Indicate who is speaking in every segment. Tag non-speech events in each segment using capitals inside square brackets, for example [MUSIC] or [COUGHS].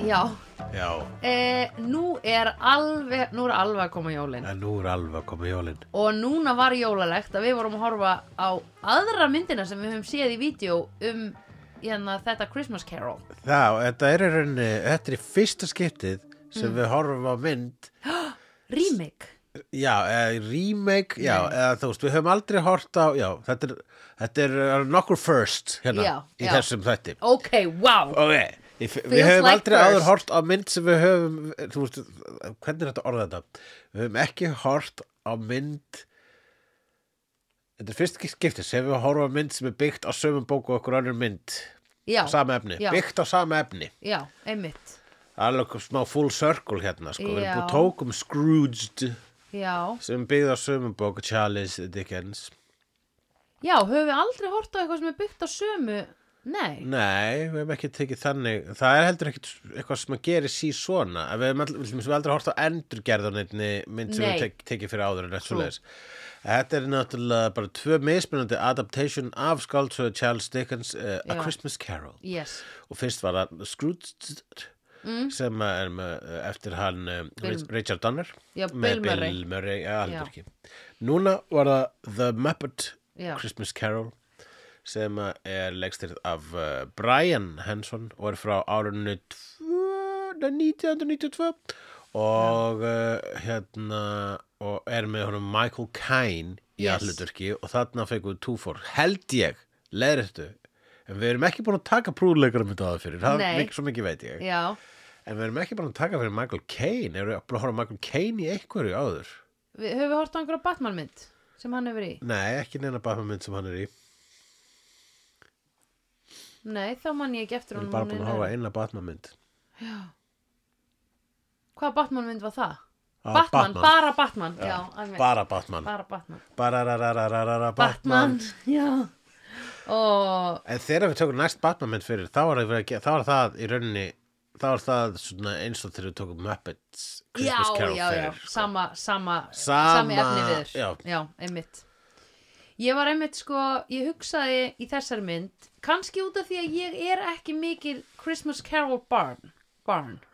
Speaker 1: já
Speaker 2: Já,
Speaker 1: e, Nú er alveg Nú er alveg að koma jólin
Speaker 2: en nú er alveg að koma jólinn
Speaker 1: Og núna var jólalegt að við vorum að horfa á aðra myndina sem við höfum séð í vídeo um hérna, þetta Christmas Carol.
Speaker 2: Þá, þetta er í rauninni, þetta er í fyrsta skiptið sem
Speaker 1: Mm.
Speaker 2: við horfum á mynd
Speaker 1: Remake.
Speaker 2: Já, eða remake, já, eða þú veist, við höfum aldrei hort á, já, þetta er, þetta er uh, nokkur first hérna
Speaker 1: Já,
Speaker 2: í
Speaker 1: já.
Speaker 2: þessum þætti.
Speaker 1: Ok, wow.
Speaker 2: Ok, í f- við höfum
Speaker 1: like
Speaker 2: aldrei
Speaker 1: first.
Speaker 2: áður hort á mynd sem við höfum, þú veist, hvernig er þetta orðað þetta? Við höfum ekki hort á mynd, þetta er fyrst skiptið sem við horfum á mynd sem er byggt á sömum bóku og okkur önnur mynd,
Speaker 1: Já,
Speaker 2: sama efni,
Speaker 1: já.
Speaker 2: byggt á sama efni.
Speaker 1: já, einmitt.
Speaker 2: alveg smá full circle hérna sko. við
Speaker 1: Já.
Speaker 2: erum búið tókum Scrooged
Speaker 1: Já,
Speaker 2: sem byggði á sömu bók Charles Dickens
Speaker 1: já, höfum við aldrei hort á eitthvað sem er byggt á sömu? Nei.
Speaker 2: nei, við hefum ekki tekið þannig það er heldur ekkit eitthvað sem að gera sí svona En við hefum all- við hefum aldrei hort á endurgerðan einni mynd sem
Speaker 1: Nei.
Speaker 2: við tek, tekið fyrir áður en
Speaker 1: True.
Speaker 2: eitthvað leis Þetta er náttúrulega bara tvö mismunandi adaptation af skáldsöðu Charles Dickens uh, A
Speaker 1: Já.
Speaker 2: Christmas Carol
Speaker 1: Yes,
Speaker 2: og fyrst var það Scrooged sem að er með, eh, eftir hann um,
Speaker 1: Mm. Bill-
Speaker 2: Richard Donner
Speaker 1: Já,
Speaker 2: með
Speaker 1: Bill Murray.
Speaker 2: Bill Murray ja, alveg ekki. núna var það The Muppet
Speaker 1: Já.
Speaker 2: Christmas Carol sem að er leikstyrð af uh, Brian Henson og er frá árunni tvö- nei, 1992 og uh, hérna og er með honum Michael Caine í
Speaker 1: Yes.
Speaker 2: yes. alludurki og þarna fengum við túfór held ég, leðrættu en við erum ekki búin að taka prúðleikar um þetta aða fyrir, það
Speaker 1: Nei.
Speaker 2: er mikið svo mikið veit ég
Speaker 1: já.
Speaker 2: en við erum ekki búin að taka fyrir Michael Caine erum við búin að horfa á Michael Caine í einhverju áður
Speaker 1: Við, höfum við hort á einhverja Batman-mynd sem hann hefur í?
Speaker 2: nei, ekki neina Batman-mynd sem hann er í
Speaker 1: Nei, þá man ég ekki eftir
Speaker 2: við erum
Speaker 1: honum.
Speaker 2: bara
Speaker 1: honum
Speaker 2: búin að
Speaker 1: innan.
Speaker 2: horfa á eina Batman-mynd
Speaker 1: Hvaða Batman-mynd var það?
Speaker 2: Á
Speaker 1: Batman,
Speaker 2: Ah, Batman.
Speaker 1: bara Batman. Já, já
Speaker 2: bara Batman
Speaker 1: bara Batman.
Speaker 2: Barararararara
Speaker 1: Batman,
Speaker 2: Batman
Speaker 1: já og
Speaker 2: En þegar við tökum næst Batman mynd fyrir þá er, að, þá er það í rauninni þá er það svona eins og þegar við tökum Muppets
Speaker 1: já,
Speaker 2: Christmas Carol
Speaker 1: já, já,
Speaker 2: fyrir sko.
Speaker 1: sama, sama,
Speaker 2: Sama-
Speaker 1: sami efni viður
Speaker 2: já.
Speaker 1: einmitt ég var einmitt sko, ég hugsaði í þessari mynd, kannski út af því að ég er ekki mikil Christmas Carol barn barn [LAUGHS]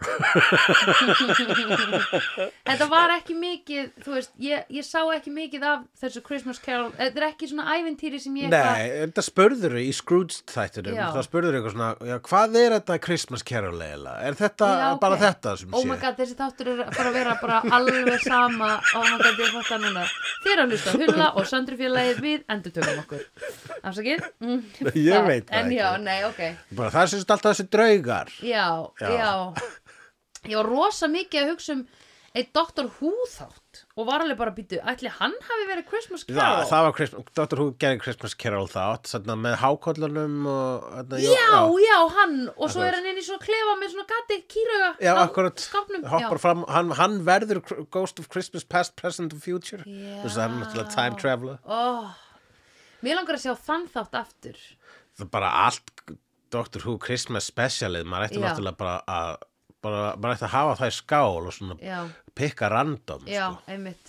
Speaker 1: þetta var ekki mikið þú veist, ég, ég sá ekki mikið af þessu Christmas Carol, þetta er ekki svona ævintýri sem ég
Speaker 2: Nei, þetta spurður í Scrooge þættinum
Speaker 1: Já.
Speaker 2: þá spurður eitthvað svona, já, hvað er þetta Christmas Carol eiginlega? Er þetta
Speaker 1: Já, ok.
Speaker 2: bara þetta sem
Speaker 1: Oh my god, þessi þáttur er að fara að vera bara alveg sama Oh my god, ég fótt það núna Þið eru að hlusta á Hulla og Söndrufélagið við endurtökum okkur Afsakið? Mm,
Speaker 2: [LAUGHS] Ég veit það
Speaker 1: En
Speaker 2: ekki.
Speaker 1: já, nei, ok
Speaker 2: Bara það sést alltaf þessi draugar
Speaker 1: Já,
Speaker 2: Já.
Speaker 1: já, Ég var rosa mikið að hugsa um eitt Dr. Who þátt og var alveg bara að býtu Ætli hann hafi verið Christmas
Speaker 2: Það,
Speaker 1: Carol?
Speaker 2: það var Christmas, Dr. Who gerði Christmas Carol þátt, svona með hákollunum og... þarna,
Speaker 1: já, já, hann og svo
Speaker 2: Akkurat.
Speaker 1: er hann inn í svona klefa með svona gati kýrauga
Speaker 2: Já,
Speaker 1: á
Speaker 2: akkurat,
Speaker 1: skápnum.
Speaker 2: hoppar
Speaker 1: Já.
Speaker 2: fram, hann, hann verður Cr- Ghost of Christmas Past, Present and Future
Speaker 1: Já.
Speaker 2: Þú veist, hann er náttúrulega time traveler
Speaker 1: Ó, Mér langar að sjá þann þátt aftur
Speaker 2: Það er bara allt Doctor Who Christmas specialið, maður ætti
Speaker 1: Já.
Speaker 2: náttúrulega bara að bara, maður ætti að hafa það í skál og svona
Speaker 1: Já.
Speaker 2: pikka random
Speaker 1: Já,
Speaker 2: sko.
Speaker 1: einmitt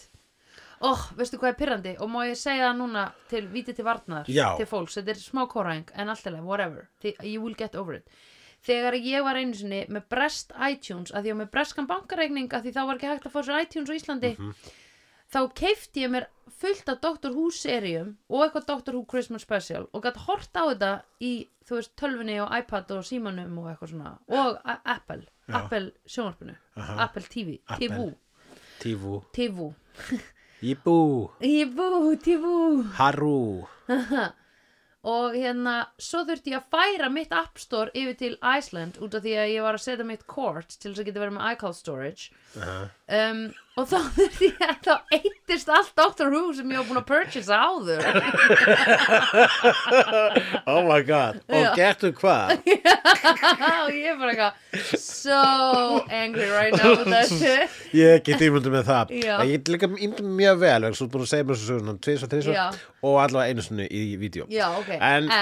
Speaker 1: Ó, veistu hvað er pyrrandi og má ég segja það núna til viti til varnar
Speaker 2: Já.
Speaker 1: til fólks, þetta er smá kóraðing en alltaf, whatever, Þi, you will get over it Þegar ég var einu sinni með brest iTunes, að því að með breskan bankareikning að því þá var ekki hægt að fá sér iTunes á Íslandi
Speaker 2: Mhm.
Speaker 1: þá keifti ég mér fullt af Doctor Who serium og eitthvað Doctor Who Christmas Special og gætt hort á þetta í, þú veist, tölvunni og iPad og símanum og eitthvað svona og a- Apple, Apple sjónvarpinu Apple TV,
Speaker 2: Apple.
Speaker 1: TV,
Speaker 2: Tífú,
Speaker 1: TV
Speaker 2: Íbú,
Speaker 1: Jíbú, tíbú
Speaker 2: Harú
Speaker 1: Og hérna, svo þurfti ég að færa mitt App Store yfir til Iceland út af því að ég var að setja mitt kort til þess að geta verið með iCloud storage um, og þá [LAUGHS] þurfti ég að þá eittist allt Doctor Who sem ég var búin að purchase áður [LAUGHS]
Speaker 2: Oh my god, og
Speaker 1: Já.
Speaker 2: gertu hvað?
Speaker 1: og ég er bara eitthvað so angry right now with þessu
Speaker 2: Ég get ímyndið með það
Speaker 1: Já.
Speaker 2: En Ég get líka ímyndið mjög vel vegna Svo þú ert búin að segja mér svo söguna Tvis og tvis
Speaker 1: Já.
Speaker 2: og allavega einu sinni í vídeo
Speaker 1: Já, ok
Speaker 2: En-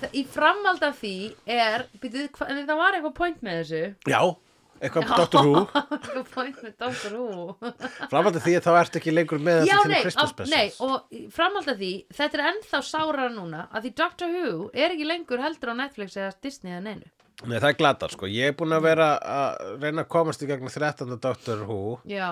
Speaker 1: þa- í framhald af því er, býtu, en það var eitthvað point með þessu [LAUGHS]
Speaker 2: Já, eitthvað Dr. Who
Speaker 1: eitthvað point með Doctor Who
Speaker 2: Framandi því að þá ertu ekki lengur með
Speaker 1: Já,
Speaker 2: þetta
Speaker 1: nei,
Speaker 2: þínu Christmas
Speaker 1: á- nei,
Speaker 2: specials
Speaker 1: og framhald að því þetta er ennþá sárara núna að því Doctor Who er ekki lengur heldur á Netflix eða Disney eða neinu
Speaker 2: Nei, það er glatað sko. Ég er búin að vera að reyna að komast í gegnum 13. Doctor Who
Speaker 1: já,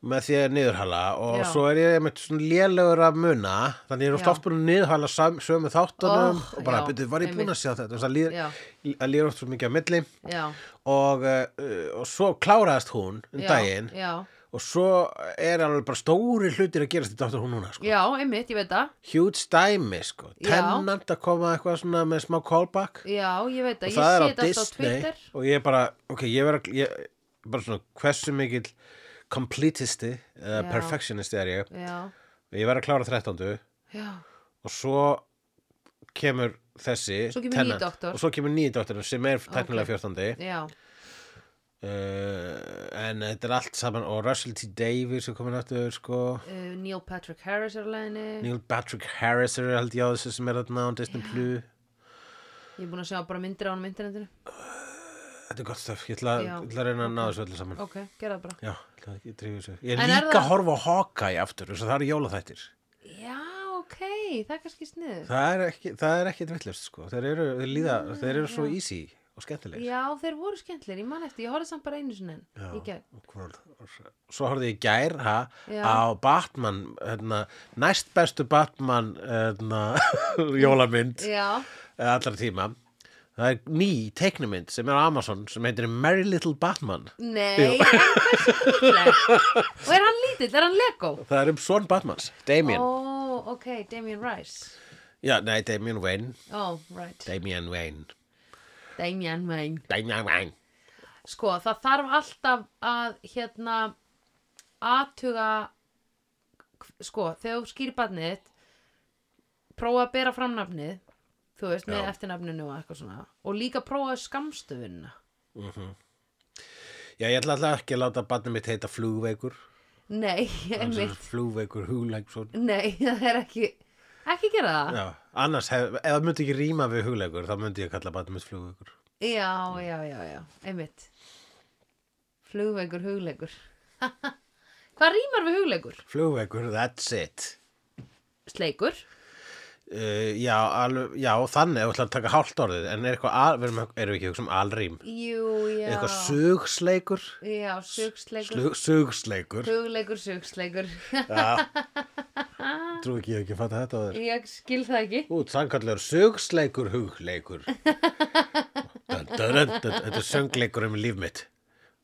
Speaker 2: með því að niðurhala og
Speaker 1: Já.
Speaker 2: svo er ég einmitt svona lélegur að muna þannig ég er
Speaker 1: Já.
Speaker 2: ofta oft búin að niðurhala sam, sömu þáttunum
Speaker 1: Oh,
Speaker 2: og bara,
Speaker 1: já,
Speaker 2: byrju, var ég búin að
Speaker 1: einmitt.
Speaker 2: sjá þetta þannig að líður,
Speaker 1: Já.
Speaker 2: að líður oft svo mikið á milli
Speaker 1: já
Speaker 2: og, uh, og svo kláraðast hún um
Speaker 1: já,
Speaker 2: daginn
Speaker 1: já,
Speaker 2: og svo er alveg bara stóri hlutir að gerast í Doctor Who núna sko.
Speaker 1: já, einmitt, ég veit það
Speaker 2: huge dæmi sko.
Speaker 1: Já.
Speaker 2: tennant að koma eitthvað svona með smá callback
Speaker 1: já, ég veit
Speaker 2: og
Speaker 1: það,
Speaker 2: það er á
Speaker 1: ég sé þetta alltaf á
Speaker 2: Disney
Speaker 1: Twitter
Speaker 2: og ég er bara, ok, ég vera ég, bara svona, hversu mikill completisti, uh,
Speaker 1: Já.
Speaker 2: perfectionisti er ég
Speaker 1: já,
Speaker 2: ég verð að klára 13.
Speaker 1: já,
Speaker 2: og svo kemur þessi
Speaker 1: Svo kemur
Speaker 2: Tennant,
Speaker 1: nýi doktor.
Speaker 2: og svo kemur nýi doktor sem er tæknilega 14.
Speaker 1: já
Speaker 2: Uh, en þetta er allt saman og Russell T. Davies er komin aftur sko
Speaker 1: uh, Neil Patrick Harris er á leiðinni
Speaker 2: Neil Patrick Harris er held ég á þessu sem er þarna á Disney Plus
Speaker 1: ég er búin að sjá bara myndir á hann á internetinu
Speaker 2: Þetta er gott stöf, ég ætla,
Speaker 1: Já,
Speaker 2: ég ætla að reyna að ná þessu öllu saman
Speaker 1: ok, gera það bara
Speaker 2: Já, ég ætla ekki að drífa þessu Ég er
Speaker 1: En er
Speaker 2: líka
Speaker 1: það-
Speaker 2: að horfa á Hawkeye aftur þess að það eru jólaþættir
Speaker 1: já, ok, það er kannski sniður
Speaker 2: Það er ekki, það er ekki villust sko Þeir eru, þeir líða, þeir eru svo easy og skemmtilegir
Speaker 1: Mm, já, þeir voru skemmtlir, ég man eftir, ég horfði samt bara einu sinni enn, í gegn
Speaker 2: Hvorn- Svo horfði ég í gær ha,
Speaker 1: Já.
Speaker 2: á Batman hérna, næst bestu Batman hérna, [LAUGHS] jólamynd eh,
Speaker 1: já,
Speaker 2: allra tíma það er ný teiknumynd sem er á Amazon sem heitir Merry Little Batman
Speaker 1: nei, hann er kannski kúkleg og er hann lítill, er hann Lego
Speaker 2: það er um svon Batmans, Damien
Speaker 1: ó, ok, Damien Rice
Speaker 2: já, nei, Damien Wayne
Speaker 1: ó, right,
Speaker 2: Damien Wayne,
Speaker 1: Damien Wayne
Speaker 2: Damien Wayne.
Speaker 1: sko það þarf alltaf að hérna aðtuga sko þegar þú skýr barnið þitt, prófa að bera framnafnið þú veist með
Speaker 2: Já.
Speaker 1: eftirnafninu og eitthvað svona og líka prófa skamstöfunna
Speaker 2: já, ég ætla alltaf ekki að láta Batman mitt heita flugveikur
Speaker 1: nei,
Speaker 2: Hann sem
Speaker 1: einmitt,
Speaker 2: flugveikur hugleiksson
Speaker 1: nei [LAUGHS] það er ekki ekki gera það
Speaker 2: já, annars, hef, ef það myndi ekki ríma við hugleikur þá myndi ég kalla Batman mitt flugveikur
Speaker 1: já, já, já, já, einmitt flugveikur hugleikur [LAUGHS] hvað rýmar við hugleikur?
Speaker 2: flugveikur, that's it
Speaker 1: sleikur
Speaker 2: Uh, já, alveg, já, þannig ef við ætla að taka hálft orðið, en er eitthvað al, erum, erum við ekki að hugsa um alrým
Speaker 1: jú, já,
Speaker 2: eitthvað sugsleikur
Speaker 1: já, sugsleikur
Speaker 2: Slug, sugsleikur
Speaker 1: Hugleikur, sugsleikur
Speaker 2: trú ekki ég hef ekki að fatta þetta á þér
Speaker 1: [LAUGHS] Ég skil það ekki
Speaker 2: út, sannkallur sugsleikur hugleikur dun, dun, dun, dun, þetta er söngleikur um líf mitt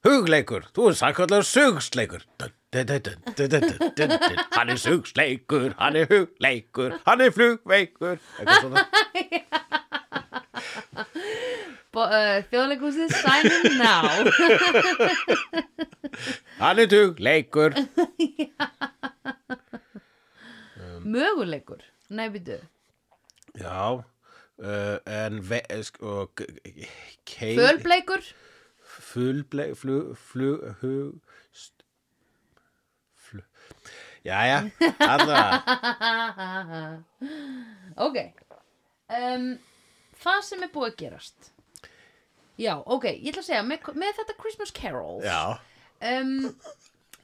Speaker 2: hugleikur, þú er sannkallur sugsleikur dun, dun, dun, dun, dun, dun, dun, dun, dun. hann er sugsleikur hann er hugleikur, hann er flugveikur eitthvað svona
Speaker 1: Bo- uh, Þjóðleikúsið sign in now
Speaker 2: [LAUGHS] hann er hugleikur
Speaker 1: Möguleikur Nei, býtu
Speaker 2: Já, uh, en ve- eh, sko, k- k- kei-
Speaker 1: Fölbleikur [LAUGHS]
Speaker 2: Fölble Flu Flu Hug st- Flu Jæja, allra
Speaker 1: Ok um, Það sem er búið að gerast Já, ok, ég ætla að segja með, með þetta Christmas Carol
Speaker 2: Já,
Speaker 1: um,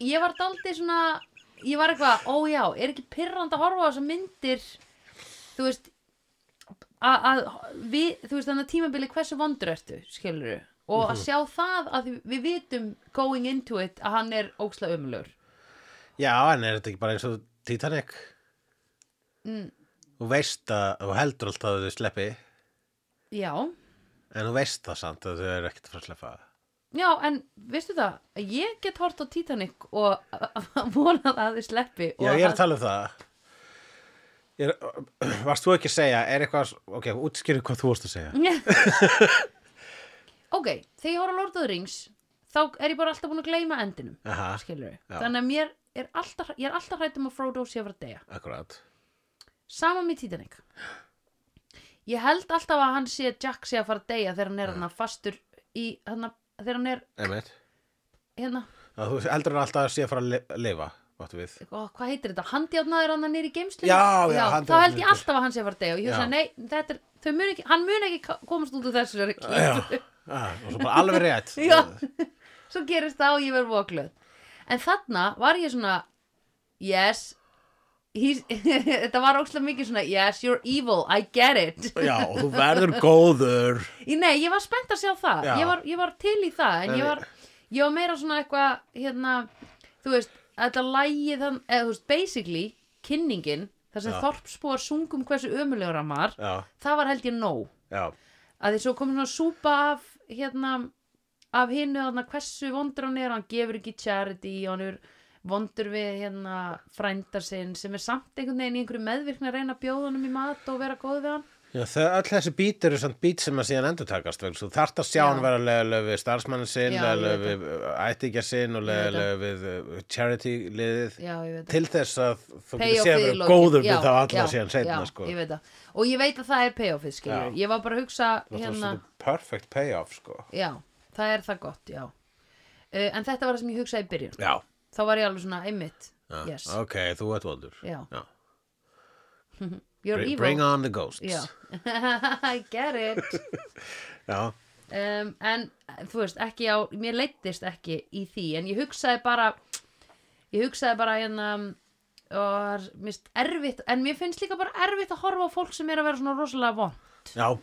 Speaker 1: Ég var daldið svona Ég var eitthvað, ó já, er ekki pirrandi að horfa á þessar myndir Þú veist að, að við, þú veist þannig að tímabili hversu vondur ertu, skilur og
Speaker 2: Mhm.
Speaker 1: að sjá það að við vitum going into it að hann er óksla umlur
Speaker 2: já, en er þetta ekki bara eins og Titanic? Þú veist að, þú heldur alltaf að þau sleppi
Speaker 1: Já,
Speaker 2: En þú veist það samt að þau eru ekkert að fara að sleppa
Speaker 1: já, en veistu það að ég get hort á Titanic og [LAUGHS] vonað að þið sleppi
Speaker 2: Já, ég er að tala um það ég er, [CLEARS THROAT] Varst þú ekki að segja, er eitthvað Ok, útskýrðu hvað þú varst að
Speaker 1: Mm.
Speaker 2: segja
Speaker 1: tala [LAUGHS] Ok, þegar ég horf á Lord of the Rings þá er ég bara alltaf búin að gleyma endinum
Speaker 2: Aha,
Speaker 1: skilur við,
Speaker 2: Já.
Speaker 1: þannig að mér er alltaf, ég er alltaf hrætt um að Frodo sé að fara að deyja
Speaker 2: akkurat
Speaker 1: Sama með Titanic Ég held alltaf að hann sé Jack sé að fara að deyja þegar hann er hann fastur í hann þegar hann er
Speaker 2: Einmitt
Speaker 1: hérna
Speaker 2: Að þú heldur hann alltaf að sé að fara að li- að lifa, áttu við.
Speaker 1: ó, hvað heitir þetta, handjárnaður hann nýri í geimslu
Speaker 2: Já,
Speaker 1: þá
Speaker 2: já, handjárnaður
Speaker 1: held ég
Speaker 2: niður.
Speaker 1: alltaf að hann sé að fara að deyja og ég hugsa,
Speaker 2: Já.
Speaker 1: nei, þetta er, þau mun ekki hann mun ekki ka- komast út úr þessu er ekki.
Speaker 2: Já, ah, og svo bara alveg rétt.
Speaker 1: já, svo gerist það og ég verð vokluð en þarna var ég svona yes, he's- [LAUGHS] þetta var ókslega mikið svona yes you're evil, I get it
Speaker 2: Já, og þú verður góður
Speaker 1: Í- Nei, ég var spennt að sjá það
Speaker 2: Já.
Speaker 1: ég var, ég var til í það en
Speaker 2: En-
Speaker 1: ég var, ég var meira svona eitthvað hérna, þú veist, þetta lægi þann, eða þú veist, basically kynningin, þar sem
Speaker 2: Já.
Speaker 1: þorpsbúar sungum hversu ömulegur hann var
Speaker 2: Já,
Speaker 1: það var held ég nóg,
Speaker 2: já,
Speaker 1: að því svo kom svona súpa af hérna, af hinu þarna hversu vondur hann er, hann gefur ekki charity, hann er vondur við hérna frændar sinn sem er samt einhvern veginn í einhverju meðvirkni að reyna að bjóða honum í mat og vera góð við hann
Speaker 2: já það, Öll þessi bít eru samt bít sem að síðan endurtakast vegna þess að Þú þarft að sjá
Speaker 1: Já.
Speaker 2: hann vera leðileg við starfsmannin sinn
Speaker 1: Já,
Speaker 2: leðileg
Speaker 1: ég
Speaker 2: við uh, ættingja sinn
Speaker 1: Ég
Speaker 2: og
Speaker 1: veit
Speaker 2: leðileg við uh, charity liðið
Speaker 1: Já, ég veit að
Speaker 2: til þess að þú getur
Speaker 1: payoffið
Speaker 2: séð
Speaker 1: í
Speaker 2: verið
Speaker 1: lokin.
Speaker 2: góður
Speaker 1: Já,
Speaker 2: við þá alla
Speaker 1: já,
Speaker 2: síðan seinna
Speaker 1: já,
Speaker 2: sko.
Speaker 1: ég veit það. og ég veit að það er payoffið skilur
Speaker 2: Já.
Speaker 1: ég var bara að hugsa
Speaker 2: Það var
Speaker 1: hérna,
Speaker 2: svona perfect payoff sko.
Speaker 1: já, það er það gott já. Uh, en þetta var það sem ég hugsaði í byrjun
Speaker 2: Já,
Speaker 1: þá var ég alveg svona einmitt
Speaker 2: já.
Speaker 1: yes,
Speaker 2: ok, þú ert vondur
Speaker 1: já,
Speaker 2: Já.
Speaker 1: you're
Speaker 2: Bring,
Speaker 1: evil
Speaker 2: bring on the ghosts
Speaker 1: já, [LAUGHS] I get it
Speaker 2: Já,
Speaker 1: um, en þú veist ekki á mér leittist ekki í því en ég hugsaði bara ég hugsaði bara hérna og mist erfitt en mér finnst líka bara erfitt að horfa á fólk sem er að vera svona rosalega von
Speaker 2: já,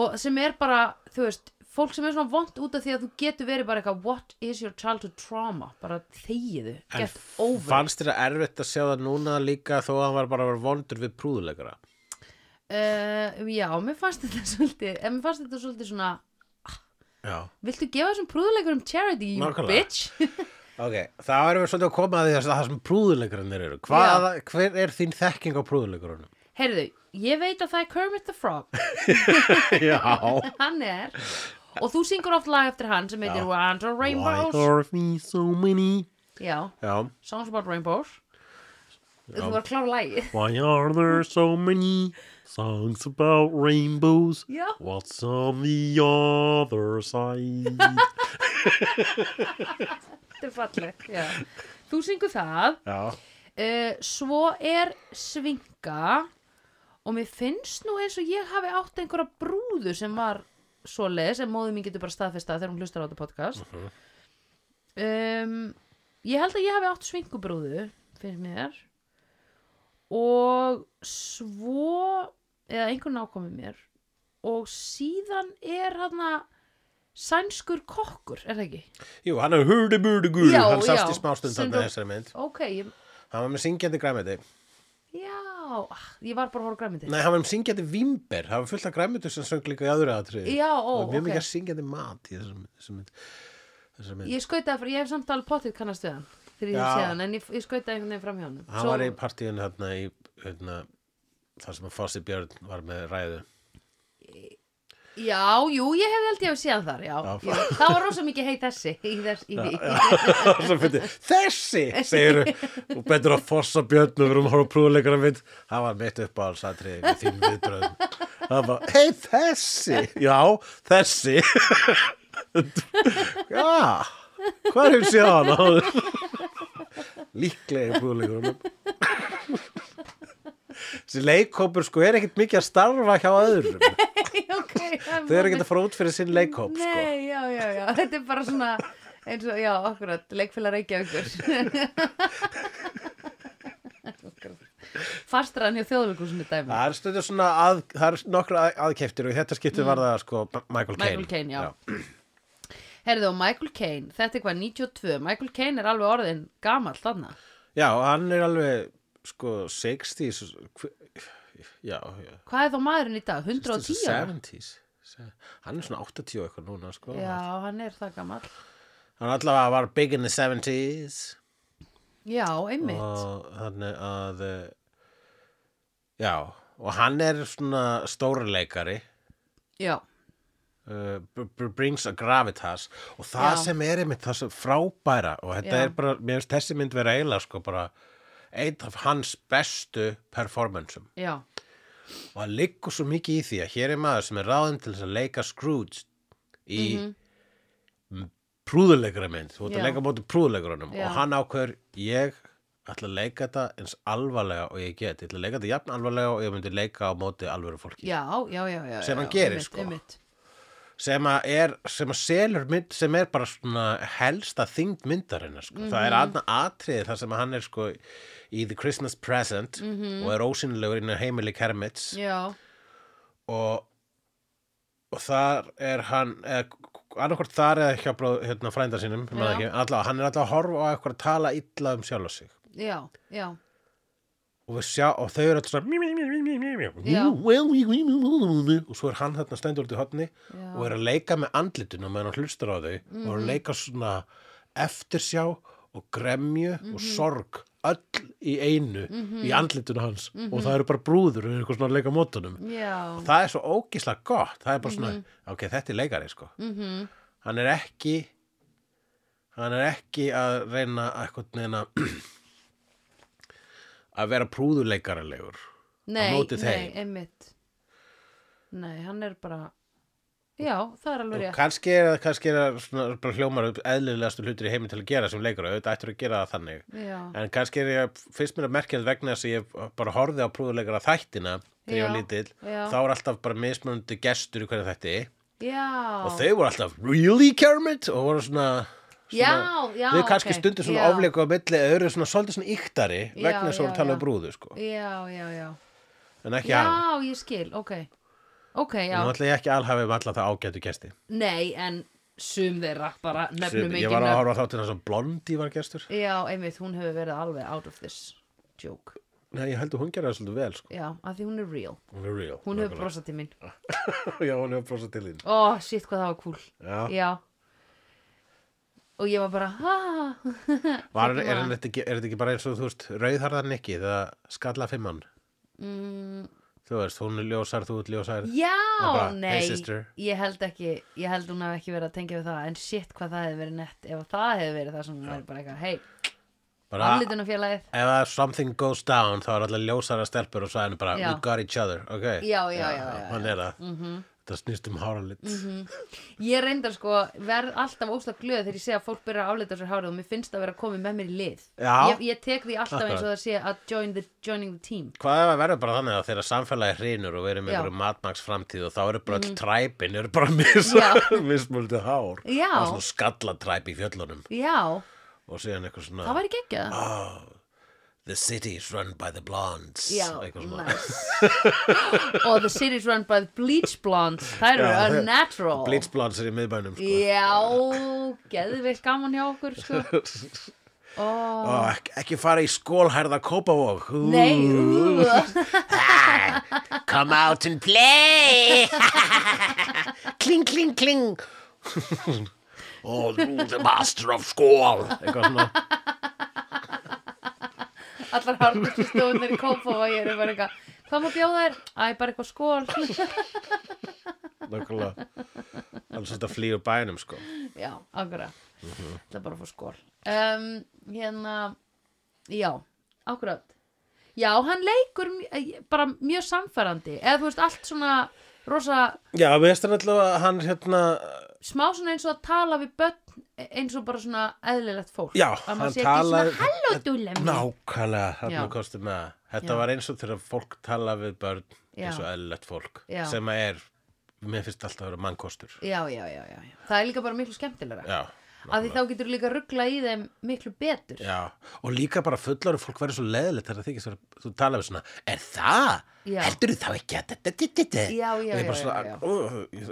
Speaker 1: og sem er bara, þú veist fólk sem er svona vond út af því að þú getur verið bara eitthvað what is your childhood trauma bara þegiðu,
Speaker 2: en
Speaker 1: get over
Speaker 2: fannst þér að erfitt að sjá það núna líka þó að hann var bara að vera vondur við prúðuleikara
Speaker 1: uh, já, mér fannst þetta [LAUGHS] svolítið en mér fannst þetta svolítið svona
Speaker 2: Já
Speaker 1: viltu gefa þessum prúðulegur um charity, you
Speaker 2: Nákvæmlega.
Speaker 1: bitch [LAUGHS]
Speaker 2: Ok, þá erum við svolítið að koma að því að það sem prúðuleikarnir eru Hvað, Hver er þín þekking á prúðuleikarunum?
Speaker 1: heyrðu, ég veit að það er Kermit the Frog
Speaker 2: [LAUGHS]
Speaker 1: [LAUGHS]
Speaker 2: Já
Speaker 1: hann er og þú syngur oft lag eftir hann sem heitir Round of
Speaker 2: Why
Speaker 1: Rainbows
Speaker 2: are we so many?
Speaker 1: já,
Speaker 2: Já
Speaker 1: Songs About Rainbows þú var að klára lagið [LAUGHS]
Speaker 2: Why are there so many songs about rainbows?
Speaker 1: já,
Speaker 2: What's on the other side?
Speaker 1: þetta er falleg já. þú syngur það
Speaker 2: Já
Speaker 1: Uh, svo er svinga og mér finnst nú eins og ég hafi átt einhverja brúðu sem var svoleiðis en móðum mín getur bara staðfesta þegar hún hlustar á þetta podcast um, ég held að ég hafi átt svingubrúðu finnst mér og svo eða einhver nákomi mér og síðan er hana sænskur kokkur er það ekki?
Speaker 2: Jú, hann er hurdi burdi guru,
Speaker 1: Já,
Speaker 2: hann sást
Speaker 1: já.
Speaker 2: í smástund
Speaker 1: Sem
Speaker 2: þarna í
Speaker 1: þú-
Speaker 2: þessari mynd.
Speaker 1: ok, ég,
Speaker 2: Hann var með syngjandi græmiti.
Speaker 1: já ah, ég var bara að horfa græmyndi
Speaker 2: Nei, hann var með syngjandi vimber, hann var fullt af græmiti sem söng líka í öðru aðtriði.
Speaker 1: Já, ó,
Speaker 2: Það var mjög
Speaker 1: ok.
Speaker 2: mikið syngjandi mat í þessari þessari mynd. Þessari mynd.
Speaker 1: ég skautaði fyrir, ég hef samt alveg potið kannast við hann þegar ég
Speaker 2: Já.
Speaker 1: sé hann, en ég, ég skautaði einhvern veginn fram hjá hann
Speaker 2: Hann var í partíinu hérna í, hérna, þar sem að Fossi Björn var með ræðu.
Speaker 1: já, jú, ég hef held ég að sé hann þar já,
Speaker 2: Já.
Speaker 1: já. það var rosa mikið heið þessi í þess, í því [LAUGHS]
Speaker 2: [LAUGHS] Svo fyndi, þessi, segir og betur að Fossa Björn og við erum að horfa prúðuleikara mynd. Það var mitt upp á alls aðtriði með þín viðbröðum. Það var, hei, þessi, já, þessi. [LAUGHS] já, hvað er séð hann áður? [LAUGHS] Líklega í prúðuleikarum. Þessi leikhópur sko er ekkert mikið að starfa hjá öðrum.
Speaker 1: okay,
Speaker 2: Þau eru ekkert að fara út fyrir sinn leikhóp
Speaker 1: nei,
Speaker 2: sko.
Speaker 1: já, já, já, [LAUGHS] þetta er bara svona eins og, já, akkurat, leikfélag
Speaker 2: [LAUGHS]
Speaker 1: Reykjavíkur fastræðan hjá þjóðleikusinu dæmi
Speaker 2: Það er stundur svona að, það er nokkra að, aðkeftir og í þetta skiptið var það sko B- Michael Caine.
Speaker 1: Michael Caine, já. herðu, og Michael Caine, þetta er hvað 92, Michael Caine er alveg orðin gamall þarna
Speaker 2: Já, og hann er alveg sko 60s, hv- já, já.
Speaker 1: Hvað er þá maðurinn í dag? 110 ára?
Speaker 2: 70s. Se- Hann er svona 80 og eitthvað núna sko.
Speaker 1: Já, hann er það gammal.
Speaker 2: Hann allavega var big in the 70s.
Speaker 1: Já, einmitt.
Speaker 2: Og þannig að, eh, já, og hann er svona stórleikari.
Speaker 1: Já,
Speaker 2: uh, b- b- brings a gravitas og það
Speaker 1: Já.
Speaker 2: sem er einmitt það sem frábæra og þetta
Speaker 1: Já.
Speaker 2: er bara, mér finnst þessi mynd vera eiginlega sko bara einn af hans bestu performansum
Speaker 1: já,
Speaker 2: og það liggur svo mikið í því að hér er maður sem er ráðin til þess að leika Scrooge í mm prúðuleikra mynd þú ert að
Speaker 1: Mhm. Já.
Speaker 2: leika móti prúðuleikurunum
Speaker 1: Já.
Speaker 2: og hann ákveður ég ætla að leika þetta eins alvarlega og ég get ég ætla að leika þetta jafn alvarlega og ég myndi leika á móti alvöru fólki
Speaker 1: já, já, já, já.
Speaker 2: Sem
Speaker 1: já,
Speaker 2: hann gerir,
Speaker 1: einmitt,
Speaker 2: sko.
Speaker 1: Einmitt.
Speaker 2: sem að er, sem að selur mynd sem er bara svona helsta þyngd myndarinnar sko. það er aðna atriði þar sem að hann er sko í The Christmas Present
Speaker 1: Mhm.
Speaker 2: og er ósynlegur inn á heimili Kermits
Speaker 1: já,
Speaker 2: og, og þar er hann annarkvort þar eða hjá bróð hérna, frænda sínum, ég man
Speaker 1: Já.
Speaker 2: ekki, allavega, hann er alltaf að horfa á eitthvað að tala illa um sjálf sig
Speaker 1: já, já
Speaker 2: og, við sjá, og þau eru alltaf svona mí, mí, mí, mí, mí, mí, mí, mí,
Speaker 1: Já.
Speaker 2: well, mí, mí, mí, mí, mí, mí. og svo er hann þarna stendur út í hotni
Speaker 1: Já.
Speaker 2: og er að leika með andlitinu meðan hann hlustar á þau og
Speaker 1: Mhm.
Speaker 2: er að leika svona eftirsjá og gremju
Speaker 1: Mhm.
Speaker 2: og sorg öll í einu í andlitinu hans
Speaker 1: Mhm.
Speaker 2: og það eru bara brúður og er eitthvað svona að leika mótunum
Speaker 1: Já,
Speaker 2: og það er svo ógíslega gott það er bara svona, ok, þetta er leikari sko
Speaker 1: mhm,
Speaker 2: hann er ekki hann er ekki að reyna að eitthvað neina [CLEARS THROAT] að vera prúðuleikaralegur
Speaker 1: nei,
Speaker 2: móti
Speaker 1: nei,
Speaker 2: þeim.
Speaker 1: einmitt Nei, hann er bara Já, það er alveg
Speaker 2: og
Speaker 1: rétt
Speaker 2: kannski er það kannski er það svona, bara hljómar upp eðlilegastu hlutir í heimi til að gera sem leikara, auðvitað ættur að gera það þannig
Speaker 1: Já,
Speaker 2: en kannski er ég, finnst mér að merkja það vegna þess að ég bara horfði á prúðuleikara þættina þegar ég var
Speaker 1: Já,
Speaker 2: lítill,
Speaker 1: já.
Speaker 2: þá er alltaf bara mismunandi gestur í hverju þætti
Speaker 1: já
Speaker 2: og þau voru alltaf really Kermit og voru svona,
Speaker 1: Já,
Speaker 2: svona
Speaker 1: já,
Speaker 2: þau kannski
Speaker 1: ok.
Speaker 2: stundu svona
Speaker 1: Já.
Speaker 2: ofleiku á milli þau eru svona svolítið svona yktari
Speaker 1: Já,
Speaker 2: vegna þess að
Speaker 1: já,
Speaker 2: voru að tala
Speaker 1: já.
Speaker 2: um brúðu sko.
Speaker 1: Já, já, já
Speaker 2: en ekki
Speaker 1: Já,
Speaker 2: hann,
Speaker 1: ég skil, ok Ok, já,
Speaker 2: nú ætla ég ekki alhafi um alla það ágætu gesti
Speaker 1: nei, en sum þeirra bara nefnum
Speaker 2: Sem- ég
Speaker 1: ekki
Speaker 2: var að
Speaker 1: nöfn
Speaker 2: horfa þá til þess að blondi var gestur
Speaker 1: Já, einmitt, hún hefur verið alveg out of this joke
Speaker 2: Nei, ég held að hún gerði það svolítið vel sko.
Speaker 1: Já, að því hún er real
Speaker 2: hún er real
Speaker 1: Hún hefur
Speaker 2: nákvæmlega.
Speaker 1: brosað til mín
Speaker 2: [LAUGHS] já, hún hefur brosað til þín
Speaker 1: Ó, shit, hvað það var cool
Speaker 2: já.
Speaker 1: Já Og ég var bara, ha
Speaker 2: Var, er,
Speaker 1: Hvernig var
Speaker 2: er,
Speaker 1: hann?
Speaker 2: þetta ekki, er þetta ekki bara eins og þú veist rauðharðan ekki eða skalla fimmann
Speaker 1: mm,
Speaker 2: þú veist, hún er ljósar, þú ert ljósar
Speaker 1: Já,
Speaker 2: Og bara,
Speaker 1: nei
Speaker 2: "Hey, sister."
Speaker 1: Ég held ekki, ég held hún hef ekki verið að tengja við það En shit, hvað það hefði verið nett Ef það hefði verið það sem hún væri bara eitthvað Hei,
Speaker 2: bara,
Speaker 1: aflitunafélagið
Speaker 2: ef að something goes down þá er allir ljósara stelpur og sæðinu bara
Speaker 1: Já.
Speaker 2: we got each other, ok
Speaker 1: Já, já, já, já, Mhm. já.
Speaker 2: hann er það, mm -hmm. það snýst um hára lit
Speaker 1: Ég reyndar sko, verð alltaf óslega glöð þegar ég sé að fólk byrjar að aflita sér hárið og mér finnst að vera að koma með mér í lið
Speaker 2: Já.
Speaker 1: ég, ég tek því alltaf eins og það sé að join the, joining the team
Speaker 2: hvað ef að verður bara þannig að þegar samfélagi hrinur og verður með
Speaker 1: Já. Mhm.
Speaker 2: einhverju matmaks framtíð og þá eru bara öll træpin, eru bara [LAUGHS] mis, mismöldið hár
Speaker 1: Já.
Speaker 2: og svona skallatræp í fjöllunum
Speaker 1: Já,
Speaker 2: og síðan eitthvað svona
Speaker 1: það væri geggjað
Speaker 2: the city is run by the blondes
Speaker 1: Já,
Speaker 2: eitthvað svona
Speaker 1: nice [LAUGHS] Og the city's run by the bleach blondes Það eru
Speaker 2: Já,
Speaker 1: unnatural
Speaker 2: bleach blondes er í miðbænum sko.
Speaker 1: Já, geðveikt gaman hjá okkur
Speaker 2: [LAUGHS]
Speaker 1: sko. oh,
Speaker 2: Ó, ekki, ekki fara í skólhærða kópavók
Speaker 1: Nei, ú,
Speaker 2: Come out and play [LAUGHS] Kling, kling, kling [LAUGHS] Oh, you the master of skól Eitthvað svona
Speaker 1: allar harnustu stóðnir í kópa og ég er bara eitthvað Hvað má bjóða þér? Æ, bara eitthvað skól
Speaker 2: Nákvæmlega Alls þetta flýur bænum sko
Speaker 1: Já, akkurat Það er bara að fá skól um, Hérna, já, akkurat Já, hann leikur mj- eh, bara mjög samfærandi Eða þú veist, allt svona rosa
Speaker 2: Já, við veist hann alltaf að hann hérna
Speaker 1: smá svona eins og að tala við börn e, eins og bara svona eðlilegt fólk
Speaker 2: Já,
Speaker 1: að
Speaker 2: hann
Speaker 1: maður sé ekki
Speaker 2: talar-
Speaker 1: svona halló dúlemi
Speaker 2: Nákvæmlega, þarna
Speaker 1: Já.
Speaker 2: kosti með það. Þetta
Speaker 1: Já.
Speaker 2: var eins og þegar fólk tala við börn
Speaker 1: Já.
Speaker 2: eins og eðlilegt fólk
Speaker 1: Já.
Speaker 2: sem að er, mér finnst alltaf að vera mannkostur
Speaker 1: já, já, já, já, já, það er líka bara miklu skemmtilegra
Speaker 2: Já,
Speaker 1: að því þá getur líka ruggla í þeim miklu betur
Speaker 2: Já, og líka bara fullar fólk verður svo leðilegt þegar það þykist vera, þú tala við svona, er það?
Speaker 1: Já.
Speaker 2: Heldur þú þá ekki að þetta, þetta, þetta?
Speaker 1: Já, já,
Speaker 2: og ég bara
Speaker 1: já,
Speaker 2: svona,
Speaker 1: já, já.
Speaker 2: "Ó,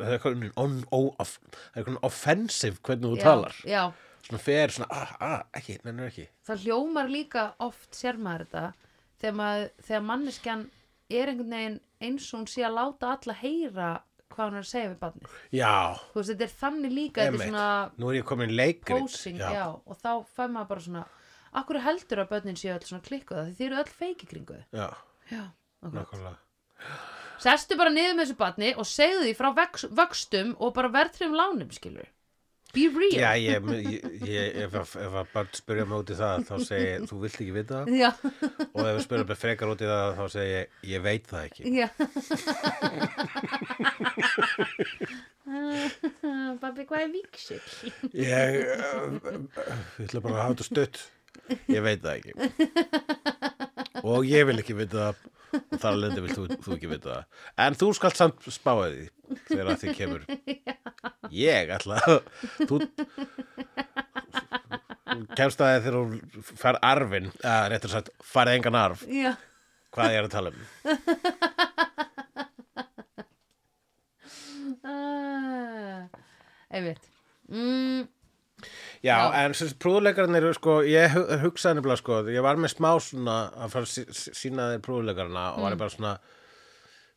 Speaker 2: Það er eitthvað on, ó, off, það er eitthvað offensive hvernig þú
Speaker 1: já,
Speaker 2: talar.
Speaker 1: já,
Speaker 2: Svona fer, svona, ah, ah, ekki, nennir ekki.
Speaker 1: það hljómar líka oft sér maður þetta þegar, maður, þegar manneskjan er einhvern veginn eins og hún sé að láta alla heyra hvað hún er að segja við barnið
Speaker 2: Já,
Speaker 1: þú veist, þetta er þannig líka, þetta er
Speaker 2: einmitt.
Speaker 1: svona
Speaker 2: Nú er ég komin í leikrit.
Speaker 1: posing, já. og þá fær maður bara svona akkur heldur að börnin séu öll svona klikkuða því þið eru öll feiki kringu þau
Speaker 2: Já,
Speaker 1: já, okkur.
Speaker 2: nákvæmlega.
Speaker 1: sestu bara niður með þessu batni og segðu því frá vex, vöxtum og bara verðtrum lánum skilur be real
Speaker 2: Já, ég, ég, ég, ef, að- ef að barn spyrja mig út í það, þá segi ég, þú vilt ekki vita það.
Speaker 1: já,
Speaker 2: Og ef að spyrja mig frekar út í það, þá segi ég, ég veit það ekki.
Speaker 1: [LAUGHS] já. Babi, hvað er víksill?
Speaker 2: Ég, uh, ég ætla bara að hafa þetta stutt. Ég veit það ekki. Og ég vil ekki vita það. Og þar alveg vilt þú, þú ekki vita það. En þú skalt samt spáði því þegar að því kemur. Ég ætla að þú Þú kemst að þið þegar hún fær arfin að réttur sagt farið engan arf
Speaker 1: Já,
Speaker 2: hvað ég er að tala um
Speaker 1: uh, einmitt mm,
Speaker 2: Já,
Speaker 1: Já.
Speaker 2: en sem prúðleikarinn eru sko, ég hu- hugsaði nefnilega sko ég var með smá svona að fara að sí- sí- sína þeir prúðleikarina og var ég bara svona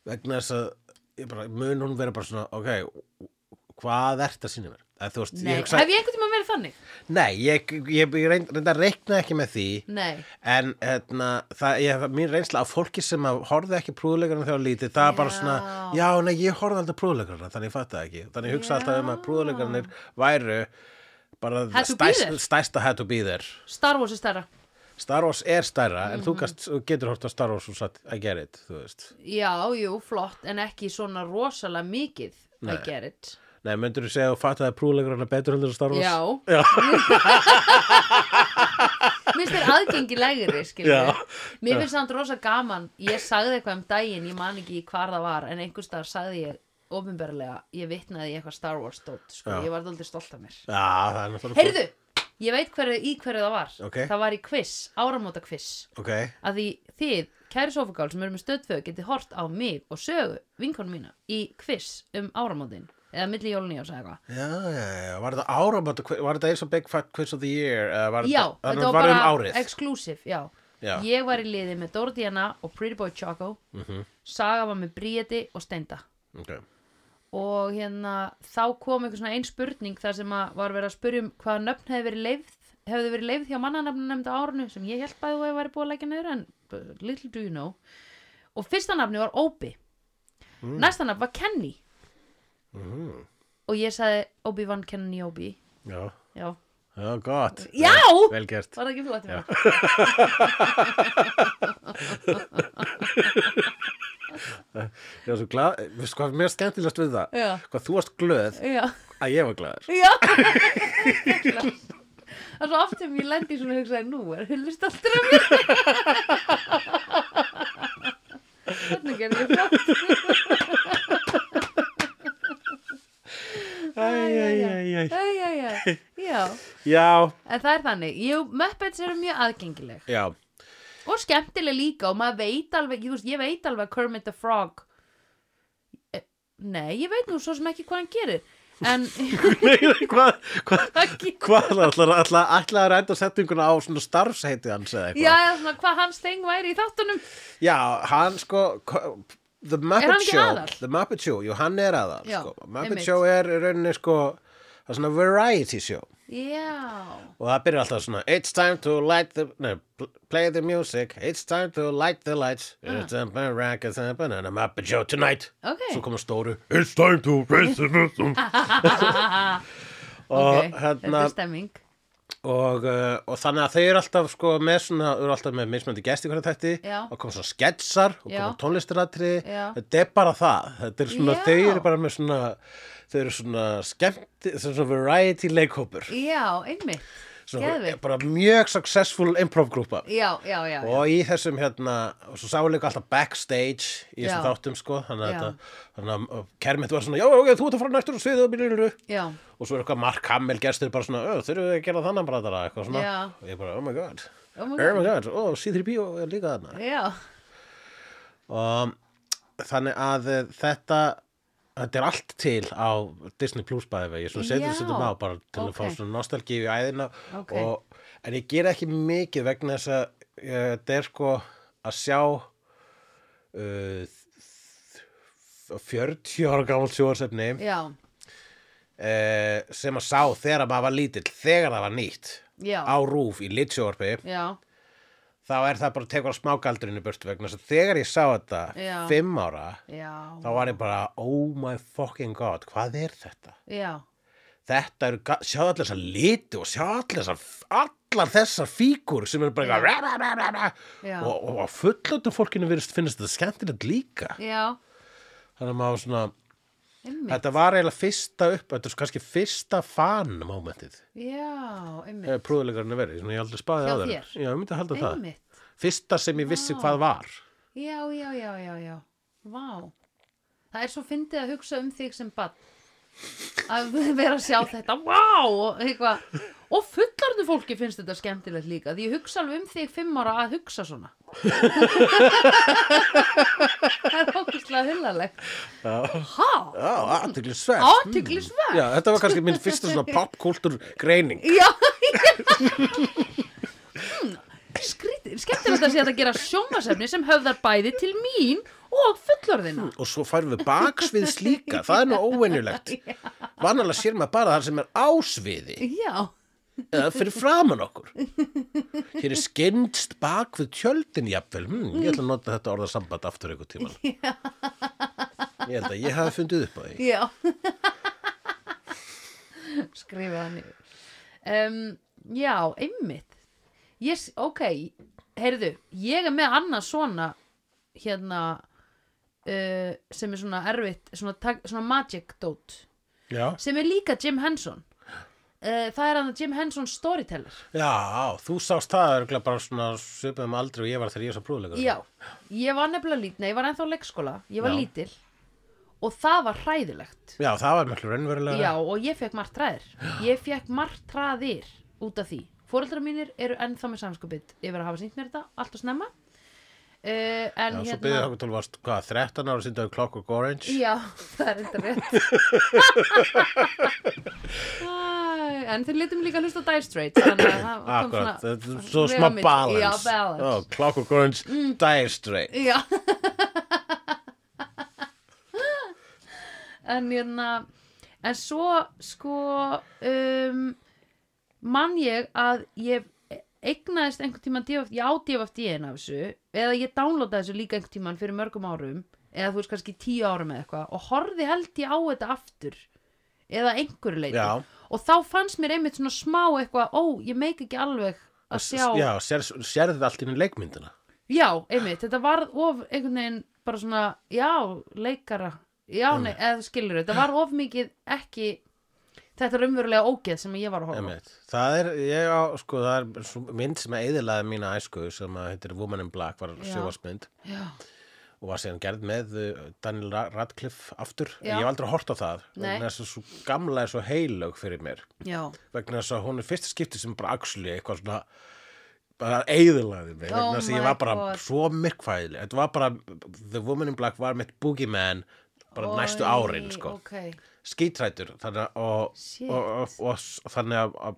Speaker 2: vegna þess að ég bara, mun hún vera bara svona ok, hvað ert að sína mér? Eða, þú veist,
Speaker 1: Nei,
Speaker 2: ég hugsaði,
Speaker 1: hef ég einhvern tímann verið þannig?
Speaker 2: nei, ég, ég, ég reynd, reynda að reikna ekki með því
Speaker 1: Nei,
Speaker 2: En hérna, það, ég, mín reynsla af fólki sem að horfði ekki prúðleikarna þegar lítið, það er bara
Speaker 1: Já.
Speaker 2: svona, já, nei, ég horfði aldrei prúðleikarna, þannig ég fatta ekki. Þannig ég hugsa alltaf um að
Speaker 1: Já.
Speaker 2: prúðleikarnir væru bara
Speaker 1: Had to be there.
Speaker 2: stærsta had to be there.
Speaker 1: Star Wars er stærra
Speaker 2: Star Wars er stærra, en
Speaker 1: Mhm.
Speaker 2: þú gast, þú getur hort á Star Wars og satt að gera þetta, þú veist.
Speaker 1: Já, jú, flott, en ekki svona rosalega mikið I
Speaker 2: Nei.
Speaker 1: get it
Speaker 2: Nei, myndur þú segja að þú fattaði prúðleikarna betur heldur en Star Wars?
Speaker 1: Já,
Speaker 2: Já.
Speaker 1: [LAUGHS] mér finnst þér aðgengi lægri,
Speaker 2: Já.
Speaker 1: skilur Mér finnst samt rosa gaman Ég sagði eitthvað um daginn, ég man ekki hvar það var En einhvers staðar sagði ég ofinberlega Ég vitnaði í eitthvað Star Wars stótt sko.
Speaker 2: Já.
Speaker 1: Ég var dálítið stolt af mér
Speaker 2: Já, það er náttúrulega...
Speaker 1: Heyrðu, ég veit hverju, í hverju það var
Speaker 2: Ok.
Speaker 1: Það var í quiz, áramóta quiz
Speaker 2: Ok,
Speaker 1: Að því þið, kæri sofagál sem eru með stöðföð Getið hort á mig og sögu vinkonu mína Í quiz um áramótin Eða milli jólun í ás eða eitthvað
Speaker 2: já, já, já, var þetta áramönda, var þetta eins og Big Fat Quiz of the Year? eða Var
Speaker 1: Já,
Speaker 2: þetta, þannig
Speaker 1: þetta
Speaker 2: var
Speaker 1: var
Speaker 2: um
Speaker 1: bara
Speaker 2: árið?
Speaker 1: exclusive, já.
Speaker 2: Já.
Speaker 1: Ég var í liði með Dóra Diana og Pretty Boy Choco
Speaker 2: Mhm.
Speaker 1: Saga var með Bríeti og Steinda
Speaker 2: Ok.
Speaker 1: og hérna þá kom einhver svona ein spurning þar sem að var verið að spyrja um hvaða nöfn hefði verið leifð hefði verið leifð hjá mannanöfnum nefnda árunu sem ég held bæði og ég væri búið að leggja neyður en uh, little do you know og fyrsta nafni var Obi
Speaker 2: Mm.
Speaker 1: næsta nafn var Kenny
Speaker 2: Mhm.
Speaker 1: og ég sagði Obi-Wan Kenny Obi
Speaker 2: Já,
Speaker 1: já,
Speaker 2: já, gott.
Speaker 1: Já!
Speaker 2: Vel, vel gert.
Speaker 1: var það ekki flott?
Speaker 2: Já. Ég var svo glað, veistu hvað er mér skemmtilegast við það?
Speaker 1: Já.
Speaker 2: Hvað þú varst glöð
Speaker 1: já.
Speaker 2: að ég var glöður.
Speaker 1: Já Það er svo oft sem ég lendi í svona hugsaði nú er hullist aldrei að mér Þannig gerði ég flott
Speaker 2: Æ, æ, æ, æ.
Speaker 1: Æ, já, já, já
Speaker 2: Já,
Speaker 1: En það er þannig, ég, Muppets eru mjög aðgengileg
Speaker 2: já,
Speaker 1: og skemmtileg líka og maður veit alveg, ég, veist, ég veit alveg að Kermit the Frog Eh, Nei, ég veit nú svo sem ekki hvað hann gerir
Speaker 2: [LAUGHS]
Speaker 1: en
Speaker 2: [LAUGHS] Nei, nei, hvað, hvað,
Speaker 1: Ekki.
Speaker 2: hvað ætlar, ætlar, ætlar að reynda settinguna á svona starfsheitið hans
Speaker 1: já,
Speaker 2: eða eitthvað?
Speaker 1: eða svona, hvað hans þeng væri í þáttunum
Speaker 2: Já, hann sko, ko- The
Speaker 1: hann
Speaker 2: Muppet
Speaker 1: ekki
Speaker 2: Show,
Speaker 1: aðal?
Speaker 2: The Muppet Show, jú, hann er aðal,
Speaker 1: Já,
Speaker 2: sko. Muppet
Speaker 1: einmitt.
Speaker 2: Show er í rauninni sko, það er svona variety show.
Speaker 1: Já
Speaker 2: Og það byrjar alltaf svona It's time to light the Nei, pl- play the music It's time to light the lights It's a miracle It's a banana Muppet Show tonight
Speaker 1: Ah. Ok.
Speaker 2: Svo koma stóru It's time to raise the
Speaker 1: [LAUGHS]
Speaker 2: music Og
Speaker 1: Ok, þetta
Speaker 2: hérna
Speaker 1: er stemming
Speaker 2: og, uh, og þannig að þau eru alltaf sko með svona Þau eru alltaf með mismöndi gesti hvernig þætti
Speaker 1: Já.
Speaker 2: Og koma svona sketsar Og
Speaker 1: Já.
Speaker 2: koma tónlistiratri
Speaker 1: Já.
Speaker 2: Þetta er bara það Þetta er svona
Speaker 1: Já.
Speaker 2: Þau eru bara með svona Þau eru svona skemmt Svona variety leikhópur
Speaker 1: Já, einmitt
Speaker 2: Svona
Speaker 1: Geðveikt.
Speaker 2: bara mjög successful improv grúpa
Speaker 1: Já, já, já, já.
Speaker 2: og í þessum hérna og svo sáum við líka alltaf backstage í þessum
Speaker 1: Já.
Speaker 2: þáttum sko þannig að,
Speaker 1: Já.
Speaker 2: þetta, þannig að Kermit var svona já, ok, þú ert að fara næstur og sviðið og bílur
Speaker 1: já.
Speaker 2: og svo er eitthvað Mark Hamill gestur bara svona, "Ö, þurfum við að gera þannig bræðara eitthvað svona
Speaker 1: Já.
Speaker 2: og ég bara, oh my god
Speaker 1: Oh my
Speaker 2: oh my god, oh, C3PO er líka þarna
Speaker 1: Já,
Speaker 2: og þannig að eh, þetta þetta er allt til á Disney Plus bæði vegi, svona setur
Speaker 1: Já.
Speaker 2: setjum á bara til að
Speaker 1: Ok.
Speaker 2: fá svona nostalgíu í æðina
Speaker 1: Ok.
Speaker 2: og, en ég ger ekki mikið vegna þess að eh, þetta er sko að sjá uh, 40 ára gamalt sjóðarsefni
Speaker 1: já,
Speaker 2: uh, sem að sá þegar maður var lítill þegar það var nýtt
Speaker 1: Já.
Speaker 2: á rúf í litsjóðarpi
Speaker 1: já,
Speaker 2: þá er það bara að tekur á smágaldurinn í burtu vegna þess að þegar ég sá þetta
Speaker 1: Já.
Speaker 2: 5 ára
Speaker 1: já,
Speaker 2: þá var ég bara, oh my fucking god hvað er þetta?
Speaker 1: já,
Speaker 2: Þetta eru, ga- sjáðu allir þessar liti og sjáðu allir þessar, allar þessar fígur sem eru bara eitthvað rá, rá, rá, rá,
Speaker 1: Já.
Speaker 2: rá. og, og, og fullöndum fólkinu virðist finnst þetta skemmtilegt líka
Speaker 1: já,
Speaker 2: þannig að maður svona,
Speaker 1: einmitt,
Speaker 2: þetta var eiginlega fyrsta upp, þetta er kannski fyrsta fan momentið,
Speaker 1: já, einmitt,
Speaker 2: eh, prúðuleikarinn er verið svona ég aldrei spáði
Speaker 1: Hjá
Speaker 2: áður.
Speaker 1: þér?
Speaker 2: Já, ég myndi að halda það,
Speaker 1: einmitt,
Speaker 2: fyrsta sem ég vissi
Speaker 1: Vá.
Speaker 2: hvað var
Speaker 1: já, já, já, já, já, vá, það er svo fyndið að hugsa um þig sem bann að [LAUGHS] vera að sjá þetta wow, og, eitthvað. og fullarnu fólki finnst þetta skemmtilegt líka því ég hugsa alveg um þig fimm ára að hugsa svona [LAUGHS] það er ókvæslega hullalegt ha,
Speaker 2: Já, aðteglisverð
Speaker 1: Athyglisvert.
Speaker 2: Já, þetta var kannski minn fyrsta
Speaker 1: [LAUGHS]
Speaker 2: svona popkultur greining
Speaker 1: já Hmm, skrítið, skemmtilegt að sé þetta gera sjómasefni sem höfðar bæði til mín og fullorðina
Speaker 2: Og svo færum við baksvið slíka Það er nú
Speaker 1: [LAUGHS]
Speaker 2: óvenjulegt Vanalega sér maður bara þar sem er ásviði
Speaker 1: já,
Speaker 2: eða fyrir framan okkur hér er skynst bak við tjöldin jafnvel, hm, ég ætla að nota þetta orðasamband aftur einhver tíman ég held að ég hafi fundið upp á því
Speaker 1: [LAUGHS] já skrifa það niður um, já, einmitt ég, s- ok, heyrðu ég er með annað svona hérna uh, sem er svona erfitt svona, tag- svona magic dot
Speaker 2: já,
Speaker 1: sem er líka Jim Henson uh, það er hann að Jim Henson storyteller
Speaker 2: já þú sást það örgulega bara svona svipum aldrei og ég var þegar ég var svo brúðlegur
Speaker 1: Já, ég var nefnilega lít, nei, ég var ennþá á leikskóla, ég var
Speaker 2: Já.
Speaker 1: lítil og það var hræðilegt.
Speaker 2: já, það var miklu raunverulega
Speaker 1: Já, og ég fekk margt ræðir. Ég fekk margt ræðir út af því. Fóreldrar mínir eru ennþá með samskupið yfir að hafa sýnt mér þetta, allt að snemma. Uh, en
Speaker 2: svo
Speaker 1: hérna...
Speaker 2: byrðið okkur til að varst hvað, 13 ára síndaðu Clockwork Orange
Speaker 1: Já, [LAUGHS] það er enda
Speaker 2: [LAUGHS]
Speaker 1: rétt. Æ, en þeir litum líka að hlusta á Dire Straits, þannig að það kom
Speaker 2: akkurat,
Speaker 1: svona...
Speaker 2: þetta er svo
Speaker 1: vega
Speaker 2: smá
Speaker 1: mitt-
Speaker 2: balance,
Speaker 1: Já, balance. Mm.
Speaker 2: Ó, Clockwork Orange, Dire Straits
Speaker 1: Já [LAUGHS] En hérna En svo sko um, mann ég að ég eignaðist einhvern tímann DFD, ég á DFD einn af þessu eða ég downloadaði þessu líka einhvern tímann fyrir mörgum árum eða þú veist kannski tíu árum eða eitthvað og horfði held ég á þetta aftur eða einhverju leiti
Speaker 2: Já.
Speaker 1: og þá fannst mér einmitt svona smá eitthvað ó, ég meik ekki alveg að sjá
Speaker 2: já, sér, sér þetta allt inn í leikmyndina
Speaker 1: Já, einmitt, þetta var of einhvern veginn bara svona, já, leikara Já, nei, eða skilur þetta var of mikið ekki þetta raunverulega ógeð sem ég var að horfa á.
Speaker 2: Einmitt. Það er, ég á, sko, það er svo mynd sem að eðilaði mína æsku sem að heitir Woman in Black var
Speaker 1: Já.
Speaker 2: sjóvarsmynd
Speaker 1: Já,
Speaker 2: og var síðan gerð með uh, Daniel Ra- Radcliffe aftur.
Speaker 1: Já.
Speaker 2: Ég hef aldrei hort á það
Speaker 1: Nei.
Speaker 2: vegna þess að svo gamla er svo heilög fyrir mér
Speaker 1: já,
Speaker 2: vegna þess að hún er fyrsta skipti sem bara axli eitthvað svona bara eðilaði mig
Speaker 1: Oh
Speaker 2: vegna þess að ég
Speaker 1: my
Speaker 2: var bara
Speaker 1: God.
Speaker 2: svo myrkfæðileg. Þetta var bara, The Woman in Black var mitt boogeyman bara
Speaker 1: Oj,
Speaker 2: næstu árin, sko
Speaker 1: Ok,
Speaker 2: skítrætur þannig að og,
Speaker 1: Shit.
Speaker 2: og, og, og, og þannig að, að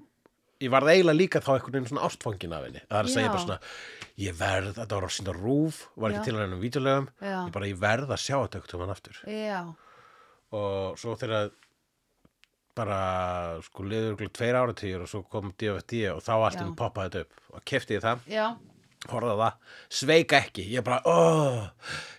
Speaker 2: ég varð eiginlega líka þá einhvern veginn svona ástfangin af henni það er að segja
Speaker 1: Já.
Speaker 2: bara svona ég verð, þetta var að sýnda rúf var
Speaker 1: Já.
Speaker 2: ekki til hennum vídeolegum
Speaker 1: Já.
Speaker 2: ég bara ég verð að sjá þetta eitthvað mann aftur
Speaker 1: já,
Speaker 2: og svo þegar bara sko liður ykkur tveir áratýr og svo kom DFD og þá allt
Speaker 1: Já.
Speaker 2: um poppaði þetta upp og kefti ég það,
Speaker 1: já
Speaker 2: horfði á það sveika ekki, ég bara oh,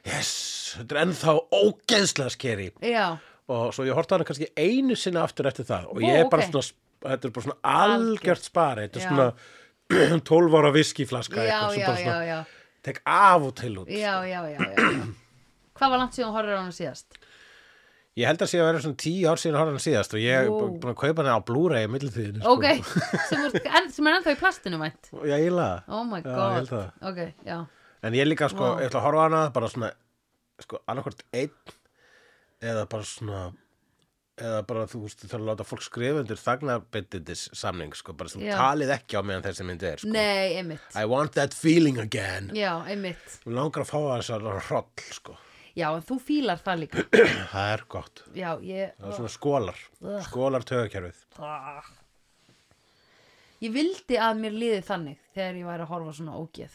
Speaker 2: yes, þetta er ennþá ógeðslega skeri
Speaker 1: Já,
Speaker 2: og svo ég horfði á hana kannski einu sinni aftur eftir það
Speaker 1: Ó,
Speaker 2: og ég er bara
Speaker 1: ókei.
Speaker 2: svona þetta er bara svona algjört spari þetta
Speaker 1: Já.
Speaker 2: er svona [CLEARS THROAT] 12 ára viskiflaska
Speaker 1: já,
Speaker 2: eitthvað sem
Speaker 1: já,
Speaker 2: bara
Speaker 1: já,
Speaker 2: svona
Speaker 1: já
Speaker 2: tek af og til út sko.
Speaker 1: Já, já, já, já, já Hvað var langt síðan þú horfir á hana síðast?
Speaker 2: ég held að sé að vera svona 10 ár síðan horfði hann síðast og ég er
Speaker 1: Vó.
Speaker 2: bú- búin að kaupa hana á Blu-ray í sko. millitíðinu
Speaker 1: Ok, sem, er, en, sem er ennþá í plastinu mætt
Speaker 2: já, ég laða
Speaker 1: Oh my
Speaker 2: Já, ég
Speaker 1: god
Speaker 2: held það.
Speaker 1: Ok, já,
Speaker 2: en ég líka sko,
Speaker 1: Vá.
Speaker 2: ég ætla að horfa á hana bara svona sko, annarkvort einn eða bara svona eða bara þú veist, það er að láta fólk skrifa undir þagnarbindindis samning sko, bara svona
Speaker 1: Já.
Speaker 2: talið ekki á meðan þessi myndi er sko.
Speaker 1: nei, einmitt
Speaker 2: I want that feeling again
Speaker 1: Já, einmitt
Speaker 2: Mér langar að fá þess að hroll sko.
Speaker 1: Já, en þú fílar það líka
Speaker 2: Það er gott
Speaker 1: Já, ég
Speaker 2: Það er svona skólar
Speaker 1: Ugh.
Speaker 2: Skólar tögakerfið
Speaker 1: Ah. Ég vildi að mér liði þannig þegar ég væri að horfa á svona ógeð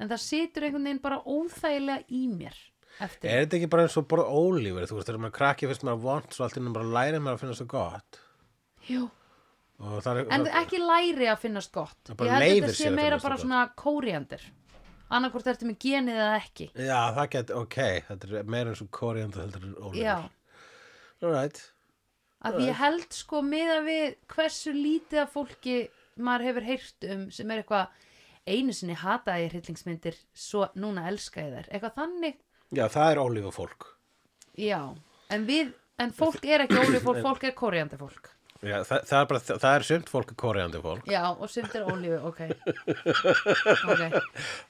Speaker 1: En það situr einhvern veginn bara óþægilega í mér eftir
Speaker 2: Er þetta ekki bara eins og borða ólífur Þú veist, þegar maður krakki fyrst maður vont Svo allt innum bara læri maður að finna svo gott
Speaker 1: Jú.
Speaker 2: Og það er
Speaker 1: En ekki læri að finnast gott
Speaker 2: Það
Speaker 1: Ég
Speaker 2: bara
Speaker 1: held að
Speaker 2: leyfir
Speaker 1: þetta
Speaker 2: sér
Speaker 1: sé
Speaker 2: að
Speaker 1: meira
Speaker 2: finnast
Speaker 1: bara
Speaker 2: það
Speaker 1: svona kóriandir Annarkvort ertu með genið eða ekki
Speaker 2: Já, það get, ok Þetta er meira eins og korianda heldur en ólífur
Speaker 1: Já,
Speaker 2: All right
Speaker 1: af því ég held sko miða við hversu lítið af fólki maður hefur heyrt um sem er eitthvað einu sinni hataði ég hryllingsmyndir svo núna elska ég þær eitthvað þannig
Speaker 2: Já, það er ólífur fólk
Speaker 1: Já, en við, en fólk er ekki ólíf
Speaker 2: [COUGHS]
Speaker 1: fólk, fólk er kóriandi fólk.
Speaker 2: Já, það, það er bara, það, það er sumt fólk koriandi fólk
Speaker 1: Já, og sumt er ólífi, ok. [LAUGHS] Ok,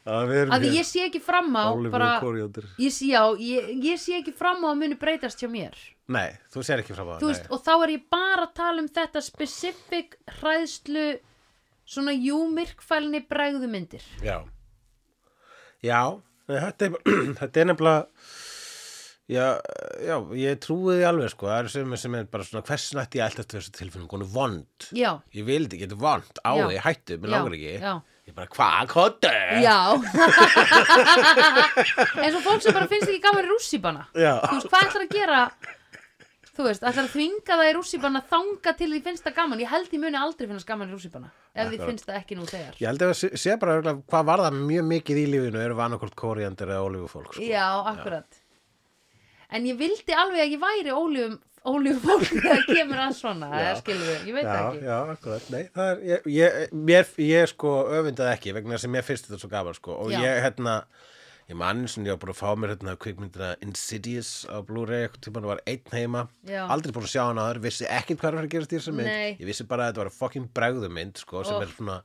Speaker 2: Það er
Speaker 1: að því ég sé ekki fram á,
Speaker 2: ólífur
Speaker 1: bara,
Speaker 2: og koriandir
Speaker 1: ég sé, já, ég, ég sé ekki fram á að muni breytast hjá mér.
Speaker 2: Nei, þú sér ekki fram á
Speaker 1: Þú veist,
Speaker 2: það
Speaker 1: og þá er ég bara að tala um þetta specific hræðslu svona júmyrkfælni bregðumyndir
Speaker 2: nei. Já Já, nei, þetta er, [CLEARS THROAT] bara- þetta er nefnilega Já, já, ég trúi því alveg sko, það er sem, sem er bara svona hversu nætti ég ætlast þessu tilfinningu, hún er vond
Speaker 1: já,
Speaker 2: Ég vil þetta ekki, þetta er vond, á
Speaker 1: Já.
Speaker 2: því, hættu, mér
Speaker 1: Já,
Speaker 2: langar ekki
Speaker 1: já.
Speaker 2: Ég bara, hvað, kóttu?
Speaker 1: já [LAUGHS] eins og fólk sem bara finnst ekki gaman í rússíbana
Speaker 2: Já.
Speaker 1: þú veist, hvað ætlar að gera þú veist, ætlar að þvinga það í rússíbana þanga til því finnst það gaman ég held ég muni aldrei finnast gaman í rússíbana ef því
Speaker 2: Akkurat.
Speaker 1: finnst það ekki nú þegar
Speaker 2: Ég held að sé- sé bara örugglega hvað var það mjög mikið í lífinu eru vanakort kóriandir eða olífufólk sko.
Speaker 1: já, akkurat en ég vildi alveg að ég væri óljum óljum fólk þegar kemur að svona eða skilur við, ég veit
Speaker 2: já,
Speaker 1: það ekki
Speaker 2: já, akkurat, nei, það er ég, ég, mér, ég sko öfundaði ekki vegna þess að mér finnst þetta svo gaman sko og
Speaker 1: Já.
Speaker 2: ég hérna, ég man eins og ég var búin að fá mér hérna kvikmyndina Insidious á Blu-ray, eitthvað tímann var einn heima
Speaker 1: Já.
Speaker 2: aldrei búin að sjá hana aður, vissi ekkert hvað er að fara að gerast í þessum mynd,
Speaker 1: Nei.
Speaker 2: ég vissi bara að þetta var fucking bregðumynd sko, sem
Speaker 1: Oh.
Speaker 2: er svona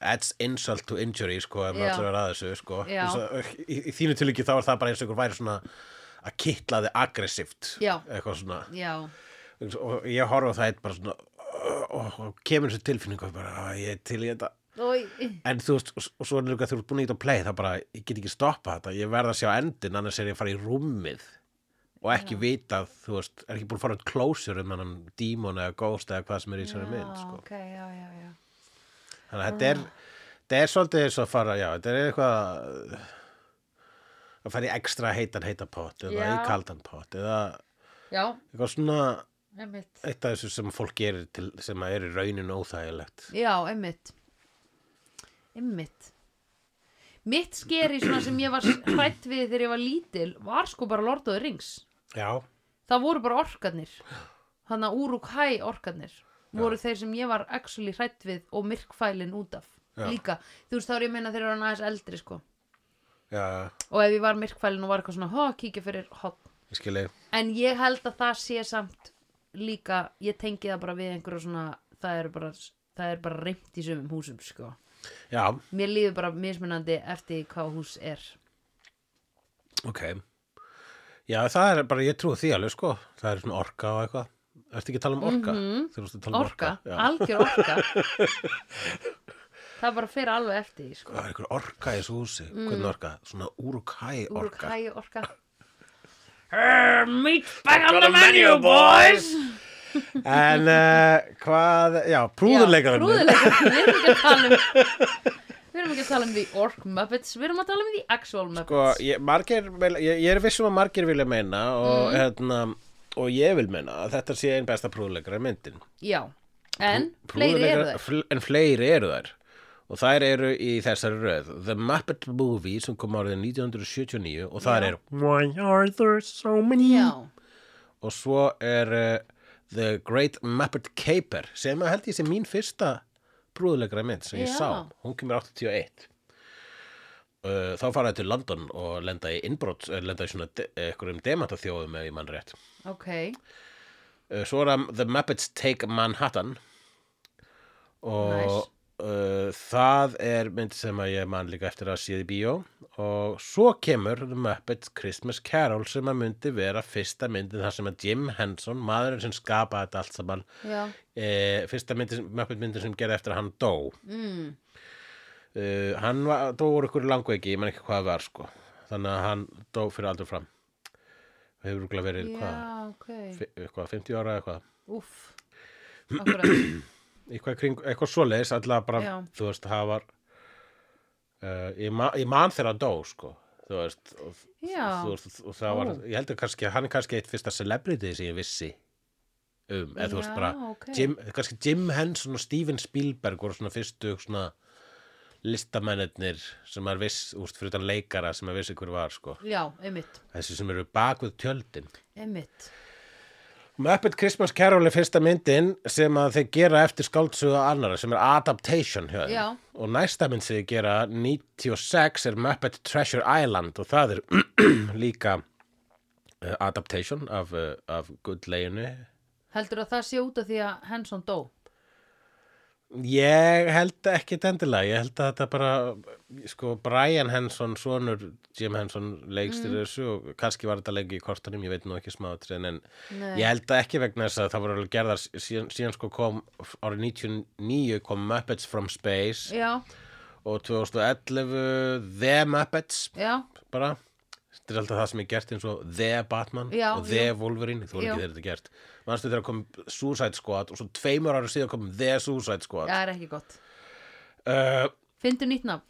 Speaker 2: adds insult to injury sko, ef maður
Speaker 1: Já.
Speaker 2: ætlar að ræða þessu sko
Speaker 1: Já.
Speaker 2: Þess að, í, í þínu tilíki þá er það bara eins og ykkur væri svona að kitla þið aggressíft
Speaker 1: Já.
Speaker 2: eitthvað svona
Speaker 1: já,
Speaker 2: og ég horfa á það eitt bara svona og, og kemur þessu tilfinningu og bara, "Ah, ég er til í þetta
Speaker 1: og
Speaker 2: en þú veist, og, og svo er líka þegar þú ert búin að íta að play þá bara, ég get ekki stoppa þetta ég verð að sjá endin, annars er ég að fara í rúmið og ekki vita þú veist, er ekki búin að fara út klósur um hennan dímon eða ghost eða hvað sem er í þessari mynd
Speaker 1: já,
Speaker 2: sko.
Speaker 1: ok, já, já, já
Speaker 2: þannig að þetta er þetta er svolítið eins og að fara, já, þetta er eitthvað að fara í ekstra heitan heitan pott eða
Speaker 1: Já.
Speaker 2: í kaldan pott eða
Speaker 1: já,
Speaker 2: eitthvað svona
Speaker 1: einmitt
Speaker 2: eitt af þessu sem fólk gerir til, sem að er í raunin óþægilegt
Speaker 1: Já, einmitt Einmitt Mitt skeri svona sem ég var hrætt við þegar ég var lítil var sko bara Lord of the Rings
Speaker 2: já,
Speaker 1: Það voru bara orkarnir Þannig að Uruk-hai orkarnir voru þeir sem ég var actually hrætt við og myrkfælin út af
Speaker 2: Já.
Speaker 1: líka, þú veist þá er ég að meina þeir eru aðeins eldri sko.
Speaker 2: já,
Speaker 1: og ef ég var myrkfælin og var eitthvað svona "Ha, kíkja fyrir hot
Speaker 2: ég skilji
Speaker 1: en ég held að það sé samt líka, ég tengi það bara við einhverju svona, það er bara það er bara reymt í sumum húsum sko.
Speaker 2: já,
Speaker 1: Mér líður bara mismunandi eftir hvað hús er.
Speaker 2: ok já, það er bara, ég trúi því alveg sko það er svona orka og eitthvað Ertu ekki að tala um orka? Mm -hmm. Þú veist að tala um orka?
Speaker 1: Orka, algjör orka.
Speaker 2: [LAUGHS]
Speaker 1: það bara fer alveg eftir, því, sko.
Speaker 2: Það er einhver orka í þessu húsi. Hvernig orka? Svona úrukæ orka.
Speaker 1: Úrkæ orka.
Speaker 2: Meat
Speaker 1: back on the menu, boys!
Speaker 2: En uh, hvað, já, prúðuleikarinn.
Speaker 1: Prúðuleikarnir, við erum ekki að tala um...
Speaker 2: [LAUGHS]
Speaker 1: Við erum ekki að tala um því ork muppets, við erum að tala um því actual muppets.
Speaker 2: Sko, ég, margir, vil- ég, ég er vissum að margir vilja meina
Speaker 1: Mhm.
Speaker 2: og, hérna, og ég vil meina að þetta sé einn besta prúðuleikar myndin.
Speaker 1: Já, en fleiri eru
Speaker 2: Prúðuleikar-
Speaker 1: þær.
Speaker 2: fl- En fleiri eru þær Og þær eru í þessari röð The Muppet Movie sem kom árið 1979 Og þar
Speaker 1: Já.
Speaker 2: er Why are there so many
Speaker 1: Já,
Speaker 2: Og svo er uh, The Great Muppet Caper Sem að held ég sem mín fyrsta brúðulegra mynd sem ég
Speaker 1: Já.
Speaker 2: sá Hún kemur 81 Uh, þá fara þetta til London og lenda í innbrot, lenda í svona de, einhverjum demataþjóðum ef ég mann rétt.
Speaker 1: ok.
Speaker 2: Uh, svo er það The Muppets Take Manhattan og
Speaker 1: Nice.
Speaker 2: uh, það er mynd sem að ég man líka eftir að séð í bíó og svo kemur The Muppets Christmas Carol sem að myndi vera fyrsta myndin þar sem að Jim Henson, maðurinn sem skapaði þetta allt saman
Speaker 1: Já,
Speaker 2: e, fyrsta myndin, Muppet myndin sem gerði eftir að hann dó
Speaker 1: mm,
Speaker 2: uh, hann var, dó úr ykkur langveiki, ég man ekki hvað það var sko þannig að hann dó fyrir aldur fram hefur rúkla verið
Speaker 1: já,
Speaker 2: hvað,
Speaker 1: ok.
Speaker 2: fi- hvað, 50 ára eða hvað
Speaker 1: Úff,
Speaker 2: [CLEARS THROAT]
Speaker 1: akkurat.
Speaker 2: eitthvað, kring, eitthvað svoleiðis allavega bara,
Speaker 1: Já.
Speaker 2: þú veist, það var uh, ég, man, ég man þegar hann dó sko, þú veist og,
Speaker 1: Já.
Speaker 2: þú veist, og það
Speaker 1: Ó.
Speaker 2: var, ég heldur kannski að hann er kannski eitt fyrsta celebrity sem ég vissi um, eða þú veist
Speaker 1: Já,
Speaker 2: bara
Speaker 1: ok.
Speaker 2: Jim, kannski Jim Henson og Steven Spielberg voru svona fyrstu svona listamennirnir sem maður viss, úst, fyrir utan leikara sem maður vissi hver var sko,
Speaker 1: Já, einmitt,
Speaker 2: þessi sem eru bak við tjöldin
Speaker 1: einmitt.
Speaker 2: Muppet Christmas Carol er fyrsta myndin sem að þeir gera eftir skáldsöga annara sem er adaptation hjá þeim.
Speaker 1: Já.
Speaker 2: og næsta mynd sem þeir gera 96 er Muppet Treasure Island og það er [CLEARS THROAT] líka uh, adaptation af, uh, af Good Leginu
Speaker 1: Heldur að það sé út af því að Henson dó?
Speaker 2: Ég held ekki tendilega, ég held að þetta bara, sko, Brian Henson, sonur Jim Henson leikst í þessu og kannski var þetta lengi í kortanum, ég veit nú ekki smáatriðin, en
Speaker 1: Nei.
Speaker 2: ég held að ekki vegna þess að það voru alveg gerðar síðan, síðan sko kom árið 99 kom Muppets from Space
Speaker 1: já,
Speaker 2: og 2011 The Muppets
Speaker 1: já,
Speaker 2: bara, þetta er alltaf það sem er gert eins og The Batman
Speaker 1: Já,
Speaker 2: og The
Speaker 1: jú.
Speaker 2: Wolverine, þú voru
Speaker 1: Jú.
Speaker 2: ekki þegar þetta er gert. Manstu þegar kom Suicide Squad og svo tveimur ára síðan kom The Suicide Squad.
Speaker 1: það er ekki gott
Speaker 2: Uh,
Speaker 1: Fyndu nýtt nafn,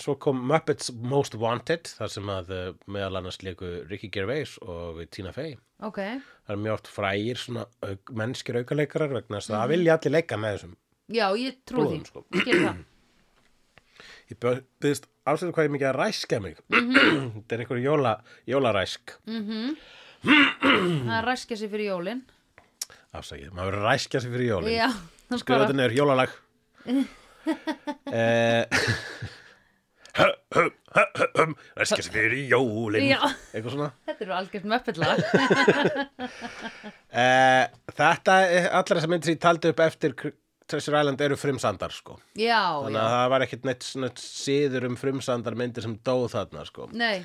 Speaker 2: Svo kom Muppets Most Wanted þar sem að uh, meðal annars leiku Ricky Gervais og Tina Fey
Speaker 1: ok
Speaker 2: það er mjög oft frægir svona auk, mennskir aukaleikarar vegna þess að
Speaker 1: Mhm.
Speaker 2: það vilja allir leika með þessum
Speaker 1: Já, ég trú því,
Speaker 2: Trúðum, sko.
Speaker 1: Ég skil það
Speaker 2: ég bjó- byggðist ásæðu hvað ég mikið að ræskja mig
Speaker 1: Mhm.
Speaker 2: [CLEARS THROAT] þetta er einhver jóla, jólaræsk
Speaker 1: Það er ræskja sig fyrir jólin
Speaker 2: afsakið, maður verður að ræskja sig fyrir jólin
Speaker 1: Já, sko.
Speaker 2: skrifa
Speaker 1: bara
Speaker 2: þetta neður
Speaker 1: [LAUGHS]
Speaker 2: jólalag eh, [CLEARS THROAT] ræskja sig fyrir jólin
Speaker 1: Já.
Speaker 2: eitthvað svona
Speaker 1: Þetta eru algjörn möppilla
Speaker 2: Eh, þetta, er- allar þessar myndir sem ég taldi upp eftir Cr- Treasure Island eru frumsandar sko.
Speaker 1: Já,
Speaker 2: Þannig
Speaker 1: já,
Speaker 2: að það var ekkit neitt svona síður um frumsandar myndir sem dóð þarna sko.
Speaker 1: nei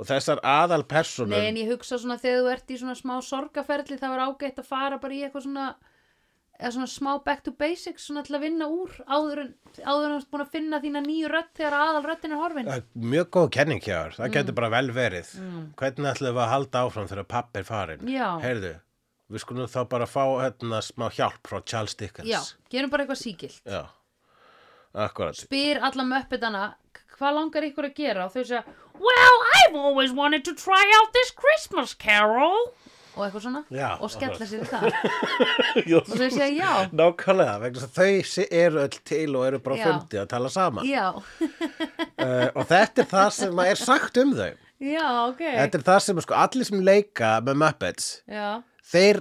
Speaker 2: Og þessar aðal
Speaker 1: Nei, en
Speaker 2: personur,
Speaker 1: ég hugsa svona þegar þú ert í svona smá sorgaferli þá er ágætt að fara bara í eitthvað svona eða svona smá back to basics svona til að vinna úr áður en áður en þú ert búin að finna þína nýju rödd þegar aðal röddin er horfin
Speaker 2: mjög góð kenning hjá þér, það
Speaker 1: Mm.
Speaker 2: getur bara vel verið. Hvernig ætlum við að halda áfram þegar pappi er farin?
Speaker 1: Já.
Speaker 2: Heyrðu, við skulum þá bara fá hérna smá hjálp frá Charles Dickens.
Speaker 1: Já, gerum bara eitthvað síkilt
Speaker 2: Já, akkurat.
Speaker 1: spyr alla möppetana hvað langar ykkur að gera og þau segja Well, I've always wanted to try out this Christmas carol og eitthvað svona
Speaker 2: Já,
Speaker 1: og skella sér í það og þau segja [LAUGHS] já,
Speaker 2: Nákvæmlega, vegna þess að þau sé- eru öll til og eru bara á
Speaker 1: Já.
Speaker 2: fundi að tala saman.
Speaker 1: já,
Speaker 2: uh, og þetta er það sem er sagt um þau
Speaker 1: já, [LAUGHS] ok
Speaker 2: þetta er það sem sko, allir sem leika með Muppets
Speaker 1: Já,
Speaker 2: þeir,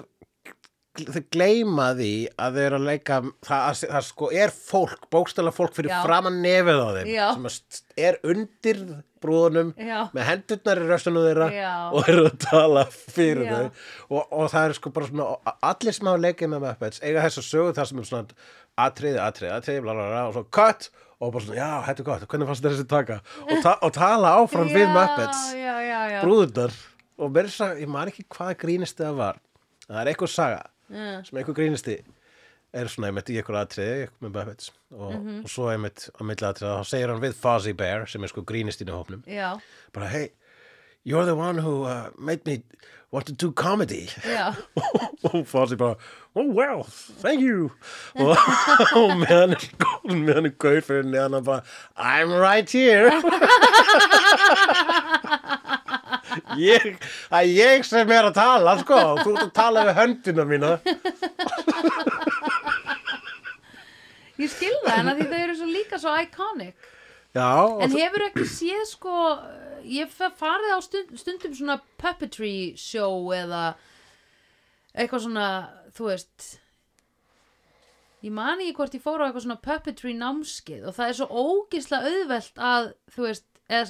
Speaker 2: þeir gleyma því að þau eru að leika það, það sko er fólk, bókstæla fólk fyrir
Speaker 1: Já.
Speaker 2: framan nefið á þeim
Speaker 1: Já.
Speaker 2: sem að st- er undir brúðunum
Speaker 1: Já.
Speaker 2: með hendurnar í röstunum þeirra
Speaker 1: Já.
Speaker 2: og eru að tala fyrir
Speaker 1: Já.
Speaker 2: þau og, og það er sko bara svona a- allir sem hafa leikið með Muppets eiga þess að sögu það sem er svona atriði, atriði, atriði, bla, bla, bla, og svo cut og bara svona, já, þetta er gott, hvernig fannst þér þessi taka og, ta og tala áfram
Speaker 1: já,
Speaker 2: við Muppets
Speaker 1: já, já, já.
Speaker 2: brúðurnar og verður sag, ég man ekki hvaða grínisti það var það er eitthvað saga
Speaker 1: Mm.
Speaker 2: sem eitthvað grínisti er svona einmitt í eitthvað atriði eitthvað með Muppets og, og svo einmitt á milli atriða þá segir hann við Fozzie Bear sem er sko grínistinn í hópnum
Speaker 1: já,
Speaker 2: bara hey, you're the one who uh, made me want to do comedy
Speaker 1: já
Speaker 2: og Fozzie bara oh well, thank you og, [LAUGHS] og meðan er sko- meðan er gaur fyrir neðan hann bara I'm right here [LAUGHS] ég, að ég sem er að tala sko, þú ert að tala við höndina mína
Speaker 1: Ég skil það en að því þau eru svo líka svo iconic
Speaker 2: já, og
Speaker 1: En
Speaker 2: þú-
Speaker 1: hefur ekki séð sko ég hef farið á stund, stundum svona puppetry show eða eitthvað svona þú veist ég man ekki hvort ég fór á eitthvað svona puppetry námskeið og það er svo ógisla auðvelt að þú veist, eða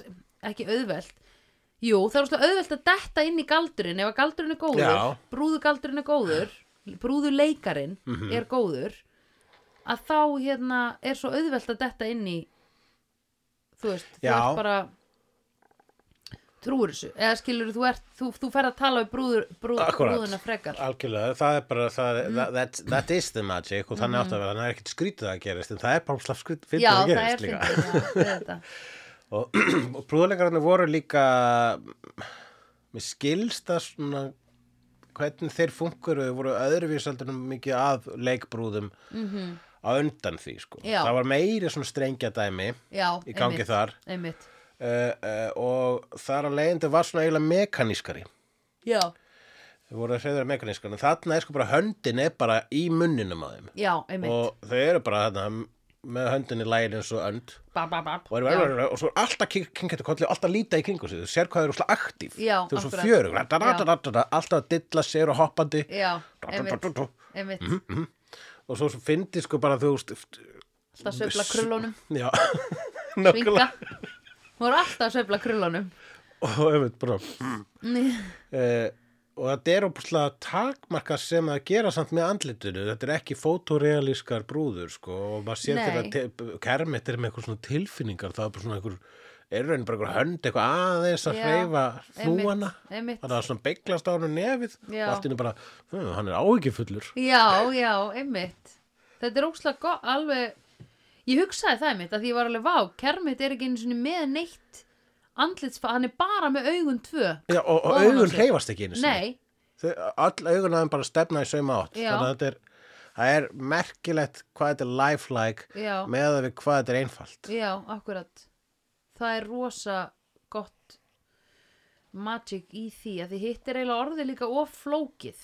Speaker 1: ekki auðvelt jú, það er svo auðvelt að detta inn í galdurinn ef að galdurinn er góður
Speaker 2: Já.
Speaker 1: brúðugaldurinn er góður brúðuleikarinn
Speaker 2: Mhm.
Speaker 1: er góður að þá hérna er svo auðvelt að detta inn í þú veist, þú
Speaker 2: Já.
Speaker 1: ert bara trúur þessu eða skilur þú ert, þú, þú ferð að tala við brúður, brúð,
Speaker 2: Akkúrat.
Speaker 1: brúðuna frekar
Speaker 2: algjörlega, það er bara það, that, that, that is the magic og þannig átt að vera, það er ekkert skrítið að gerist en það er bara slapp skrítið
Speaker 1: Mm. já,
Speaker 2: að
Speaker 1: það er
Speaker 2: gerist líka
Speaker 1: fyndið já, við
Speaker 2: [LAUGHS]
Speaker 1: þetta.
Speaker 2: og, [CLEARS THROAT] og brúðleikararnir voru líka mér skilst að svona hvernig þeir funkuðu voru öðruvísaldunum mikið að leikbrúðum -hmm. á undan því sko.
Speaker 1: Mhm. Já.
Speaker 2: það var meiri svona strengja dæmi
Speaker 1: já,
Speaker 2: í gangi
Speaker 1: einmitt,
Speaker 2: þar
Speaker 1: einmitt.
Speaker 2: uh, uh, og þar að leiðandi var svona eiginlega mekanískari
Speaker 1: já,
Speaker 2: þau voru að segja mekanískari en þarna er sko bara höndin er bara í munninum á þeim
Speaker 1: já, einmitt
Speaker 2: og þau eru bara þarna með höndin í lægin eins og önd
Speaker 1: bab, bab, bab.
Speaker 2: og, er, er, er, og svo er alltaf kynkjættu kolli og alltaf líta í kringu sig, þú sér hvað þau eru slag aktíf
Speaker 1: Já,
Speaker 2: þau eru svo
Speaker 1: akkurat.
Speaker 2: fjörug da, da, da, da, da, da, alltaf að dilla sér og hoppandi
Speaker 1: já, já,
Speaker 2: da, da, da,
Speaker 1: einmitt,
Speaker 2: da, da.
Speaker 1: einmitt
Speaker 2: Mhm. og svo, svo fyndi sko bara þú veist
Speaker 1: alltaf að sveifla krullunum,
Speaker 2: já, [LAUGHS]
Speaker 1: svinga
Speaker 2: nákvæmlega
Speaker 1: hún er alltaf að sveifla krullunum
Speaker 2: og einmitt bara uh, og þetta er opuslega takmarka sem að gera samt með andlitinu þetta er ekki fotorealískar brúður sko, og maður sér
Speaker 1: Nei.
Speaker 2: þetta kermit er með eitthvað svona tilfinningar það er bara svona einhver er raunin bara einhver hönd eitthvað aðeins að
Speaker 1: Já,
Speaker 2: hreyfa
Speaker 1: einmitt,
Speaker 2: hlúana
Speaker 1: einmitt.
Speaker 2: þannig að svona beiglast á hennu nefið
Speaker 1: Já.
Speaker 2: og allt inni bara, "Hm, hann er áhyggjufullur
Speaker 1: Já, já, einmitt Þetta er ókslega gott, alveg Ég hugsaði það einmitt að því ég var alveg vá Kermit er ekki einu sinni með neitt andlitsfa, hann er bara með augun tvö
Speaker 2: Já, og, og
Speaker 1: Ofan á
Speaker 2: augun
Speaker 1: sig.
Speaker 2: hreyfast ekki einu sinni.
Speaker 1: Nei,
Speaker 2: Þau- öll augun aðeins bara stefna í sauma átt
Speaker 1: Já.
Speaker 2: þannig að þetta er, það er merkilegt hvað þetta er lifelike
Speaker 1: já,
Speaker 2: með að við hvað þetta er einfalt
Speaker 1: já, akkurat Það er rosa gott magic í því að því hitt er eiginlega orðið líka of flókið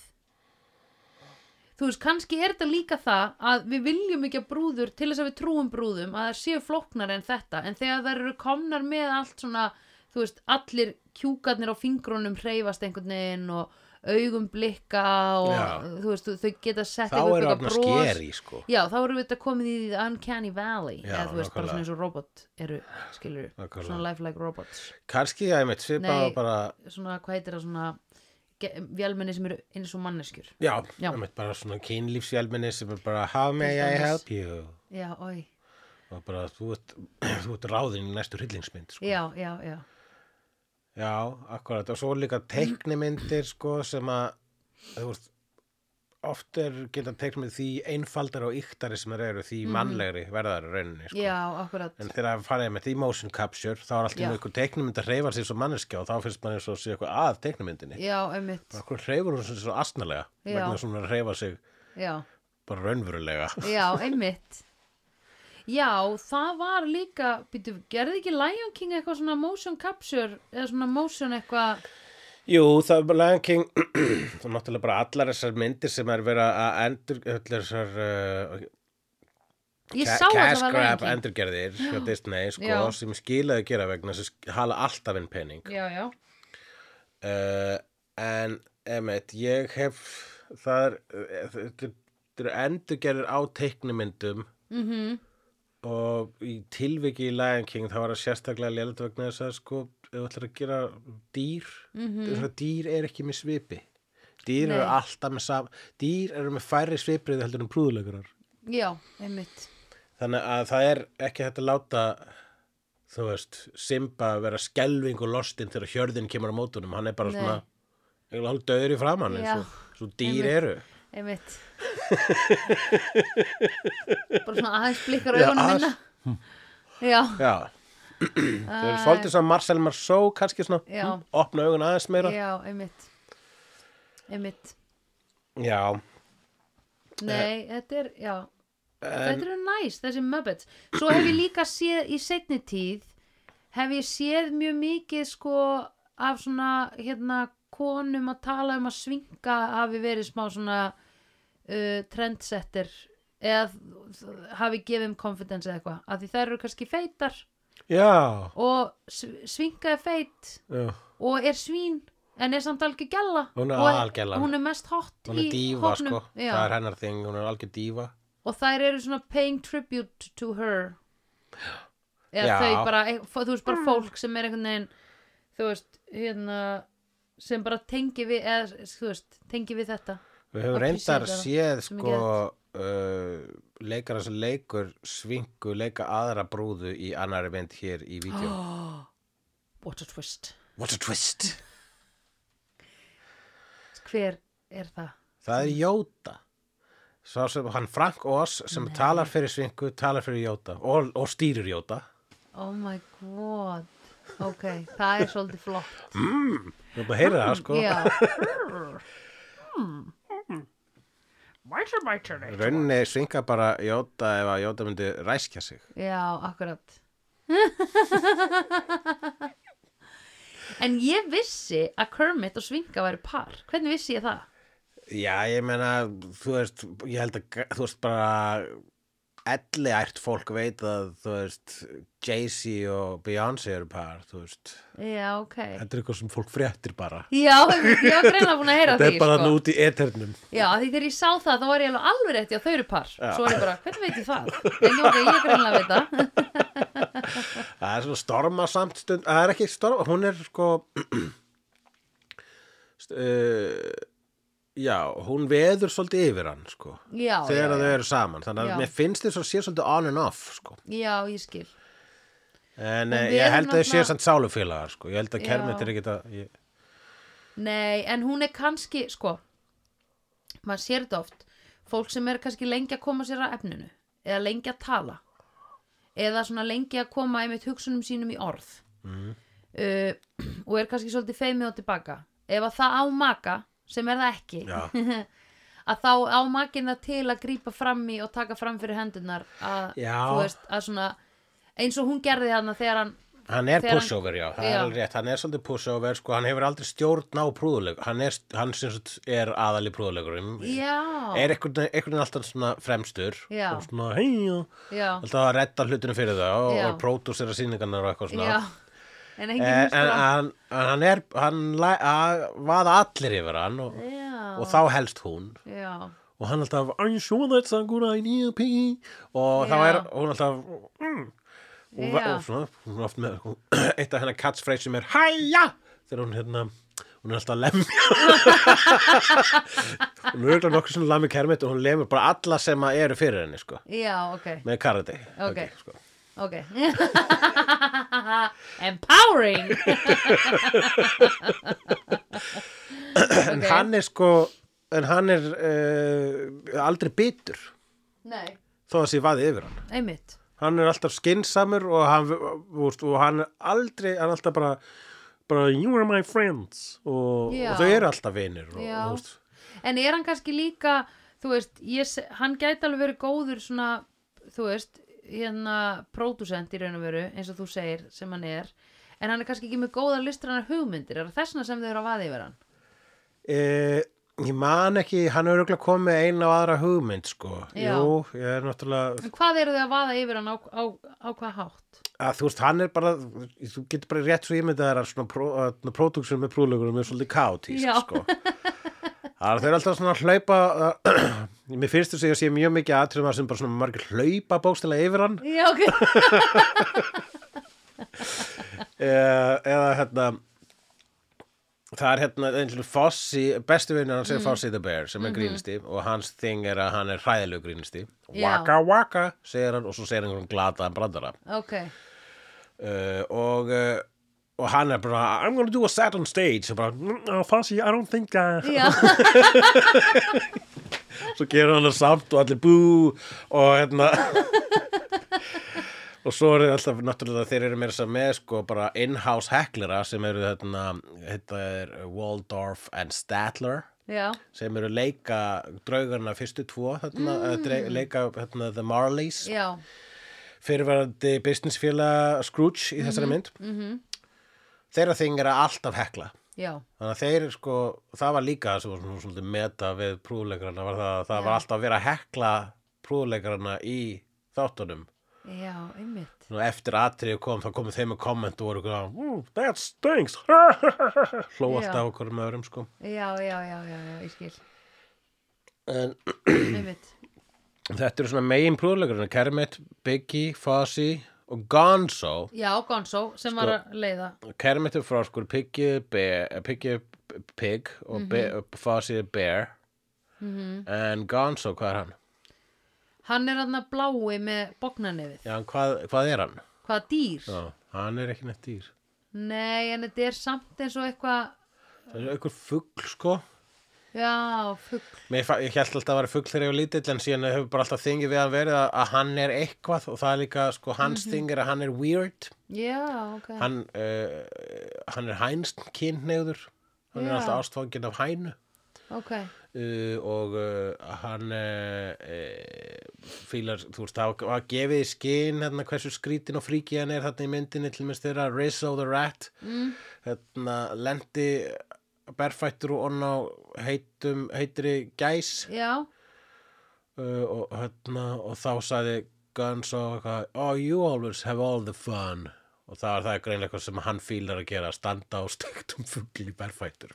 Speaker 1: Þú veist, kannski er þetta líka það að við viljum ekki að brúður til þess að við trúum brúðum að það séu flóknar en þetta en þegar þær eru komnar með allt svona þú veist, allir kjúkarnir á fingrunum hreyfast einhvern veginn og augum blikka og
Speaker 2: Já.
Speaker 1: þú veist, þau geta sett eitthvað
Speaker 2: þá er
Speaker 1: eitthvað
Speaker 2: orðna
Speaker 1: bros.
Speaker 2: skeri sko
Speaker 1: Já, þá erum við þetta komið í The Uncanny Valley
Speaker 2: Já,
Speaker 1: eða þú veist, bara
Speaker 2: nákvæmlega.
Speaker 1: svona eins og robot eru, skilur,
Speaker 2: Nákvæmlega.
Speaker 1: svona lifelike robots
Speaker 2: kannski að ég meitt svipað
Speaker 1: Nei.
Speaker 2: og bara
Speaker 1: svona, hvað heitir það svona ge- vélmenni sem eru eins og manneskjur
Speaker 2: já,
Speaker 1: Já.
Speaker 2: ég meitt bara svona kynlífsjálminni sem er bara how may I
Speaker 1: dæmis.
Speaker 2: help you
Speaker 1: Já, oi,
Speaker 2: og bara þú ert, [CLEARS THROAT] þú ert ráðin í næstu hryllingsmynd sko.
Speaker 1: já, já, já
Speaker 2: já, akkurat og svo líka teiknimyndir sko sem að þú veist oft er geta teiknimyndir því einfaldar og yktari sem þeir eru því mannlegri verðar í rauninni sko.
Speaker 1: Mhm. Já, akkurat
Speaker 2: En þegar það farið með því motion capture þá er alltaf
Speaker 1: Já.
Speaker 2: einhver teiknumynd að hreyfa sér svo manneskja og þá finnst mann eins og sé eitthvað að teiknumyndinni.
Speaker 1: Já, einmitt,
Speaker 2: Akkur hreyfur hún sér svo astnalega
Speaker 1: Já.
Speaker 2: vegna þess að hún er að hreyfa sig
Speaker 1: já
Speaker 2: bara raunverulega.
Speaker 1: [LAUGHS] Já, einmitt Já, það var líka býtu, gerði ekki Lion King eitthvað svona motion capture eða svona motion eitthvað
Speaker 2: Jú, það er bara Lion King [CLEARS THROAT] og náttúrulega bara allar þessar myndir sem er verið að endur allar þessar uh,
Speaker 1: Ég
Speaker 2: ca-
Speaker 1: sá að
Speaker 2: cash
Speaker 1: það var Lion
Speaker 2: grab
Speaker 1: King
Speaker 2: endurgerðir hjá Disney sko,
Speaker 1: Já.
Speaker 2: sem skilaði gera vegna þess að hala alltaf inn pening.
Speaker 1: Já, já,
Speaker 2: uh, en emitt, ég hef það er eh, þetta þetta eru endurgerir á teiknumyndum
Speaker 1: Mhm.
Speaker 2: -hmm. og í tilviki í Lion King það var að sérstaklega lélætt vegna þess að sko ef þú ætlar að gera dýr mm -hmm. dýr er ekki með svipi dýr eru
Speaker 1: Mhm. Nei.
Speaker 2: alltaf með sam dýr eru með færri svipriði heldur en prúðulegurar
Speaker 1: já, einmitt
Speaker 2: þannig að það er ekki hægt að láta þú veist, Simba vera skelving og lostinn þegar hjörðin kemur á mótunum hann er bara
Speaker 1: Nei.
Speaker 2: svona eiginlega hálf döður í framann
Speaker 1: Já.
Speaker 2: eins og, svo
Speaker 1: Einmitt.
Speaker 2: dýr eru [LAUGHS]
Speaker 1: Einmitt Bara svona aðeins blikkar augunum
Speaker 2: aðeins.
Speaker 1: minna Já,
Speaker 2: já þau eru svolítið svona Marcel Marceau kannski svona,
Speaker 1: Já.
Speaker 2: hm, opna augun aðeins meira já,
Speaker 1: já, einmitt Einmitt
Speaker 2: Eh.
Speaker 1: Nei, þetta er, já Þetta eru næs, þessi Muppets Svo hef ég líka séð í seinni tíð hef ég séð mjög mikið sko af svona hérna konum að tala um að svinga hafi verið smá svona uh, trendsetter eða þ- hafi gefið um confidence eða eitthvað, af því þær eru kannski feitar
Speaker 2: já,
Speaker 1: og sv- svinga er feit
Speaker 2: já.
Speaker 1: og er svín en er samt algjör gælla
Speaker 2: Hún er aðalgellan.
Speaker 1: hún er mest hot
Speaker 2: hún
Speaker 1: í
Speaker 2: er dífa
Speaker 1: hópnum.
Speaker 2: sko
Speaker 1: Já
Speaker 2: það er hennar þing, hún er algjör dífa
Speaker 1: og þær eru svona paying tribute to her
Speaker 2: Já.
Speaker 1: eða þau bara e- fó- þú veist bara fólk sem er einhvern veginn þú veist hérna sem bara tengi við eða þú veist tengi við þetta
Speaker 2: við höfum
Speaker 1: Og
Speaker 2: reyndar
Speaker 1: appreciate
Speaker 2: séð
Speaker 1: sem
Speaker 2: sko uh, leikara sem leikur svingu leika aðra brúðu í annari mynd hér í vídeo
Speaker 1: what a twist
Speaker 2: What a twist
Speaker 1: hver er það?
Speaker 2: Það er Jóta Sá sem hann Frank Oz sem talar fyrir Svinku, talar fyrir Jóta og, og stýrir Jóta
Speaker 1: oh my god ok, það er svolítið flott
Speaker 2: Þú erum að heyra það sko
Speaker 1: já,
Speaker 2: Rauninni Svinka bara Jóta ef að Jóta myndi ræskja sig
Speaker 1: já, akkurat en ég vissi að Kermit og Svinga væri par hvernig vissi ég það?
Speaker 2: Já, ég meina, þú veist, ég held að g- þú veist bara elliært fólk veit að þú veist, Jay-Z og Beyoncé eru par, þú veist
Speaker 1: Já, ok.
Speaker 2: Þetta er eitthvað sem fólk fréttir bara
Speaker 1: Já, ég var greinlega búin að heyra
Speaker 2: Þetta
Speaker 1: því,
Speaker 2: er bara
Speaker 1: sko.
Speaker 2: nú út í eternum
Speaker 1: Já, af því þegar ég sá það, þá var ég alveg alveg rétt, já, þau eru par. Svo var ég bara, hvernig veit ég það? En ok, ég greinlega veit það.
Speaker 2: Það er svona storma samt stund, það er ekki storma, hún er sko, [CLEARS THROAT] st- uh, já, hún veður svolítið yfir hann sko,
Speaker 1: já, já,
Speaker 2: þegar þau
Speaker 1: já.
Speaker 2: eru saman þannig að
Speaker 1: Já.
Speaker 2: mér finnst þess að sé svolítið on and off sko.
Speaker 1: já, ég skil
Speaker 2: en
Speaker 1: Hún
Speaker 2: eh,
Speaker 1: veður
Speaker 2: ég held að þau sé
Speaker 1: náttúrulega-
Speaker 2: samt sálufélagar sko. ég held að
Speaker 1: Já.
Speaker 2: kermit er ekki að ég,
Speaker 1: Nei, en hún er kannski, sko maður sér þetta oft fólk sem er kannski lengi að koma sér að efninu eða lengi að tala eða svona lengi að koma einmitt hugsunum sínum í orð
Speaker 2: Mhm.
Speaker 1: uh, [CLEARS THROAT] og er kannski svolítið feimið og tilbaka ef að það á maka sem er það ekki
Speaker 2: já,
Speaker 1: [LAUGHS] að þá á makin það til að grípa fram í og taka fram fyrir hendunar að,
Speaker 2: Já.
Speaker 1: þú veist, að svona eins og hún gerði þarna þegar hann
Speaker 2: hann er
Speaker 1: Þegar hann-
Speaker 2: pushover já, það
Speaker 1: Já.
Speaker 2: er alveg rétt, hann er svolítið pushover sko, hann hefur aldrei stjórn á prúðuleg hann er, hann sem sagt er aðali prúðulegurinn
Speaker 1: já,
Speaker 2: er einhvern veginn- einhvern veginn alltaf svona fremstur
Speaker 1: Já.
Speaker 2: og svona hei
Speaker 1: já,
Speaker 2: alltaf að redda hlutinu fyrir það og,
Speaker 1: Já.
Speaker 2: og pródúsera sýningarnar og eitthvað svona
Speaker 1: já en sko.
Speaker 2: Eh,
Speaker 1: enginn
Speaker 2: en, en
Speaker 1: hlustar á-
Speaker 2: hann, en hann er hann læ- að vaða allir yfir hann og,
Speaker 1: Já.
Speaker 2: og þá helst hún
Speaker 1: Já,
Speaker 2: og hann alltaf I'm sure that's a good idea Piggy og þá
Speaker 1: Já.
Speaker 2: er hún alltaf mm, og,
Speaker 1: Já.
Speaker 2: og svona, hún er oft með hún, [CLEARS THROAT] eitt af hennar catchphrase sem er hæja þegar hún hérna hún er alltaf að lemja hún er auðvitað nokkuð svona lammi kermit og hún lemur bara alla sem að eru fyrir henni sko,
Speaker 1: já, ok,
Speaker 2: með karate
Speaker 1: Ok.
Speaker 2: sko.
Speaker 1: ok [LAUGHS] Empowering
Speaker 2: en
Speaker 1: Ok.
Speaker 2: hann er sko en hann er uh, aldrei bitur
Speaker 1: Nei,
Speaker 2: þó að sé vaði yfir hann
Speaker 1: einmitt
Speaker 2: hann er alltaf skinsamur og hann, úst, og hann er aldrei hann er alltaf bara, bara you are my friends Oh. og,
Speaker 1: Já.
Speaker 2: og þau eru alltaf vinir og,
Speaker 1: Já.
Speaker 2: og, úst,
Speaker 1: En er hann kannski líka, þú veist ég, se- hann gæti alveg verið góður svona, þú veist, hérna pródusent í raun og veru, eins og þú segir sem hann er, en hann er kannski ekki með góða listrannar hugmyndir, er það þessna sem þau eru að vaða yfir hann?
Speaker 2: e, ég man ekki hann er auðvitað komið eina og aðra hugmynd sko.
Speaker 1: Já.
Speaker 2: jú, ég er náttúrulega
Speaker 1: En hvað eru þau að vaða yfir hann á, á, á hvað hátt?
Speaker 2: að þú veist, hann er bara þú getur bara rétt svo ímyndað þér að svona pró, að próduksum með prúðlögurum er svolítið kaotísk
Speaker 1: Já.
Speaker 2: sko. það er þau eru alltaf svona að hlaupa að, [CLEARS THROAT] mér finnst þess að ég sé mjög mikið aðtriðum að sem bara svona margir hlaupa bókstilega yfir hann
Speaker 1: Já, ok
Speaker 2: eða, eða hérna það er hérna eins og Fossi, bestu vinnur hans er
Speaker 1: Mm.
Speaker 2: Fossi the Bear sem er
Speaker 1: Mhm.
Speaker 2: grínisti og hans þing er að hann er hræðilegu grínisti
Speaker 1: Já.
Speaker 2: waka waka, segir hann og svo segir hann glataðan brandara
Speaker 1: Ok,
Speaker 2: uh, og uh, og hann er bara, I'm gonna do a set on stage og bara, "Mm, no, Fossi, I don't think uh.
Speaker 1: já,
Speaker 2: svo gerur hann það samt og allir bú og hérna [LAUGHS] og svo eru alltaf náttúrulega þeir eru meira þess að segja með sko bara in-house hecklera sem eru hérna þetta er Waldorf and Statler
Speaker 1: já,
Speaker 2: sem eru leika draugarna fyrstu tvo þarna, mm. leika hérna, The Marleys
Speaker 1: já
Speaker 2: fyrirverandi businessfélag Scrooge í þessari mynd mm -hmm. þeirra þing er að alltaf hekla
Speaker 1: Já,
Speaker 2: Þannig að þeir sko, það var líka það sem var svona svolítið meta við prúðleikarana var það að það
Speaker 1: Já.
Speaker 2: var alltaf að vera að hekla prúðleikarana í þáttunum.
Speaker 1: já, einmitt
Speaker 2: Nú eftir atrið kom, þá komu þeim með komment og voru ykkur að, "Ú, mm, that stinks, [LAUGHS] hló
Speaker 1: Já.
Speaker 2: alltaf okkur með öðrum sko.
Speaker 1: Já, já, já, já, já, ég skil
Speaker 2: En
Speaker 1: Einmitt,
Speaker 2: þetta eru svona megin prúðleikarana, Kermit, Biggie, Fozzie og Gonzo.
Speaker 1: já, Gonzo sem var
Speaker 2: Sko-
Speaker 1: að leiða
Speaker 2: Kermit er fráskur, Piggy, Bear, eh, Piggy, Pig og mm
Speaker 1: Mhm.
Speaker 2: -hmm. Fozzie er Bear. Mm -hmm. En Gonzo, hvað er hann?
Speaker 1: Hann er hann blái með bóknanefið
Speaker 2: Já, en hvað, hvað er hann?
Speaker 1: Hvaða dýr?
Speaker 2: Já, hann er ekki neitt dýr.
Speaker 1: Nei, en þetta er samt eins og eitthvað
Speaker 2: Það er einhver fugl, sko.
Speaker 1: Já, fugl
Speaker 2: Mér, fa- ég held alltaf að vera fugl þegar ég var lítill, en síðan hefur bara alltaf þingið við hann verið að, að hann er eitthvað og það er líka, sko, hans þing er að hann er weird.
Speaker 1: Mhm. Já, ok
Speaker 2: Hann, uh, hann er hænst kynneigður. Hann
Speaker 1: Já.
Speaker 2: er alltaf ástfanginn af hænu.
Speaker 1: Ok,
Speaker 2: Uh, og uh, hann uh, uh, fílar, þú veist, það var gefið í skinn hérna hversu skrítin og fríki hann er þarna í myndinni til minnst þeirra Rizzo the Rat mm. hérna lendi berfættur og onn á heitum, heitri gæs
Speaker 1: já,
Speaker 2: uh, og hérna og þá sagði Guns og eitthvað oh you always have all the fun og það er það er greinlega eitthvað sem hann fílar að gera standa á stöktum fugli berfættur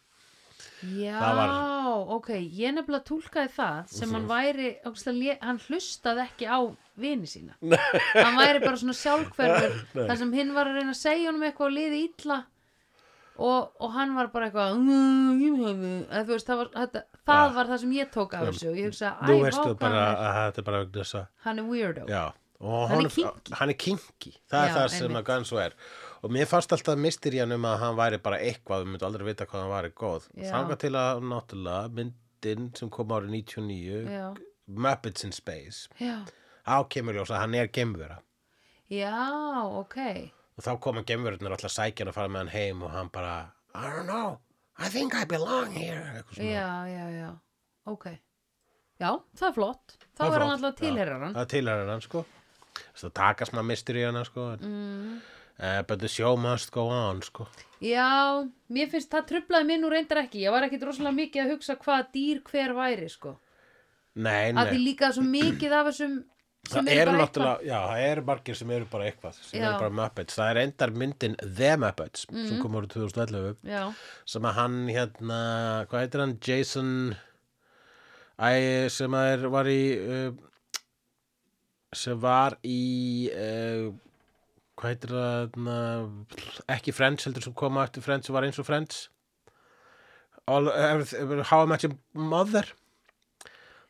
Speaker 1: já,
Speaker 2: Það Mhm.
Speaker 1: ok Ég nefnilega túlkaði það sem hann væri ógeðslega lé- hann hlustaði ekki á vini sína
Speaker 2: [LAUGHS]
Speaker 1: Hann væri bara svona sjálfhverfur þar sem hinn var að reyna að segja honum eitthvað og liði illa og, og hann var bara eitthvað "Mm, ég hef þig." Eða þú veist, það, var, þetta,
Speaker 2: Ah.
Speaker 1: það var það sem ég tók af þessu og ég hugsa, æ,
Speaker 2: Nú veistu
Speaker 1: vákvæðan
Speaker 2: bara
Speaker 1: er
Speaker 2: að þetta er bara vegna þess að
Speaker 1: hann er weirdo
Speaker 2: Já,
Speaker 1: Hann
Speaker 2: og
Speaker 1: er
Speaker 2: honum-
Speaker 1: kinky.
Speaker 2: hann er kinky það
Speaker 1: Já,
Speaker 2: er það sem
Speaker 1: einmitt.
Speaker 2: að Guns er og mér fannst alltaf mysterían um að hann væri bara eitthvað, við myndum aldrei vita hvað hann væri góð
Speaker 1: Já.
Speaker 2: þangað til að náttúrulega myndin sem kom árið 99
Speaker 1: Já.
Speaker 2: Muppets in Space
Speaker 1: já,
Speaker 2: á kemur ljós að hann er gemvera
Speaker 1: já, ok
Speaker 2: og þá koma gemverðnir alltaf sækjan að fara með hann heim og hann bara I don't know, I think I belong here eitthvað svona
Speaker 1: já, já, já, ok já, það er flott þá
Speaker 2: Það
Speaker 1: er hann
Speaker 2: flott,
Speaker 1: alltaf tilherar hann
Speaker 2: Það tilherir hann sko Það takast maður mistur í hana sko mm. But the show must go on sko
Speaker 1: já, mér finnst það trublaði mér nú reyndar ekki ég var ekkit rosalega mikið að hugsa hvaða dýr hver væri sko
Speaker 2: Nei,
Speaker 1: að því
Speaker 2: nei
Speaker 1: líka svo mikið af þessum sem
Speaker 2: Það
Speaker 1: eru
Speaker 2: eru
Speaker 1: bara
Speaker 2: náttúrulega, já, það eru margir sem eru bara eitthvað sem
Speaker 1: Já. Mhm.
Speaker 2: eru bara Muppets, það er endar myndin The Muppets sem kom árið 2011
Speaker 1: eitthvað já,
Speaker 2: sem að hann hérna, hvað heitir hann, Jason Æ, sem að er, var í uh, sem var í uh, hvað heitir það hérna, ekki Friends heldur sem koma eftir Friends sem var eins og Friends All, everything, How I Met Your Mother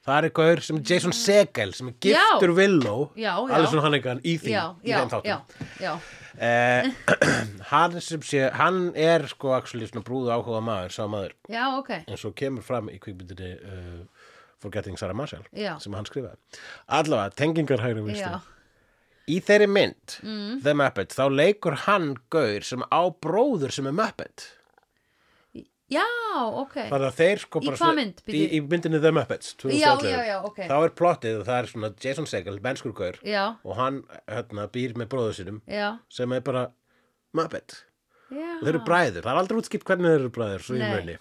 Speaker 2: það er gaur sem er Jason Segel sem er giftur Willow
Speaker 1: Mm. Já, já.
Speaker 2: alveg svona hann eitthvað í því
Speaker 1: já,
Speaker 2: í
Speaker 1: já,
Speaker 2: þeim þáttum
Speaker 1: já, já
Speaker 2: Eh, [CLEARS THROAT] hann sem sé, hann er sko actually svona brúðu áhuga maður, sá maður
Speaker 1: já, ok,
Speaker 2: en svo kemur fram í kvikmyndinni uh, Forgetting Sarah Marshall
Speaker 1: Já.
Speaker 2: sem um. hann skrifaði allavega, tengingar hægri vinstri
Speaker 1: já Mm.
Speaker 2: í þeirri mynd, The Muppet þá leikur hann gaur sem á bróður sem er Muppet
Speaker 1: já, ok
Speaker 2: þannig að þeir sko
Speaker 1: Í
Speaker 2: bara
Speaker 1: hvað mynd,
Speaker 2: í,
Speaker 1: býtu?
Speaker 2: í myndinni The Muppets 2011
Speaker 1: Já, já, já, ok.
Speaker 2: þá er plottið og það er svona Jason Segel, mennskur gaur
Speaker 1: já,
Speaker 2: og hann hérna, býr með bróður sinum
Speaker 1: já,
Speaker 2: sem er bara Muppet
Speaker 1: já
Speaker 2: og þeir eru bræður, það er aldrei útskipt hvernig þeir eru bræður svo ég
Speaker 1: Nei.
Speaker 2: muni,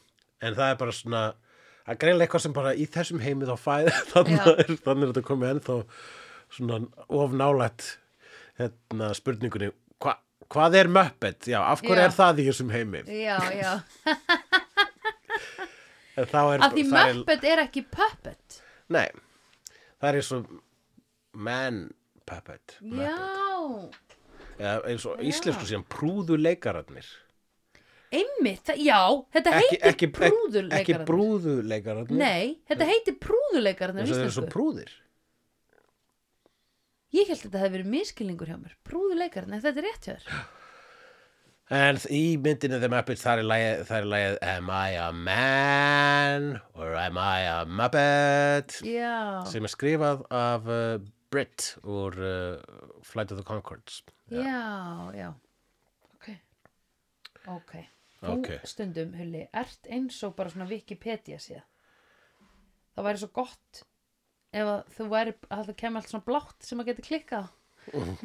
Speaker 2: en það er bara svona það er greinlega eitthvað sem bara í þessum heimi þá [LAUGHS] fæð, þannig er, þannig er þetta komið ennþá svona of nálætt hérna spurningunni hva, hvað er Muppet, já, af hverju
Speaker 1: Já.
Speaker 2: er það í þessum heimi,
Speaker 1: já, já,
Speaker 2: en þá er
Speaker 1: að því
Speaker 2: það er,
Speaker 1: Muppet er ekki Puppet
Speaker 2: nei, það er eins og man Puppet
Speaker 1: já,
Speaker 2: eða eins og íslensku síðan prúðuleikararnir
Speaker 1: einmitt, það- já þetta
Speaker 2: ekki,
Speaker 1: heitir
Speaker 2: ekki, ekki, ekki
Speaker 1: prúðuleikararnir
Speaker 2: prúðuleikararnir
Speaker 1: nei, þetta heitir prúðuleikararnir á
Speaker 2: eins og þeir eru svo
Speaker 1: íslensku
Speaker 2: prúðir
Speaker 1: ég held að þetta hefði verið miskilningur hjá mér prúðuleikararnir, þetta er rétt hjá
Speaker 2: [GASPS]
Speaker 1: þér
Speaker 2: En í myndinu The Muppets þar er lagið, þar er lagið Am I a man or am I a Muppet
Speaker 1: já,
Speaker 2: sem er skrifað af uh, Britt úr uh, Flight of the Conchords
Speaker 1: já, já ok ok, þú
Speaker 2: Ok.
Speaker 1: stundum Hulli, ert eins og bara svona Wikipedia síðan það væri svo gott ef að þú væri að það kemur allt svona blátt sem að geti klikkað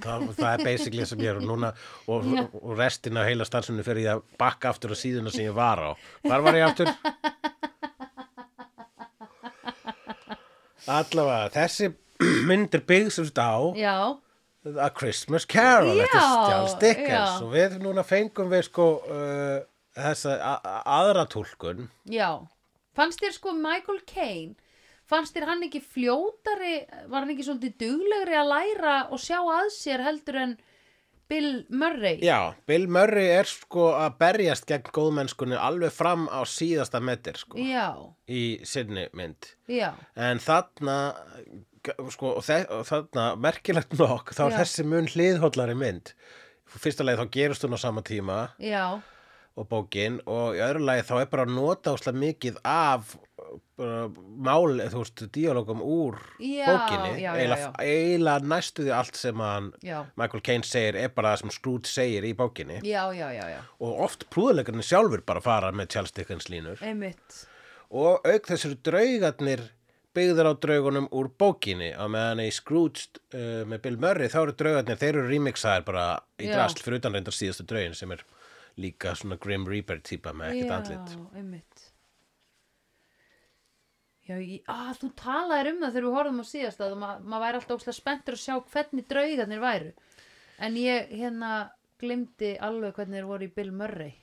Speaker 2: það, það er basically það sem ég er og núna og,
Speaker 1: Já.
Speaker 2: og restin af heila starfsmunni fyrir ég að bakka aftur á síðuna sem ég var á Hvar var ég
Speaker 1: [LAUGHS]
Speaker 2: aftur? Allavega, þessi [CLEARS THROAT] mynd er byggð sem þetta á
Speaker 1: já,
Speaker 2: A Christmas Carol
Speaker 1: Já,
Speaker 2: eftir Charles Dickens
Speaker 1: já.
Speaker 2: og við núna fengum við sko uh, þessa a- a- aðra tólkun
Speaker 1: já fannst þér sko Michael Caine fannst þér hann ekki fljótari var hann ekki svolítið duglegri að læra og sjá að sér heldur en Bill Murray
Speaker 2: Já, Bill Murray er sko að berjast gegn góðmennskunni alveg fram á síðasta metir sko
Speaker 1: já,
Speaker 2: í sinni mynd
Speaker 1: já.
Speaker 2: en þarna g- sko, og, þe og þarna merkilegt nokk þá er
Speaker 1: Já.
Speaker 2: þessi mun hliðhóllari mynd fyrsta leið þá gerist hún á sama tíma
Speaker 1: Já,
Speaker 2: og bókin og í öðru lagi þá er bara að nota óslega mikið af uh, bara mál, þú veist, díalógum úr
Speaker 1: Já, já,
Speaker 2: bókinni
Speaker 1: já,
Speaker 2: eiginlega-
Speaker 1: já.
Speaker 2: eiginlega næstu því allt sem hann
Speaker 1: já,
Speaker 2: Michael Caine segir er bara það sem Scrooge segir í bókinni
Speaker 1: já, já, já, já.
Speaker 2: og oft prúðuleikarnir sjálfur bara fara með Charles Dickens línur
Speaker 1: Einmitt.
Speaker 2: og auk þessir draugarnir byggður á draugunum úr bókinni á meðan í Scrooge uh, með Bill Murray þá eru draugarnir, þeir eru remixaðir bara í
Speaker 1: Já.
Speaker 2: drasl fyrir utan reyndar síðustu draugin sem er líka svona Grim Reaper típa með ekkert
Speaker 1: já,
Speaker 2: andlit
Speaker 1: Einmitt. Já, ég, að, þú talaðir um það þegar við horfum á síðast að ma maður væri alltaf óslega spenntur að sjá hvernig draugarnir væru. En ég hérna glimti alveg hvernig þeir voru í Bill Murray.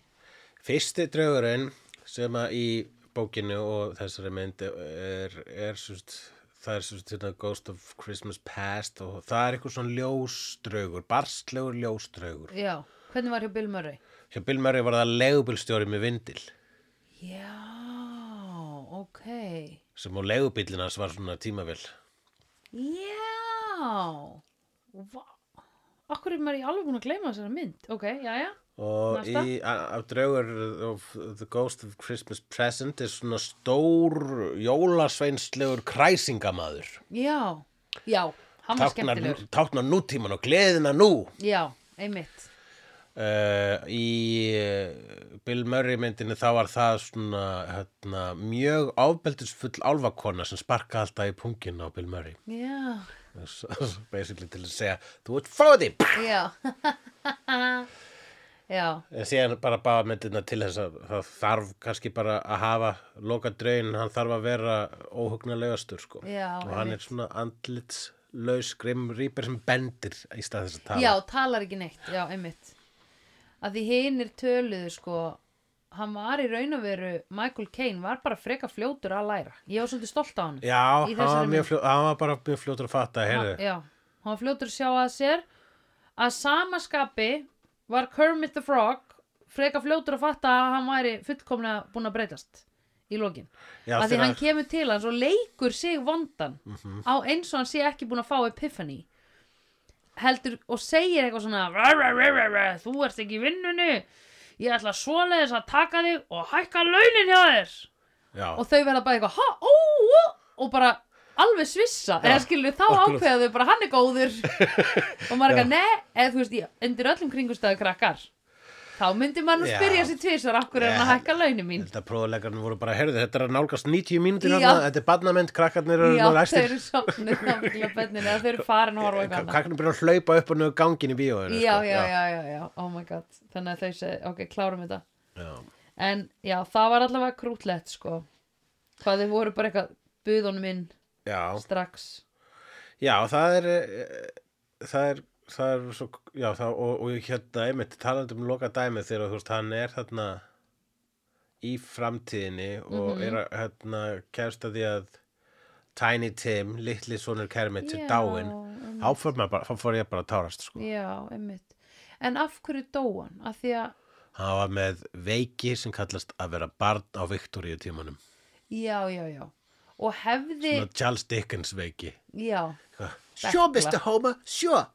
Speaker 2: Fyrsti draugurinn sem að í bókinu og þessari mynd er, er sérst, það er sérst hérna Ghost of Christmas Past og það er eitthvað svona ljósdraugur, barstlegur ljósdraugur
Speaker 1: Já, Hvernig var hjá Bill Murray?
Speaker 2: Hjá Bill Murray var það legubílstjóri með vindil
Speaker 1: Já, ok.
Speaker 2: sem á legubílinn hans var svona tímavill.
Speaker 1: Já. Vá. Akkur er maður í alveg búin að gleyma þessari mynd. Ok, já, já.
Speaker 2: Og
Speaker 1: Næsta.
Speaker 2: í a- af draugur of The Ghost of Christmas Present er svona stór jólasveinslegur kræsingamaður.
Speaker 1: Já, já. Hann var skemmtilegur.
Speaker 2: táknar nútíman og gleðina nú.
Speaker 1: Já, einmitt.
Speaker 2: Uh, í eh, Bill Murray myndinni þá var það svona hérna, mjög ábeldisfull álfakona sem sparka alltaf í pungin á Bill Murray [LAUGHS]
Speaker 1: Já,
Speaker 2: S- basically til að segja þú ert frá því
Speaker 1: já. [LAUGHS] já,
Speaker 2: en síðan bara báða myndina til þess að það þarf kannski bara að hafa loka draun, hann þarf að vera óhugnulegastur sko
Speaker 1: Já,
Speaker 2: og hann er svona andlitslaus grimm rýpir sem bendir í stað þess að tala
Speaker 1: já, talar ekki neitt, já, einmitt. Að því hinir töluðu, sko, hann var í raun og veru, Michael Caine var bara freka fljótur að læra. Ég var svolítið stolt á hann.
Speaker 2: Já, hann
Speaker 1: í
Speaker 2: var,
Speaker 1: þessari
Speaker 2: mjög fljó, hann var bara mjög fljótur að fatta heyrðu.
Speaker 1: Já, hann var fljótur að sjá að sér. Að sama skapi var Kermit the Frog freka fljótur að fatta að hann væri fullkomlega búin að breytast í lokin.
Speaker 2: Já,
Speaker 1: að því
Speaker 2: þegar- Mhm.
Speaker 1: hann kemur til hans og leikur sig vandan á eins og hann sé ekki búin að fá epiphany heldur og segir eitthvað svona "Rá, rá, rá, rá, rá, þú ert ekki í vinnunni ég ætla svoleiðis að taka þig og hækka launin hjá þér
Speaker 2: já.
Speaker 1: og þau verða bara eitthvað ha, ó, ó, og bara alveg svissa eða skilur þá
Speaker 2: akkurat.
Speaker 1: ákveða þau bara hann er góður
Speaker 2: [LAUGHS]
Speaker 1: og maður er eitthvað ne, eða þú veist ég, undir öllum kringustæðu krakkar þá myndi maður nú
Speaker 2: Já.
Speaker 1: spyrja sér tvisar af hverju er hann að
Speaker 2: Ég-
Speaker 1: hækka launin mín
Speaker 2: Þetta prófuleikarnir voru bara, heyrðu, þetta er að nálgast 90 mínútur
Speaker 1: Já.
Speaker 2: hérna, þetta er badnamynd, krakkarnir eru
Speaker 1: Já,
Speaker 2: nú
Speaker 1: þau
Speaker 2: læstir.
Speaker 1: eru sopnuð náttúrulega bönnin eða þau eru farin að horfa á eitthvað annað.
Speaker 2: Krakkarnir byrja að hlaupa upp og nöðu gangin í bíóinu.
Speaker 1: Já,
Speaker 2: sko.
Speaker 1: já, já, já, já, oh my god Þannig að þau segi, ok, klárum þetta
Speaker 2: já.
Speaker 1: En já, það var allavega krútlegt sko Hvað þau voru bara eitthvað buðunum inn
Speaker 2: Já,
Speaker 1: strax
Speaker 2: já, það er, eh, það er, það er svo, já, það, og, og hérna, einmitt, talandi um loka dæmið þegar, þú veist, hann er þarna í framtíðinni og
Speaker 1: Mhm.
Speaker 2: er að, hérna, kemst að því að Tiny Tim, litli sonur Kermit, er
Speaker 1: Já,
Speaker 2: dáinn.
Speaker 1: einmitt.
Speaker 2: Þá fór maður bara, þá fór ég bara að tárast, sko.
Speaker 1: Já, einmitt En af hverju dóan? Af því að,
Speaker 2: Hann var með veiki sem kallast að vera barn á Viktoríu tímanum.
Speaker 1: já, já, já Og hefði,
Speaker 2: Svona Charles Dickens veiki.
Speaker 1: já,
Speaker 2: Sjó, Mr. Homer, sjó.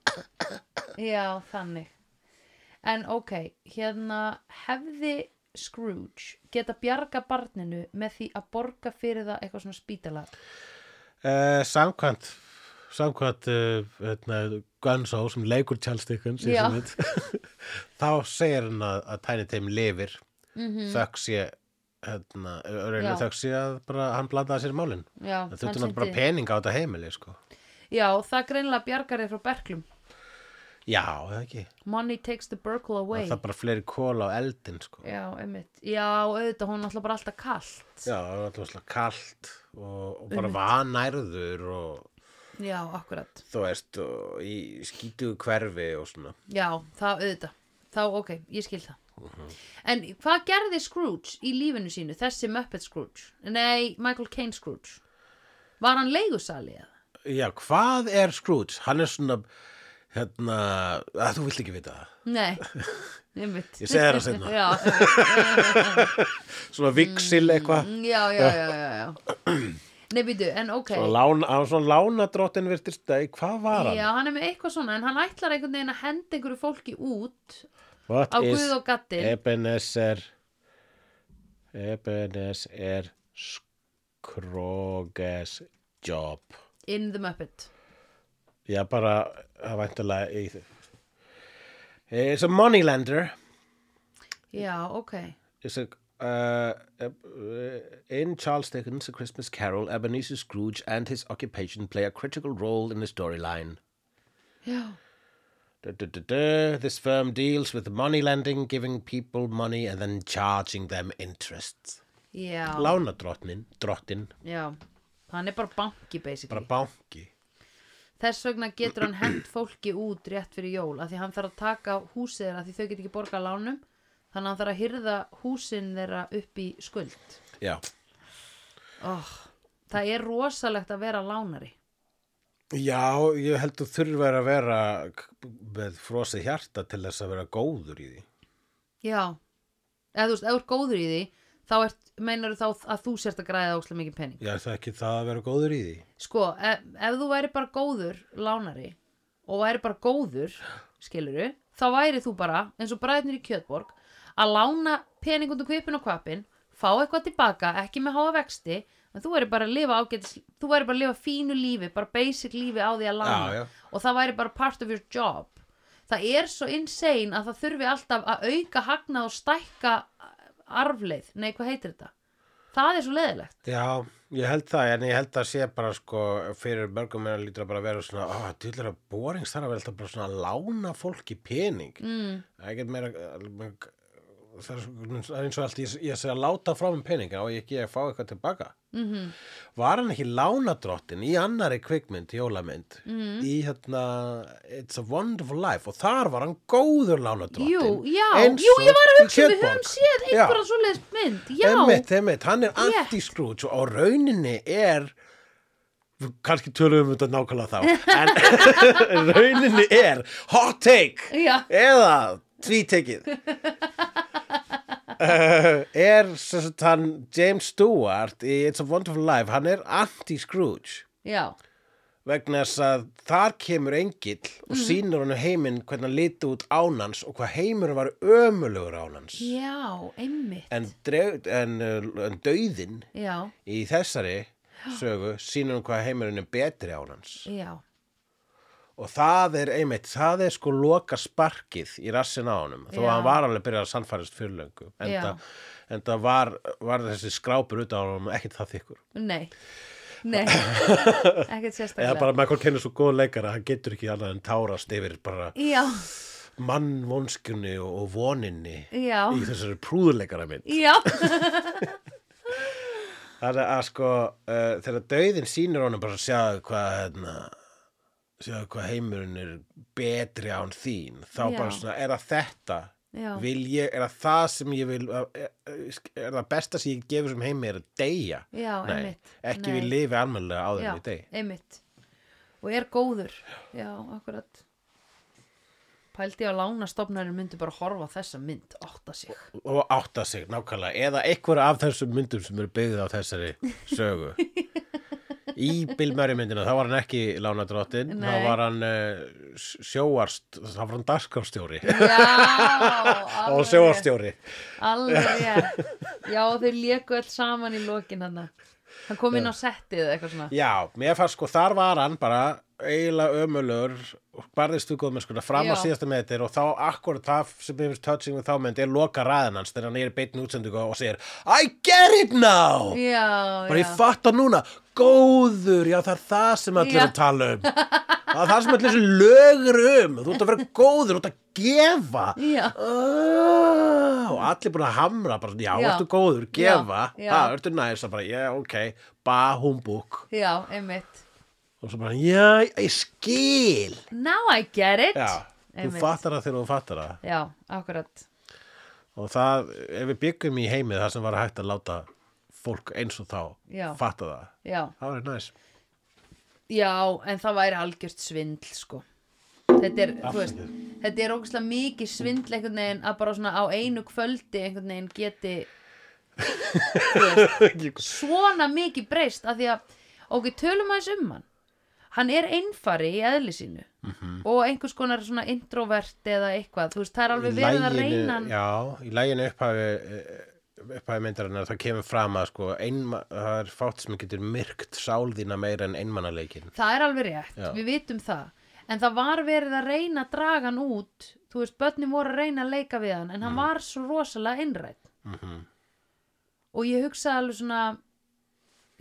Speaker 1: já, þannig En ok, hérna hefði Scrooge geta bjarga barninu með því að borga fyrir það eitthvað svona spítala
Speaker 2: Uh, samkvæmt, samkvæmt uh, hérna, Gunsó sem leikur Charles Dickens, ég
Speaker 1: Já.
Speaker 2: sem veit, [LAUGHS] þá segir hann að, að Tiny Tim lifir. Mm -hmm. Þöks ég, hérna,
Speaker 1: Mhm. Já.
Speaker 2: raunin þöks ég að bara, hann blandaði sér í málin.
Speaker 1: Já,
Speaker 2: Það
Speaker 1: hann
Speaker 2: þurfti hann bara
Speaker 1: sýndi-
Speaker 2: pening á þetta heimili, sko.
Speaker 1: Já, það greinlega bjargar þér frá berklum
Speaker 2: Já, það ekki.
Speaker 1: Money takes the burkle away
Speaker 2: Það er bara fleiri kóla á eldin, sko.
Speaker 1: Já, einmitt Já, auðvitað, hún er alltaf bara alltaf kallt
Speaker 2: Já, það var alltaf svolítið kalt og, og bara vanærður og
Speaker 1: Já, akkurat
Speaker 2: þú veist, og í skítugu hverfi og svona.
Speaker 1: Já, það auðvitað Þá, ok, ég skil það
Speaker 2: Mhm.
Speaker 1: En hvað gerði Scrooge í lífinu sínu? Þessi Muppet Scrooge Nei, Michael Caine Scrooge Var hann leigusali eða?
Speaker 2: Já, hvað er Scrooge? Hann er svona, hérna, að þú vilt ekki vita það. [LAUGHS]
Speaker 1: Nei, einmitt
Speaker 2: Ég segi þér það
Speaker 1: [LAUGHS]
Speaker 2: seinna.
Speaker 1: Já,
Speaker 2: Svona viksil eitthvað.
Speaker 1: Mm, já, já, já, já, já.
Speaker 2: [CLEARS THROAT]
Speaker 1: Nei, býtu, en ok
Speaker 2: Svona lána, hann var svona lánadróttin virtist það, hvað var hann?
Speaker 1: Já, hann er með eitthvað svona en hann ætlar einhvern veginn að henda einhverju fólki út
Speaker 2: What
Speaker 1: á
Speaker 2: is
Speaker 1: guð og gattin
Speaker 2: Ebenezer, Ebenezer Scrooge's job?
Speaker 1: in the Muppet
Speaker 2: Já, bara, það væntalega í þau. It's a moneylender.
Speaker 1: Já, ok
Speaker 2: It's a, uh, uh, in Charles Dickens' A Christmas Carol, Ebenezer Scrooge and his occupation play a critical role in the storyline.
Speaker 1: Já,
Speaker 2: Du- du- du- du. This firm deals with money lending, giving people money and then charging them interest.
Speaker 1: já,
Speaker 2: Lánadrottnin, drottin,
Speaker 1: já Hann er bara banki
Speaker 2: bara
Speaker 1: basically
Speaker 2: banki.
Speaker 1: Þess vegna getur hann hend fólki út rétt fyrir jól af því hann þarf að taka húsið þeirra af því þau get ekki borgað lánum þannig að hann þarf að hyrða húsin þeirra upp í skuld
Speaker 2: Já,
Speaker 1: oh, Það er rosalegt að vera lánari
Speaker 2: Já, ég held þú þurfir að vera k- með frosið hjarta til þess að vera góður í því.
Speaker 1: Já, eða þú veist, ef þú ert góður í því þá ert, meinar þá að þú sért að græða óslega mikið pening.
Speaker 2: Já, er það ekki það að vera góður í því?
Speaker 1: Sko, ef, ef þú væri bara góður lánari og væri bara góður, skiluru, þá væri þú bara, eins og bræðnir í Kjötborg, að lána pening undir kvipin og kvapin, fá eitthvað tilbaka, ekki með háa vexti, en þú væri bara að lifa ágætis, þú væri bara að lifa fínu lífi, bara basic lífi á því að lána
Speaker 2: Já, já.
Speaker 1: og það væri bara part of your job. Það er svo insane að það þurfi alltaf að auka hagnað og stækka arfleið, nei hvað heitir þetta? Það er svo leðilegt.
Speaker 2: Já, ég held það, en ég held það sé bara sko, fyrir mörgum meira lítur að bara vera svona, á, dýllara borings þarf að vera alltaf bara svona að lána fólki pening. Mm. Ekkert meira, alveg- það er svo- það er eins og allt, ég, ég segi að láta frá mér pening, á ég ekki að fá eitthvað tilbaka. Mm
Speaker 1: Mhm.
Speaker 2: -hmm. Var hann ekki lánadrottin í annari kvikmynd, jólamynd,
Speaker 1: Mhm.
Speaker 2: mm. í hérna It's a Wonderful Life og þar var hann góður lánadrottin.
Speaker 1: Jú, já,
Speaker 2: Eins
Speaker 1: jú, ég
Speaker 2: og
Speaker 1: var að
Speaker 2: í
Speaker 1: hugsa, um við höfum
Speaker 2: Kjötborg.
Speaker 1: séð
Speaker 2: Já.
Speaker 1: einhverja svoleiðis mynd, já,
Speaker 2: Einmitt, einmitt, hann er
Speaker 1: Rétt.
Speaker 2: anti-Scrooge og á rauninni er kannski tölum við um þetta nákvæmlega
Speaker 1: [LAUGHS]
Speaker 2: þá en [LAUGHS] rauninni er hot take
Speaker 1: já,
Speaker 2: eða
Speaker 1: [LAUGHS]
Speaker 2: tvítekið uh, er sem sagt, hann, James Stewart í It's a Wonderful Life, hann er anti-Scrooge
Speaker 1: já,
Speaker 2: vegna þess að þar kemur engill
Speaker 1: Mhm.
Speaker 2: og sýnir hann heiminn hvernig hann liti út ánans og hvað heimur var ömulegur ánans
Speaker 1: já, einmitt,
Speaker 2: en, dreg, en, uh, en döðin
Speaker 1: já,
Speaker 2: í þessari sögu sýnir hann hvað heimurinn er betri á hans
Speaker 1: já,
Speaker 2: og það er einmitt, það er sko loka sparkið í rassin á honum þó að
Speaker 1: Já.
Speaker 2: hann var alveg byrjað að sannfærist fyrir löngu en,
Speaker 1: Já.
Speaker 2: það, en það var, var þessi skrápur út á honum ekkert það þykkur
Speaker 1: nei,
Speaker 2: [LAUGHS]
Speaker 1: nei, ekkert
Speaker 2: eða
Speaker 1: sérstaklega,
Speaker 2: bara með hvað kennir svo góð leikara hann getur ekki annað en tárast yfir bara
Speaker 1: já,
Speaker 2: mannvonskunni og, og voninni
Speaker 1: já,
Speaker 2: í þessari prúðuleikara minn
Speaker 1: já,
Speaker 2: Þannig að sko uh, þegar dauðin sýnir honum bara sjáðu hvað hérna, sjáðu hvað heimurinn er betri án þín þá
Speaker 1: Já.
Speaker 2: bara svona er það þetta
Speaker 1: Já.
Speaker 2: vil ég, er það það sem ég vil er, er það besta sem ég gefur sem heimi er að deyja
Speaker 1: Já,
Speaker 2: Nei,
Speaker 1: einmitt.
Speaker 2: ekki
Speaker 1: Nei.
Speaker 2: við lifi almennilega á þeim
Speaker 1: já,
Speaker 2: við deyja
Speaker 1: einmitt, og er góður, já, akkurat, pældi ég að lánastofnarinn myndi bara horfa á þessa mynd, átta sig,
Speaker 2: og átta sig nákvæmlega eða einhverja af þessum myndum sem eru byggðið á þessari
Speaker 1: [LAUGHS]
Speaker 2: sögu í Bill Murray myndina þá var hann ekki lánadrottin þá
Speaker 1: Nei.
Speaker 2: var hann uh, sjóarst þá var hann dagskarstjóri
Speaker 1: já,
Speaker 2: [LAUGHS] [LAUGHS] og
Speaker 1: alveg rétt.
Speaker 2: sjóarstjóri
Speaker 1: Alveg rétt. Já, þau léku öll saman í lokin hann. Hann kom inn á settið eða eitthvað svona.
Speaker 2: já, mér fannst sko þar var hann bara eiginlega ömulur barðist við góðum sko fram að
Speaker 1: Já.
Speaker 2: síðasta með þetta og þá akkurat það sem hefur touching við þá mynd er loka ræðan hans þegar hann er í beinni útsendingu og segir I get it now
Speaker 1: Já, já.
Speaker 2: bara ég fatta núna góður, já það er það sem allir
Speaker 1: Já.
Speaker 2: eru að tala um það er það sem allir þessi lögur um þú ert að vera góður, þú ert að gefa
Speaker 1: Já.
Speaker 2: Ah, og allir búin að hamra bara, já,
Speaker 1: Já.
Speaker 2: ertu góður, gefa
Speaker 1: Já, já.
Speaker 2: já, ertu næs, það bara, já, ok ba, humbúk
Speaker 1: Já, einmitt.
Speaker 2: og svo bara, já, ég skil
Speaker 1: Now I get it.
Speaker 2: já, þú
Speaker 1: Einmitt.
Speaker 2: fattar það þegar þú fattar það
Speaker 1: Já, akkurat.
Speaker 2: og það, ef við byggum í heimið það sem var hægt að láta fólk eins og þá
Speaker 1: Já.
Speaker 2: fatta það,
Speaker 1: Já.
Speaker 2: það var næs
Speaker 1: Já, en það væri algjört svindl, sko. Þetta er, þú veist,
Speaker 2: Afsakið.
Speaker 1: þetta er ógæslega mikið svindl einhvern veginn að bara svona á einu kvöldi einhvern veginn geti, þú veist, svona mikið breyst að því að, ok, tölum aðeins um hann. Hann er einfari í eðli sínu
Speaker 2: Mhm.
Speaker 1: og einhvers konar svona introvert eða eitthvað, þú veist, það er alveg
Speaker 2: Í
Speaker 1: verið að
Speaker 2: laginu-
Speaker 1: reyna hann.
Speaker 2: Já, í læginu upphafi eh, upphafi myndarinnar það kemur fram að sko, einma, það er fátt sem getur myrkt sál þína meira en einmannaleikin
Speaker 1: Það er alveg rétt,
Speaker 2: Já.
Speaker 1: við vitum það En það var verið að reyna að draga hann út Þú veist, börnin voru að reyna að leika við hann En hann var svo rosalega einrætt Og ég hugsaði alveg svona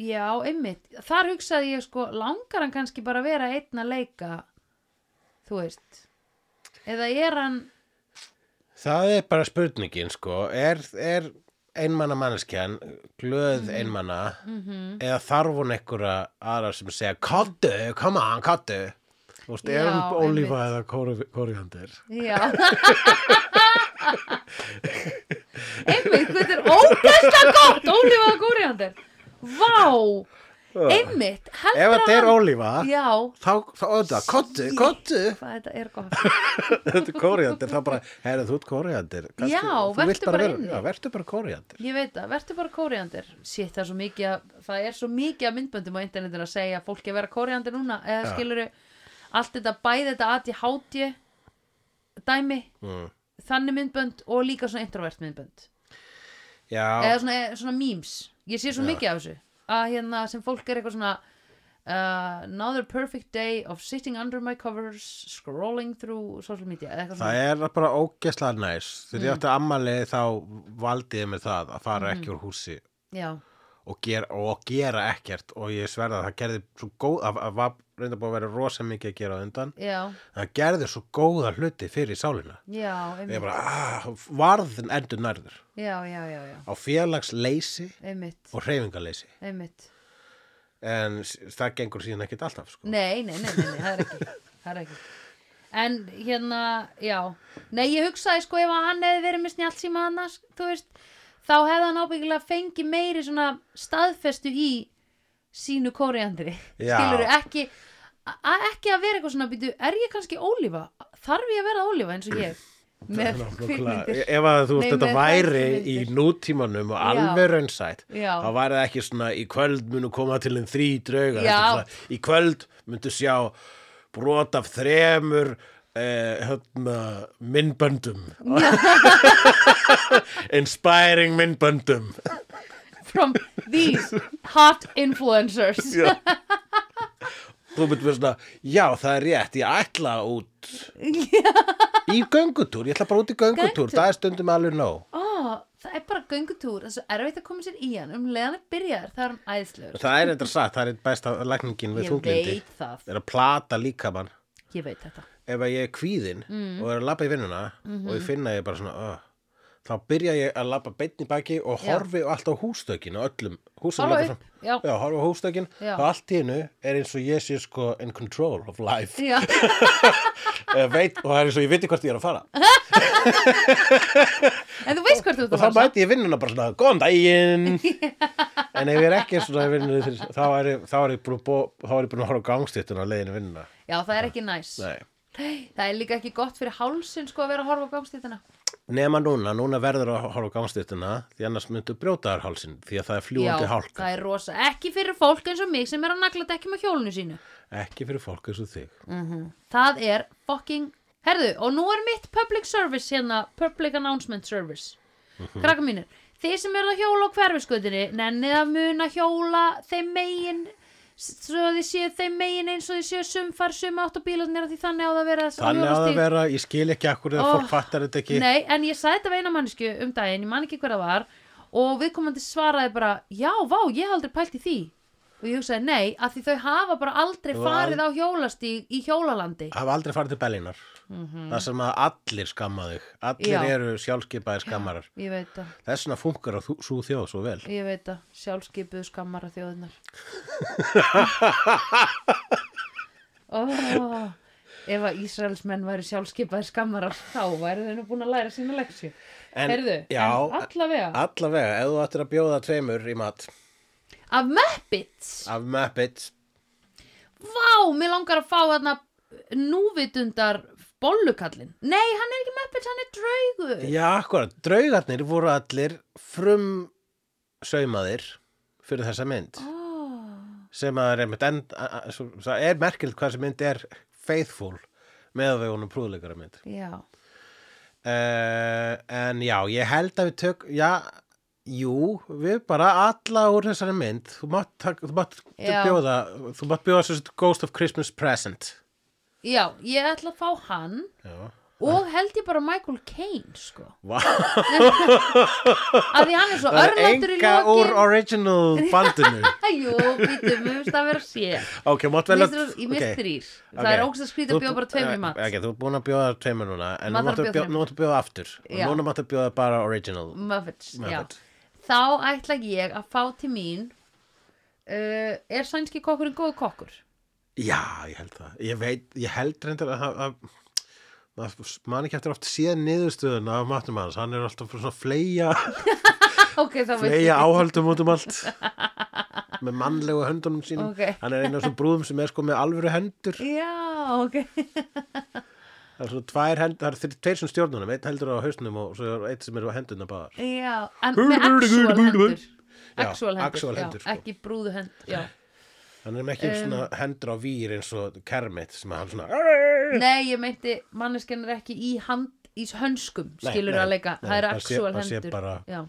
Speaker 1: Já, einmitt Þar hugsaði ég sko, langar hann kannski bara að vera einn að leika Þú veist Eða er hann
Speaker 2: Það er bara spurningin sko, er, er einmanna manneskjan glöð
Speaker 1: Mhm.
Speaker 2: einmana eða þarf hún einhverja aðra sem segja kottu, come on, kottu Þú veist, er
Speaker 1: Já,
Speaker 2: hún ólífa
Speaker 1: einmitt.
Speaker 2: eða kóri- kóriander
Speaker 1: Já Einmitt, þetta er ógæslega gott Ólífaða kóriandir Vá Einmitt, eftir
Speaker 2: Ah. Ef þetta er ólífa,
Speaker 1: Já,
Speaker 2: þá, þá auðvitað, kottu, kottu.
Speaker 1: hvað þetta er gott
Speaker 2: Þetta er kóriandir, þá bara, herrið, þú ert kóriandir.
Speaker 1: Já,
Speaker 2: þú
Speaker 1: vertu
Speaker 2: vilt
Speaker 1: bara
Speaker 2: vera-
Speaker 1: inni.
Speaker 2: Já, vertu bara kóriandir.
Speaker 1: Ég veit það, verður bara kóriandir Shit, það er svo mikið að, það er svo mikið að myndböndum á internetinu að segja að fólki að vera kóriandir núna eða
Speaker 2: Já.
Speaker 1: skilur allt þetta bæði þetta aðti hátji dæmi,
Speaker 2: Mm.
Speaker 1: þannig myndbönd og líka svona introvert myndbönd
Speaker 2: Já,
Speaker 1: eða svona, eða svona memes ég sé svo
Speaker 2: Já.
Speaker 1: mikið af þessu að hérna sem fólk er eitthvað svona uh, another perfect day of sitting under my covers scrolling through social media eða eitthvað
Speaker 2: það
Speaker 1: svona
Speaker 2: er bara ógeðslega næs. Þegar ég átti
Speaker 1: Mm.
Speaker 2: ammali þá valdi ég með það að fara ekki úr húsi
Speaker 1: já,
Speaker 2: og gera, og gera ekkert og ég sverða að það gerði svo góð, að, að var reynda búið að vera rosa mikið að gera á undan.
Speaker 1: já,
Speaker 2: Það gerði svo góða hluti fyrir sálina.
Speaker 1: já,
Speaker 2: Ég
Speaker 1: einmitt
Speaker 2: bara, ah, varðin endur nærður
Speaker 1: já, já, já, já,
Speaker 2: á félagsleysi
Speaker 1: einmitt,
Speaker 2: og hreyfingaleysi.
Speaker 1: einmitt
Speaker 2: En s- það gengur síðan ekkert alltaf, sko.
Speaker 1: Nei, nei, nei, nei, nei það, er ekki, það er ekki En hérna, já Nei, ég hugsaði sko ef að hann hefði verið með snjálf síma annars, þú veist þá hefði hann ábyggilega fengið meiri svona staðfestu í sínu kóriandri
Speaker 2: Já.
Speaker 1: Skilurðu, ekki a- a- ekki að vera eitthvað svona býtu, er ég kannski ólífa? Þarf ég að vera ólífa eins og ég? Með kvikmyndir
Speaker 2: Nákvæmlega. Ef að þú
Speaker 1: Nei,
Speaker 2: veist þetta
Speaker 1: með
Speaker 2: væri í
Speaker 1: hræðslumyndir.
Speaker 2: nútímanum og
Speaker 1: Já.
Speaker 2: alveg raunsætt,
Speaker 1: Já.
Speaker 2: þá væri það ekki svona í kvöld munu koma til en þrý drauga.
Speaker 1: Já.
Speaker 2: Þetta er svona, Í kvöld myndu sjá brot af þremur eh, hérna, minnböndum. Inspiring minnböndum.
Speaker 1: [LAUGHS] From these hot influencers
Speaker 2: Já. Þú myndir vera svona, já það er rétt, ég ætla út í göngutúr, ég ætla bara út í göngutúr,
Speaker 1: Göngutúr.
Speaker 2: það er stundum alveg nóg.
Speaker 1: Ó, það er bara göngutúr, það er svo erfitt að koma sér í hann um leiðan að byrjar, það er hann æðislegur
Speaker 2: Það er eitthvað satt, það er eitt besta lækningin við
Speaker 1: Ég
Speaker 2: þunglindi.
Speaker 1: veit það,
Speaker 2: er að plata líkamann
Speaker 1: ég veit þetta
Speaker 2: ef að ég er kvíðin
Speaker 1: Mm.
Speaker 2: og er að labba í vinnuna og
Speaker 1: Mhm.
Speaker 2: ég finna ég bara svona uh, þá byrja ég að labba beinn í baki og
Speaker 1: Já.
Speaker 2: horfi allt á hústökin og öllum húsum
Speaker 1: Horfa
Speaker 2: labba
Speaker 1: upp, já.
Speaker 2: já, horfi á hústökin
Speaker 1: Já.
Speaker 2: og allt í hennu er eins og ég sé sko in control of life
Speaker 1: Já,
Speaker 2: Eh, veit, og það er eins og ég viti hvert ég er að fara
Speaker 1: en þú veist hvert þú ert að
Speaker 2: og
Speaker 1: [LAUGHS]
Speaker 2: þá
Speaker 1: fara samt.
Speaker 2: mæti ég vinnuna bara svona góðan
Speaker 1: [LAUGHS]
Speaker 2: daginn en ef ég er ekki svona í vinnunni fyrir- þá er ég, þá er ég búin að bó- þá er ég búin að horfa á gangstýttuna á leiðinu í vinnuna
Speaker 1: Já, það er ekki næs
Speaker 2: nei
Speaker 1: Það er líka ekki gott fyrir hálsin sko að vera að horfa á gangstíðina
Speaker 2: Nema núna, núna verður að horfa á gangstýttuna því annars myndu brjótaðar hálsin því að það er
Speaker 1: Já,
Speaker 2: fljúandi hálka
Speaker 1: það er rosa, ekki fyrir fólk eins og mig sem er að nagla dekkjum á hjólinu sínu
Speaker 2: ekki fyrir fólk eins og þig
Speaker 1: Það er fucking Herðu, og nú er mitt public service hérna Public announcement service
Speaker 2: Mhm.
Speaker 1: Krakka mínir, þið sem eru að hjóla á hverfiskötinni Nennið að muna hjóla þeim megin Svo þið séu þeim megin eins og þið séu sumfar Sum átt og bílarnir af því þannig á það að vera þessi- á
Speaker 2: Þannig að það
Speaker 1: hjólastíg.
Speaker 2: vera, ég skil ekki akkur eða
Speaker 1: Ó,
Speaker 2: fólk fattar þetta ekki
Speaker 1: Nei, en ég sagði þetta við eina mannesku um daginn, ég man ekki hver það var og viðkomandi svaraði bara, já, vá, ég hef aldrei pælt í því og ég hugsaði, nei, að því þau hafa bara aldrei
Speaker 2: Þú
Speaker 1: farið á hjólastíg í hjólalandi
Speaker 2: hafa aldrei farið til Bellinar það sem að allir skamma þig allir
Speaker 1: Mhm. Já.
Speaker 2: eru sjálfskipaðir skammarar
Speaker 1: Ég veit það
Speaker 2: þess vegna funkar að svo þjóð svo vel
Speaker 1: Ég veit það, sjálfskipuðu skammara
Speaker 2: [LAUGHS]
Speaker 1: þjóðunar oh, Ef að Ísraelsmenn væri sjálfskipaði skammara þá væri þeir nú búin að læra sína leksju
Speaker 2: En-
Speaker 1: Herðu,
Speaker 2: já,
Speaker 1: en allavega
Speaker 2: Allavega, ef þú ættir að bjóða tveimur í mat
Speaker 1: Af Muppets
Speaker 2: af Muppets
Speaker 1: Vá, mér langar að fá þarna núvitundar bollukallin Nei, hann er ekki Muppets, hann er draugur
Speaker 2: Já, akkurat, draugarnir voru allir frum saumaðir fyrir þessa mynd
Speaker 1: oh,
Speaker 2: sem að er einmitt end, a, a, svo, það er merkild hvað þessi mynd er faithful með að við honum prúðleikara mynd
Speaker 1: Já,
Speaker 2: uh, en já, ég held að við tök já, jú, við bara alla úr þessari mynd þú mátt, tak- þú mátt
Speaker 1: Já.
Speaker 2: bjóða þú mátt bjóða svo sem Ghost of Christmas Present
Speaker 1: já, ég ætla að fá hann
Speaker 2: já,
Speaker 1: og held ég bara Michael Caine sko
Speaker 2: Vá.
Speaker 1: Af því hann er svo
Speaker 2: það er
Speaker 1: [LAUGHS] örlátur í
Speaker 2: enga úr
Speaker 1: lokin
Speaker 2: original
Speaker 1: [LAUGHS]
Speaker 2: bandinu
Speaker 1: Jú, býtum, mér finnst það að vera sér
Speaker 2: ok, mátt vel að
Speaker 1: Ég mist
Speaker 2: ok.
Speaker 1: þrýr Það
Speaker 2: Ok.
Speaker 1: er ógst að skrýta
Speaker 2: Þú- eh,
Speaker 1: að bjóða bara tveimur í mat
Speaker 2: ok, þú er búin að bjóða tveimur núna en nú
Speaker 1: Maður þarf að
Speaker 2: máttu að
Speaker 1: bjóða
Speaker 2: bjóða, nú máttu að bjóða aftur og
Speaker 1: Já.
Speaker 2: núna máttu að bjóða bara original
Speaker 1: Muffins, já
Speaker 2: Muppet.
Speaker 1: Þá ætla ég að fá til mín uh, Er sænski kokkurinn góð kokkur?
Speaker 2: já, ég held það ég, veit, ég held reyndar að, að, að maður man ekki eftir oft síðan niðurstöðun af matum hans, hann
Speaker 1: [LAUGHS]
Speaker 2: er alltaf svona fleia
Speaker 1: Ok, þá veit
Speaker 2: fleia áhaldum út um allt með mannlegu höndunum sínum
Speaker 1: Ok.
Speaker 2: hann er einu af svo brúðum sem er sko með alvöru hendur
Speaker 1: Já, ok
Speaker 2: það er svo tvær hendur, það er þeir- tveir sem stjórnunum einn heldur á hausnum og svo er eitt sem er á hendunum báðar
Speaker 1: Já, en með actual hendur
Speaker 2: Já,
Speaker 1: Actual hendur,
Speaker 2: actual
Speaker 1: já,
Speaker 2: hendur, sko.
Speaker 1: ekki brúðu hendur já.
Speaker 2: hann er ekki svona
Speaker 1: Um.
Speaker 2: hendur á vír eins og Kermit sem hann svona
Speaker 1: Nei, ég meinti manneskjan er ekki í hand í hönskum,
Speaker 2: Nei,
Speaker 1: skilur
Speaker 2: nei,
Speaker 1: að leika
Speaker 2: nei,
Speaker 1: það er
Speaker 2: það sé-
Speaker 1: actual
Speaker 2: það sé
Speaker 1: hendur
Speaker 2: bara-
Speaker 1: já.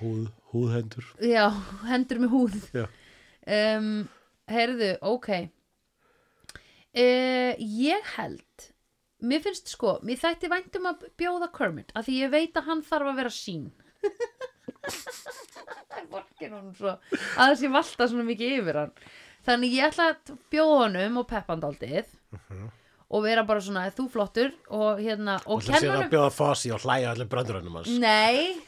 Speaker 2: húð, húðhendur
Speaker 1: já, hendur með húð
Speaker 2: Já.
Speaker 1: um, Herðu, ok uh, Ég held Mér finnst sko, mér þætti væntum að bjóða Kermit af því ég veit að hann þarf að vera sín [LAUGHS] Það er vorkin hún svo að þessi valta svona mikið yfir hann Þannig ég ætla að bjóða honum og peppandaldið og vera bara svona, "Ert þú flottur og hérna, og
Speaker 2: og það sé
Speaker 1: kenna
Speaker 2: það
Speaker 1: honum
Speaker 2: Mhm. að bjóða fósi og hlæja allir brandurunum hans
Speaker 1: Nei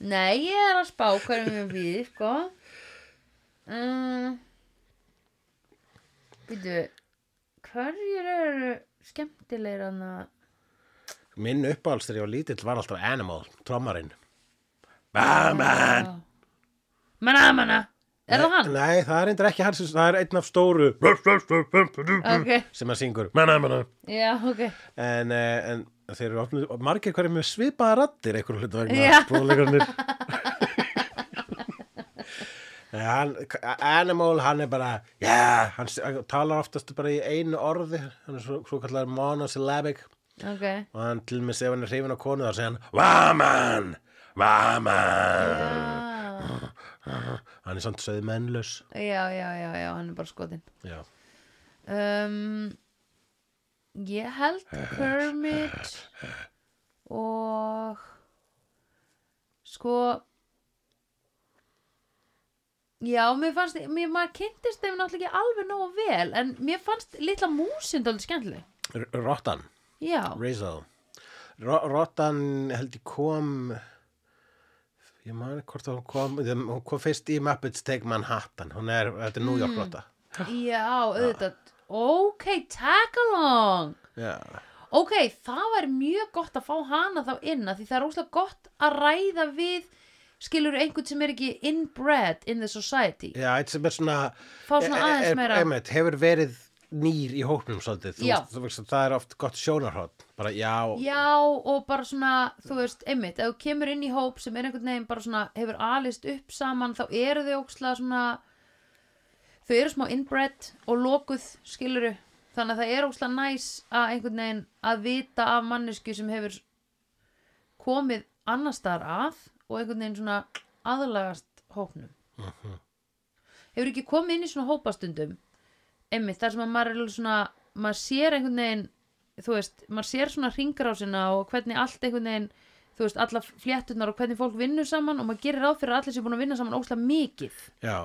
Speaker 1: Nei, ég er að spá hverjum ég býð, sko um, Býtu Hverjir eru skemmtilegir hann að
Speaker 2: minn uppáhalds þegar ég var lítill var alltaf Animal, trommarinn Maman
Speaker 1: Já. Manna, manna Er það hann?
Speaker 2: Nei, það er endur ekki hann sem, það er einn af stóru [LAUGHS]
Speaker 1: Ok,
Speaker 2: sem að syngur Maman, maman
Speaker 1: já, ok
Speaker 2: en, eh, en þeir eru ofnir, margir hverju með svipaða rattir einhverjum hluta
Speaker 1: Já.
Speaker 2: vegna
Speaker 1: [LAUGHS]
Speaker 2: bróðleikarnir hann, Animal, hann er bara yeah, hann s- hann talar oftast bara í einu orði hann er svo, svo kallar monosyllabic
Speaker 1: Ok,
Speaker 2: og hann til með ef hann er hrifin á konu þá segir hann Vaman, Vaman
Speaker 1: já,
Speaker 2: hann er samt sögð mennlaus
Speaker 1: já, já, já, já, hann er bara skotin
Speaker 2: já,
Speaker 1: um, Ég held Kermit og sko Já, mér fannst, mér maður kynntist þeim náttúrulega ekki alveg nógu vel en mér fannst litla músin dálítið skemmtileg
Speaker 2: R- Rottan
Speaker 1: Já,
Speaker 2: Rizzo Ro Rottan held ég kom ég man ekki hvort hún kom þeim- hún kom fyrst í Muppets Take Manhattan hún er, þetta er New
Speaker 1: Mm.
Speaker 2: York Rotta
Speaker 1: já, auðvitað Ok, tag along
Speaker 2: já,
Speaker 1: Ok, það var mjög gott að fá hana þá inn að því það er óslega gott að ræða við skilur einhvern sem er ekki inbred in the society
Speaker 2: já, eitt sem er svona
Speaker 1: Fá svona
Speaker 2: er-
Speaker 1: aðeins
Speaker 2: er-
Speaker 1: meira-
Speaker 2: einmitt, hefur verið nýr í hóknum svolítið, þú,
Speaker 1: Já.
Speaker 2: veist, þú veist að það er oft gott sjónarhótt, bara já,
Speaker 1: Já, og bara svona, þú veist, einmitt, ef þú kemur inn í hóp sem er einhvern veginn bara svona, hefur alist upp saman, þá eru þau ókslega svona, þau eru smá inbred og lokuð, skiluru, þannig að það er ókslega næs að einhvern veginn að vita af mannesku sem hefur komið annar staðar að og einhvern veginn svona aðlagast hópnum. Hefur ekki komið inn í svona hópastundum, einmitt, þar sem að maður er alveg svona, maður sér einhvern veginn þú veist, maður sér svona ringrásina og hvernig allt einhvern veginn þú veist, alla fléttunar og hvernig fólk vinnur saman og maður gerir ráð fyrir að allir sér búin að vinna saman óslega mikið
Speaker 2: já,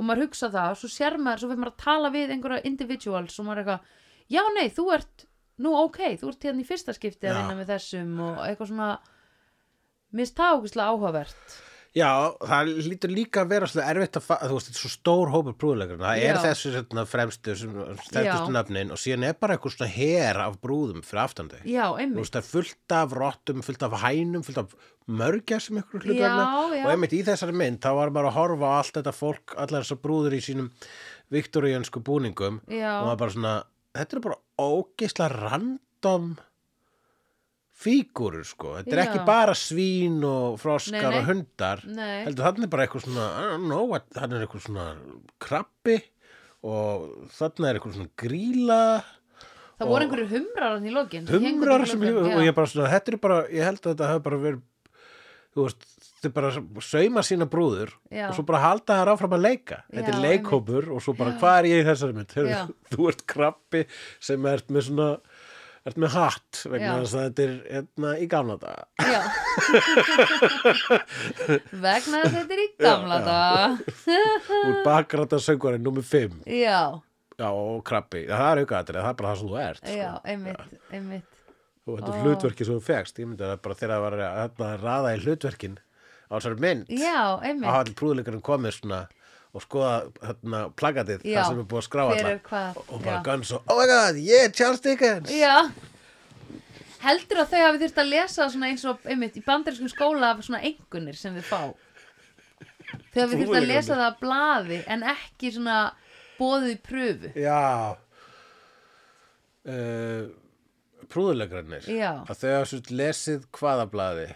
Speaker 1: og maður hugsa það, svo sér maður, svo fyrir maður að tala við einhverja individuals og maður er eitthvað já nei, þú ert, nú ok, þú ert hérna í fyrsta skipti að
Speaker 2: Já.
Speaker 1: vinna með þessum og eitthvað svona minnst það ókvæslega áhugavert
Speaker 2: já það lítur líka að vera svolítið erfitt að fa- þú veist, þetta er svo stór hópur brúðleikurinn það
Speaker 1: Já.
Speaker 2: er þessu svona, fremstu sem-
Speaker 1: Já.
Speaker 2: sterkustu nöfnin og síðan er bara eitthvað svona her af brúðum fyrir aftan þau
Speaker 1: já,
Speaker 2: Þú
Speaker 1: einmitt,
Speaker 2: veist, það er fullt af rottum, fullt af hænum, fullt af mörgja sem ykkur hlut
Speaker 1: Já,
Speaker 2: vegna.
Speaker 1: já.
Speaker 2: Og einmitt í þessari mynd, þá var bara að horfa á allt þetta fólk, allar þessar brúður í sínum viktoríönsku búningum.
Speaker 1: Já.
Speaker 2: Og var bara svona, þetta er bara ógeisla random fígúrur, sko. Þetta er
Speaker 1: Já.
Speaker 2: ekki bara svín og
Speaker 1: Nei,
Speaker 2: froskar
Speaker 1: nei.
Speaker 2: og hundar.
Speaker 1: Nei.
Speaker 2: Heldur þannig bara eitthvað svona, I don't know, what- þarna er eitthvað svona krabbi og þarna er eitthvað svona gríla
Speaker 1: það voru einhverju humrar hann í lokin sem héngu
Speaker 2: humrar
Speaker 1: til
Speaker 2: sem ég,
Speaker 1: lokin,
Speaker 2: og
Speaker 1: já.
Speaker 2: ég bara svona, þetta er bara, ég held að þetta hafi bara verið þú veist, þau bara sauma sína brúður
Speaker 1: Já.
Speaker 2: og svo bara halda þær áfram að leika þetta
Speaker 1: Já,
Speaker 2: er leikhópur og svo bara, hvað er ég í þessari mynd?
Speaker 1: Já.
Speaker 2: Heru, [LAUGHS] þú ert krabbi sem ert með svona ert með hatt vegna
Speaker 1: Já. Ah.
Speaker 2: þess að þetta er hérna, í gamla daga [LAUGHS]
Speaker 1: Já Vegna þess að þetta er í gamla dag
Speaker 2: úr bakrata söngvarinn nummer 5
Speaker 1: Já,
Speaker 2: já, og krabbi, Já, það er aukaðatrið, það er bara það sem þú ert sko.
Speaker 1: já, einmitt, einmitt
Speaker 2: og þetta er hlutverki sem þú fegst ég myndi að það bara þegar það var að, þarna að raða í hlutverkin á þessari mynd
Speaker 1: Já,
Speaker 2: að
Speaker 1: einmitt
Speaker 2: hafa til prúðleikurinn komið svona og skoða hérna, plagatið
Speaker 1: Já.
Speaker 2: þar sem er búið að skrá
Speaker 1: Hver
Speaker 2: alla
Speaker 1: er hvað,
Speaker 2: og bara
Speaker 1: já.
Speaker 2: Guns og oh my god, yeah, Charles Dickens
Speaker 1: Já Heldur að þau hafi þurft að lesa svona eins og einmitt í bandarískum skóla af svona engunir sem þau fá þegar við þurfum að
Speaker 2: Trúir
Speaker 1: lesa það að blaði en ekki svona bóðið í pröfu
Speaker 2: Já uh, Prúðulegrannir
Speaker 1: Já.
Speaker 2: Að þau hafa svo lesið hvaða blaði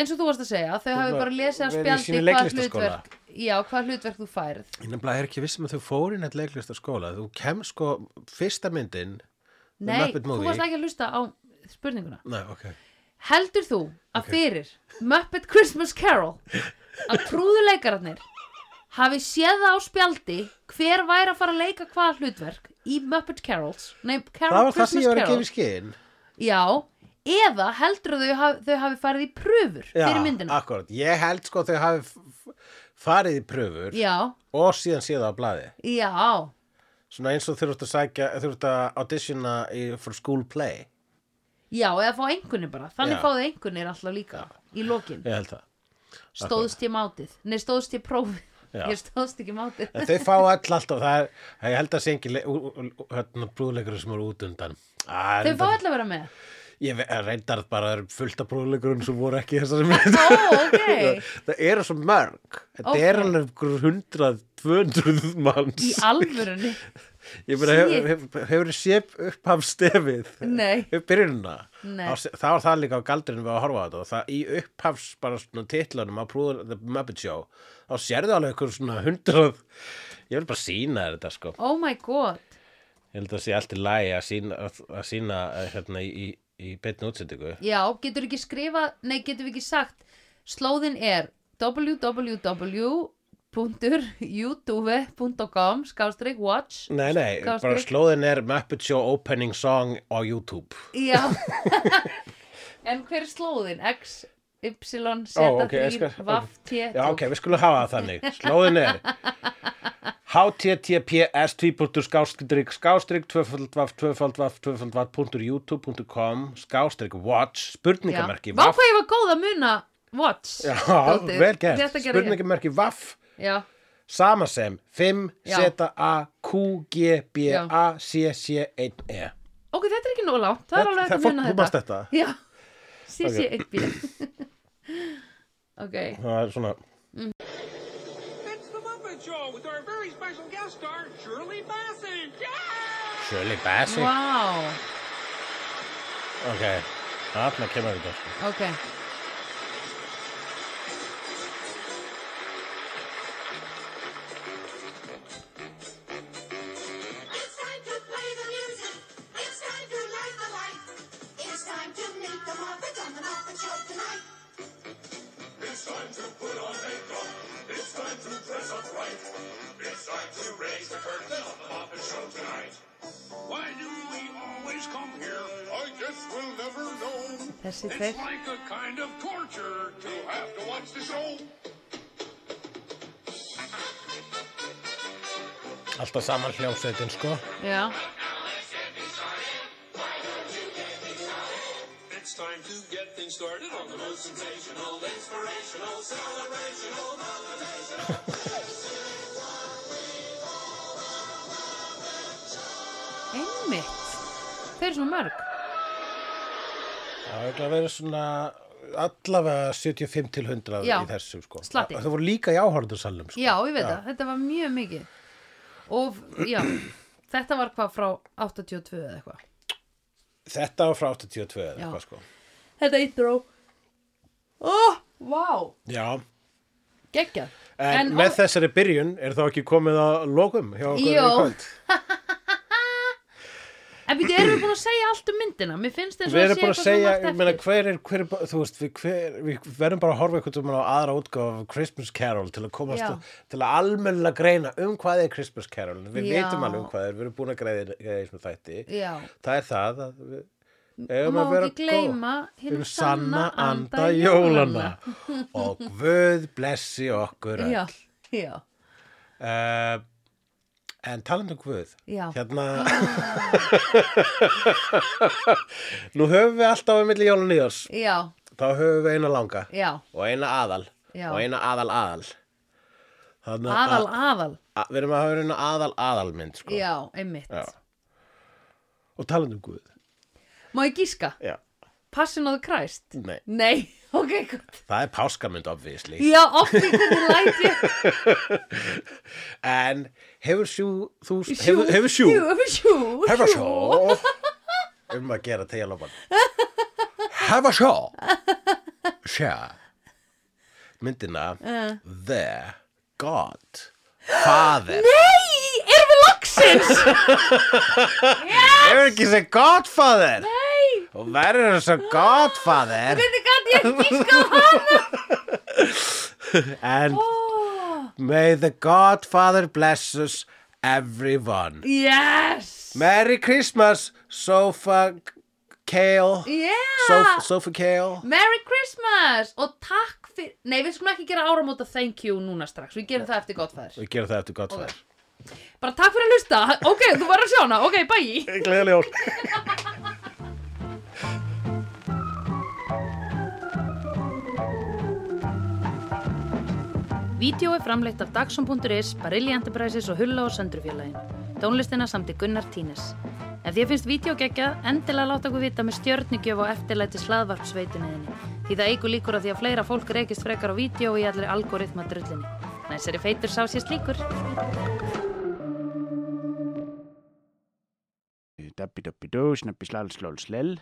Speaker 1: eins og þú varst að segja, þau hafi
Speaker 2: bara
Speaker 1: bara lesið að
Speaker 2: verið í
Speaker 1: spjaldi
Speaker 2: sínu
Speaker 1: hvað
Speaker 2: leiklistarskóla.
Speaker 1: hlutverk já, hvað hlutverk þú færð
Speaker 2: Ég nefnilega er ekki vissum að þau fóru inn að leiklist á skóla Þú kem sko fyrsta myndin The
Speaker 1: nei,
Speaker 2: Muppet
Speaker 1: þú
Speaker 2: Movie.
Speaker 1: varst ekki að hlusta á spurninguna
Speaker 2: Nei, ok
Speaker 1: heldur þú að fyrir Muppet Christmas Carol að trúðuleikararnir hafi séð það á spjaldi hver væri að fara að leika hvað hlutverk í Muppet Carols nei, Carol,
Speaker 2: Það var það sem
Speaker 1: Christmas
Speaker 2: ég var að
Speaker 1: Carol
Speaker 2: gefa í skinn
Speaker 1: Já, eða heldur þau hafi, þau hafi farið í pröfur fyrir myndina
Speaker 2: Akkurat, ég held sko að þau hafi f- f- farið í pröfur
Speaker 1: Já,
Speaker 2: og síðan séð það á blaði
Speaker 1: já,
Speaker 2: Svona eins og þau eru að sækja, þau eru að auditiona í, for school play
Speaker 1: já, eða fá einhvernig bara Þannig
Speaker 2: Já.
Speaker 1: fáðu einhvernig alltaf líka í lokin
Speaker 2: Ég held það
Speaker 1: Stóðst ég mátið, nei stóðst ég prófið
Speaker 2: Já.
Speaker 1: Ég stóðst ekki mátið
Speaker 2: En þau fá all alltaf, það er, ég held að sé engin le- ú- ú- ú- hérna, brúðleikur sem eru út undan. Að,
Speaker 1: Þau fá alltaf að vera
Speaker 2: [LAUGHS]
Speaker 1: með
Speaker 2: Ég ve- reyndar bara það eru fullt af brúðleikurinn sem voru ekki í þessari mynd.
Speaker 1: Ó, ok
Speaker 2: [LAUGHS] það eru svo mörg. Þetta
Speaker 1: Ókei.
Speaker 2: er alveg einhver 100-200 manns.
Speaker 1: Í alvörunni,
Speaker 2: ég
Speaker 1: shit.
Speaker 2: meina, hefur hef, hef, hef séf upphaf stefið.
Speaker 1: Nei.
Speaker 2: Upp byrjunna.
Speaker 1: Nei.
Speaker 2: Á se- Það var það líka á galdurinn við að horfa á þetta. og Það í upphafs bara svona titlanum á brúður The Muppet Show. Þá sérðu alveg einhver svona 100... Ég vil bara sína þér þetta sko.
Speaker 1: oh my god
Speaker 2: Ég held að það sé allt í lagi að sína, að, að sína eh, hérna í, í, í beinni útsendingu.
Speaker 1: Já, getur ekki skrifa, nei getur við ekki sagt Slóðin er www.youtube.com skástrík watch
Speaker 2: Nei, nei,
Speaker 1: Skástrik.
Speaker 2: bara slóðin er Muppet Show Opening Song á YouTube. [LAUGHS]
Speaker 1: Já En hver er slóðin? X, Y, Z,
Speaker 2: Ó,
Speaker 1: 3,
Speaker 2: ok, ég skal-
Speaker 1: Vaff, T
Speaker 2: Já, ok, við skulum hafa það þannig. Slóðin er https skástrík skástrík tvöfaldvaf tvöfaldvaf tvöfaldvaf.youtube.com skástrík watch spurningamerki
Speaker 1: Vá
Speaker 2: vaff.
Speaker 1: hvað ég var góð að muna Watch
Speaker 2: Já,
Speaker 1: dótið.
Speaker 2: vel gert.
Speaker 1: Þetta gerði ég
Speaker 2: Spurningamerki vaff
Speaker 1: Já,
Speaker 2: sama sem 5
Speaker 1: Já.
Speaker 2: Z A Q G B
Speaker 1: Já.
Speaker 2: A C C 1 E.
Speaker 1: ok, þetta er ekki nóg langt Það er alveg hægt að
Speaker 2: fólk-
Speaker 1: muna
Speaker 2: Þú manst þetta?
Speaker 1: Já, sísi eitt
Speaker 2: [LAUGHS]
Speaker 1: bíl Ok,
Speaker 2: Það er svona
Speaker 3: It's the Muppet Show with our very special guest star, Shirley Bassey. Yeah!
Speaker 2: Shirley Bassey
Speaker 1: wow
Speaker 2: Ok, þarna kemur þetta sko.
Speaker 1: Ok
Speaker 4: It's time to play the music. It's time to light the light. It's time to meet the Muppets on the Muppet Show tonight.
Speaker 5: It's time to put on makeup. It's time to dress up right. It's time to raise the curtain on the Muppet Show tonight.
Speaker 3: Why do we always come here?
Speaker 5: I guess we'll never know.
Speaker 1: Þessi
Speaker 3: It's
Speaker 1: tveir
Speaker 3: like a kind of torture to
Speaker 5: You have to watch the show.
Speaker 2: Alltaf saman hljómsveitin sko
Speaker 1: Já,
Speaker 3: It's time to get things started on the most sensational, inspirational, celebrational, motivational.
Speaker 1: einmitt Þau eru svona mörg
Speaker 2: Það er að vera svona allavega 75 til 100
Speaker 1: Já.
Speaker 2: í þessum sko
Speaker 1: Slatti.
Speaker 2: Það voru líka í áhörðursalnum sko
Speaker 1: Já, ég veit það, þetta var mjög mikið og já, þetta var hvað frá 82 eða eitthvað
Speaker 2: Þetta var frá 82 eða
Speaker 1: Já.
Speaker 2: eitthvað sko
Speaker 1: Þetta intro Ó, vá,
Speaker 2: Já
Speaker 1: geggjað
Speaker 2: En, með þessari byrjun er þá ekki komið að lokum hjá okkur
Speaker 1: Jó.
Speaker 2: í kvöld
Speaker 1: En býttu, erum við búin að segja allt um myndina? Mér finnst þess
Speaker 2: Við
Speaker 1: að
Speaker 2: erum bara að segja, ég
Speaker 1: ég
Speaker 2: meina hver er, hver er, bara- þú veist, við, hver, við verðum bara að horfa einhvern veginn á aðra útgáf af Christmas Carol til að komast,
Speaker 1: Já.
Speaker 2: að, til að almennilega greina um hvað er Christmas Carol, En við
Speaker 1: Já.
Speaker 2: veitum alveg um hvað er, við erum búin að greiða greiða í þessum þætti,
Speaker 1: Já,
Speaker 2: það er það að við
Speaker 1: og
Speaker 2: eigum
Speaker 1: má
Speaker 2: að vera
Speaker 1: ekki gleyma
Speaker 2: góð
Speaker 1: hinn
Speaker 2: um sanna anda jólana og Guð blessi okkur
Speaker 1: Já, já,
Speaker 2: uh, en talandi um Guð
Speaker 1: já
Speaker 2: Hérna [LAUGHS] Nú höfum við alltaf um milli jólun í oss
Speaker 1: Já,
Speaker 2: Þá höfum við eina langa
Speaker 1: já,
Speaker 2: Og eina aðal
Speaker 1: Já.
Speaker 2: Og eina aðal aðal Þannig að-
Speaker 1: aðal, aðal
Speaker 2: að- Við erum að hafa eina aðal aðalmynd sko.
Speaker 1: Já, einmitt
Speaker 2: Já. Og talandi um Guð
Speaker 1: Má ég gíska?
Speaker 2: Já,
Speaker 1: Passion of the Christ?
Speaker 2: nei
Speaker 1: Nei [LAUGHS] ok, gott
Speaker 2: Það er páskamund, obviously.
Speaker 1: já, ofni hvernig læt ég
Speaker 2: En hefur sjú, þú, hefur, hefur sjú,
Speaker 1: hefur sjú
Speaker 2: hefur sjú, um að gera tegjalópan. Hefur sjú, sjá, myndina, the, god, father.
Speaker 1: nei, erum við
Speaker 2: [LAUGHS]
Speaker 1: loksins
Speaker 2: Hefur ekki sem godfather
Speaker 1: nei,
Speaker 2: og verður sem godfather
Speaker 1: hvernig gæti ég gíska á hana
Speaker 2: and
Speaker 1: Ó,
Speaker 2: may the godfather bless us everyone.
Speaker 1: yes
Speaker 2: Merry Christmas, Sofa Kale.
Speaker 1: yeah
Speaker 2: Sof Sofa Kale.
Speaker 1: Merry Christmas og takk fyrir, nei við skulum ekki gera áramóta thank you núna strax, við gerum það eftir gott
Speaker 2: Við gerum það eftir godfather.
Speaker 1: bara takk fyrir að hlusta, ok, þú var að sjá hana ok, bye
Speaker 2: Okay. Gleðileg jól.
Speaker 1: Vídeó er framleitt af Dagsum.is, Barilli Enterprises og Hulla og Söndrufjörlægin. Tónlistina samti Gunnar Tínes. Ef þér finnst vídeo geggjað, endilega láta okkur vita með stjörnigjöf og eftirlæti slaðvarpsveituninni. Því það eigur líkur að því að fleira fólk reykist frekar á vídeo og í allri algoritma drullinni. Næsari feitur sá sér slíkur.
Speaker 6: Dabbi dabbi dó, snabbi slal slól slell.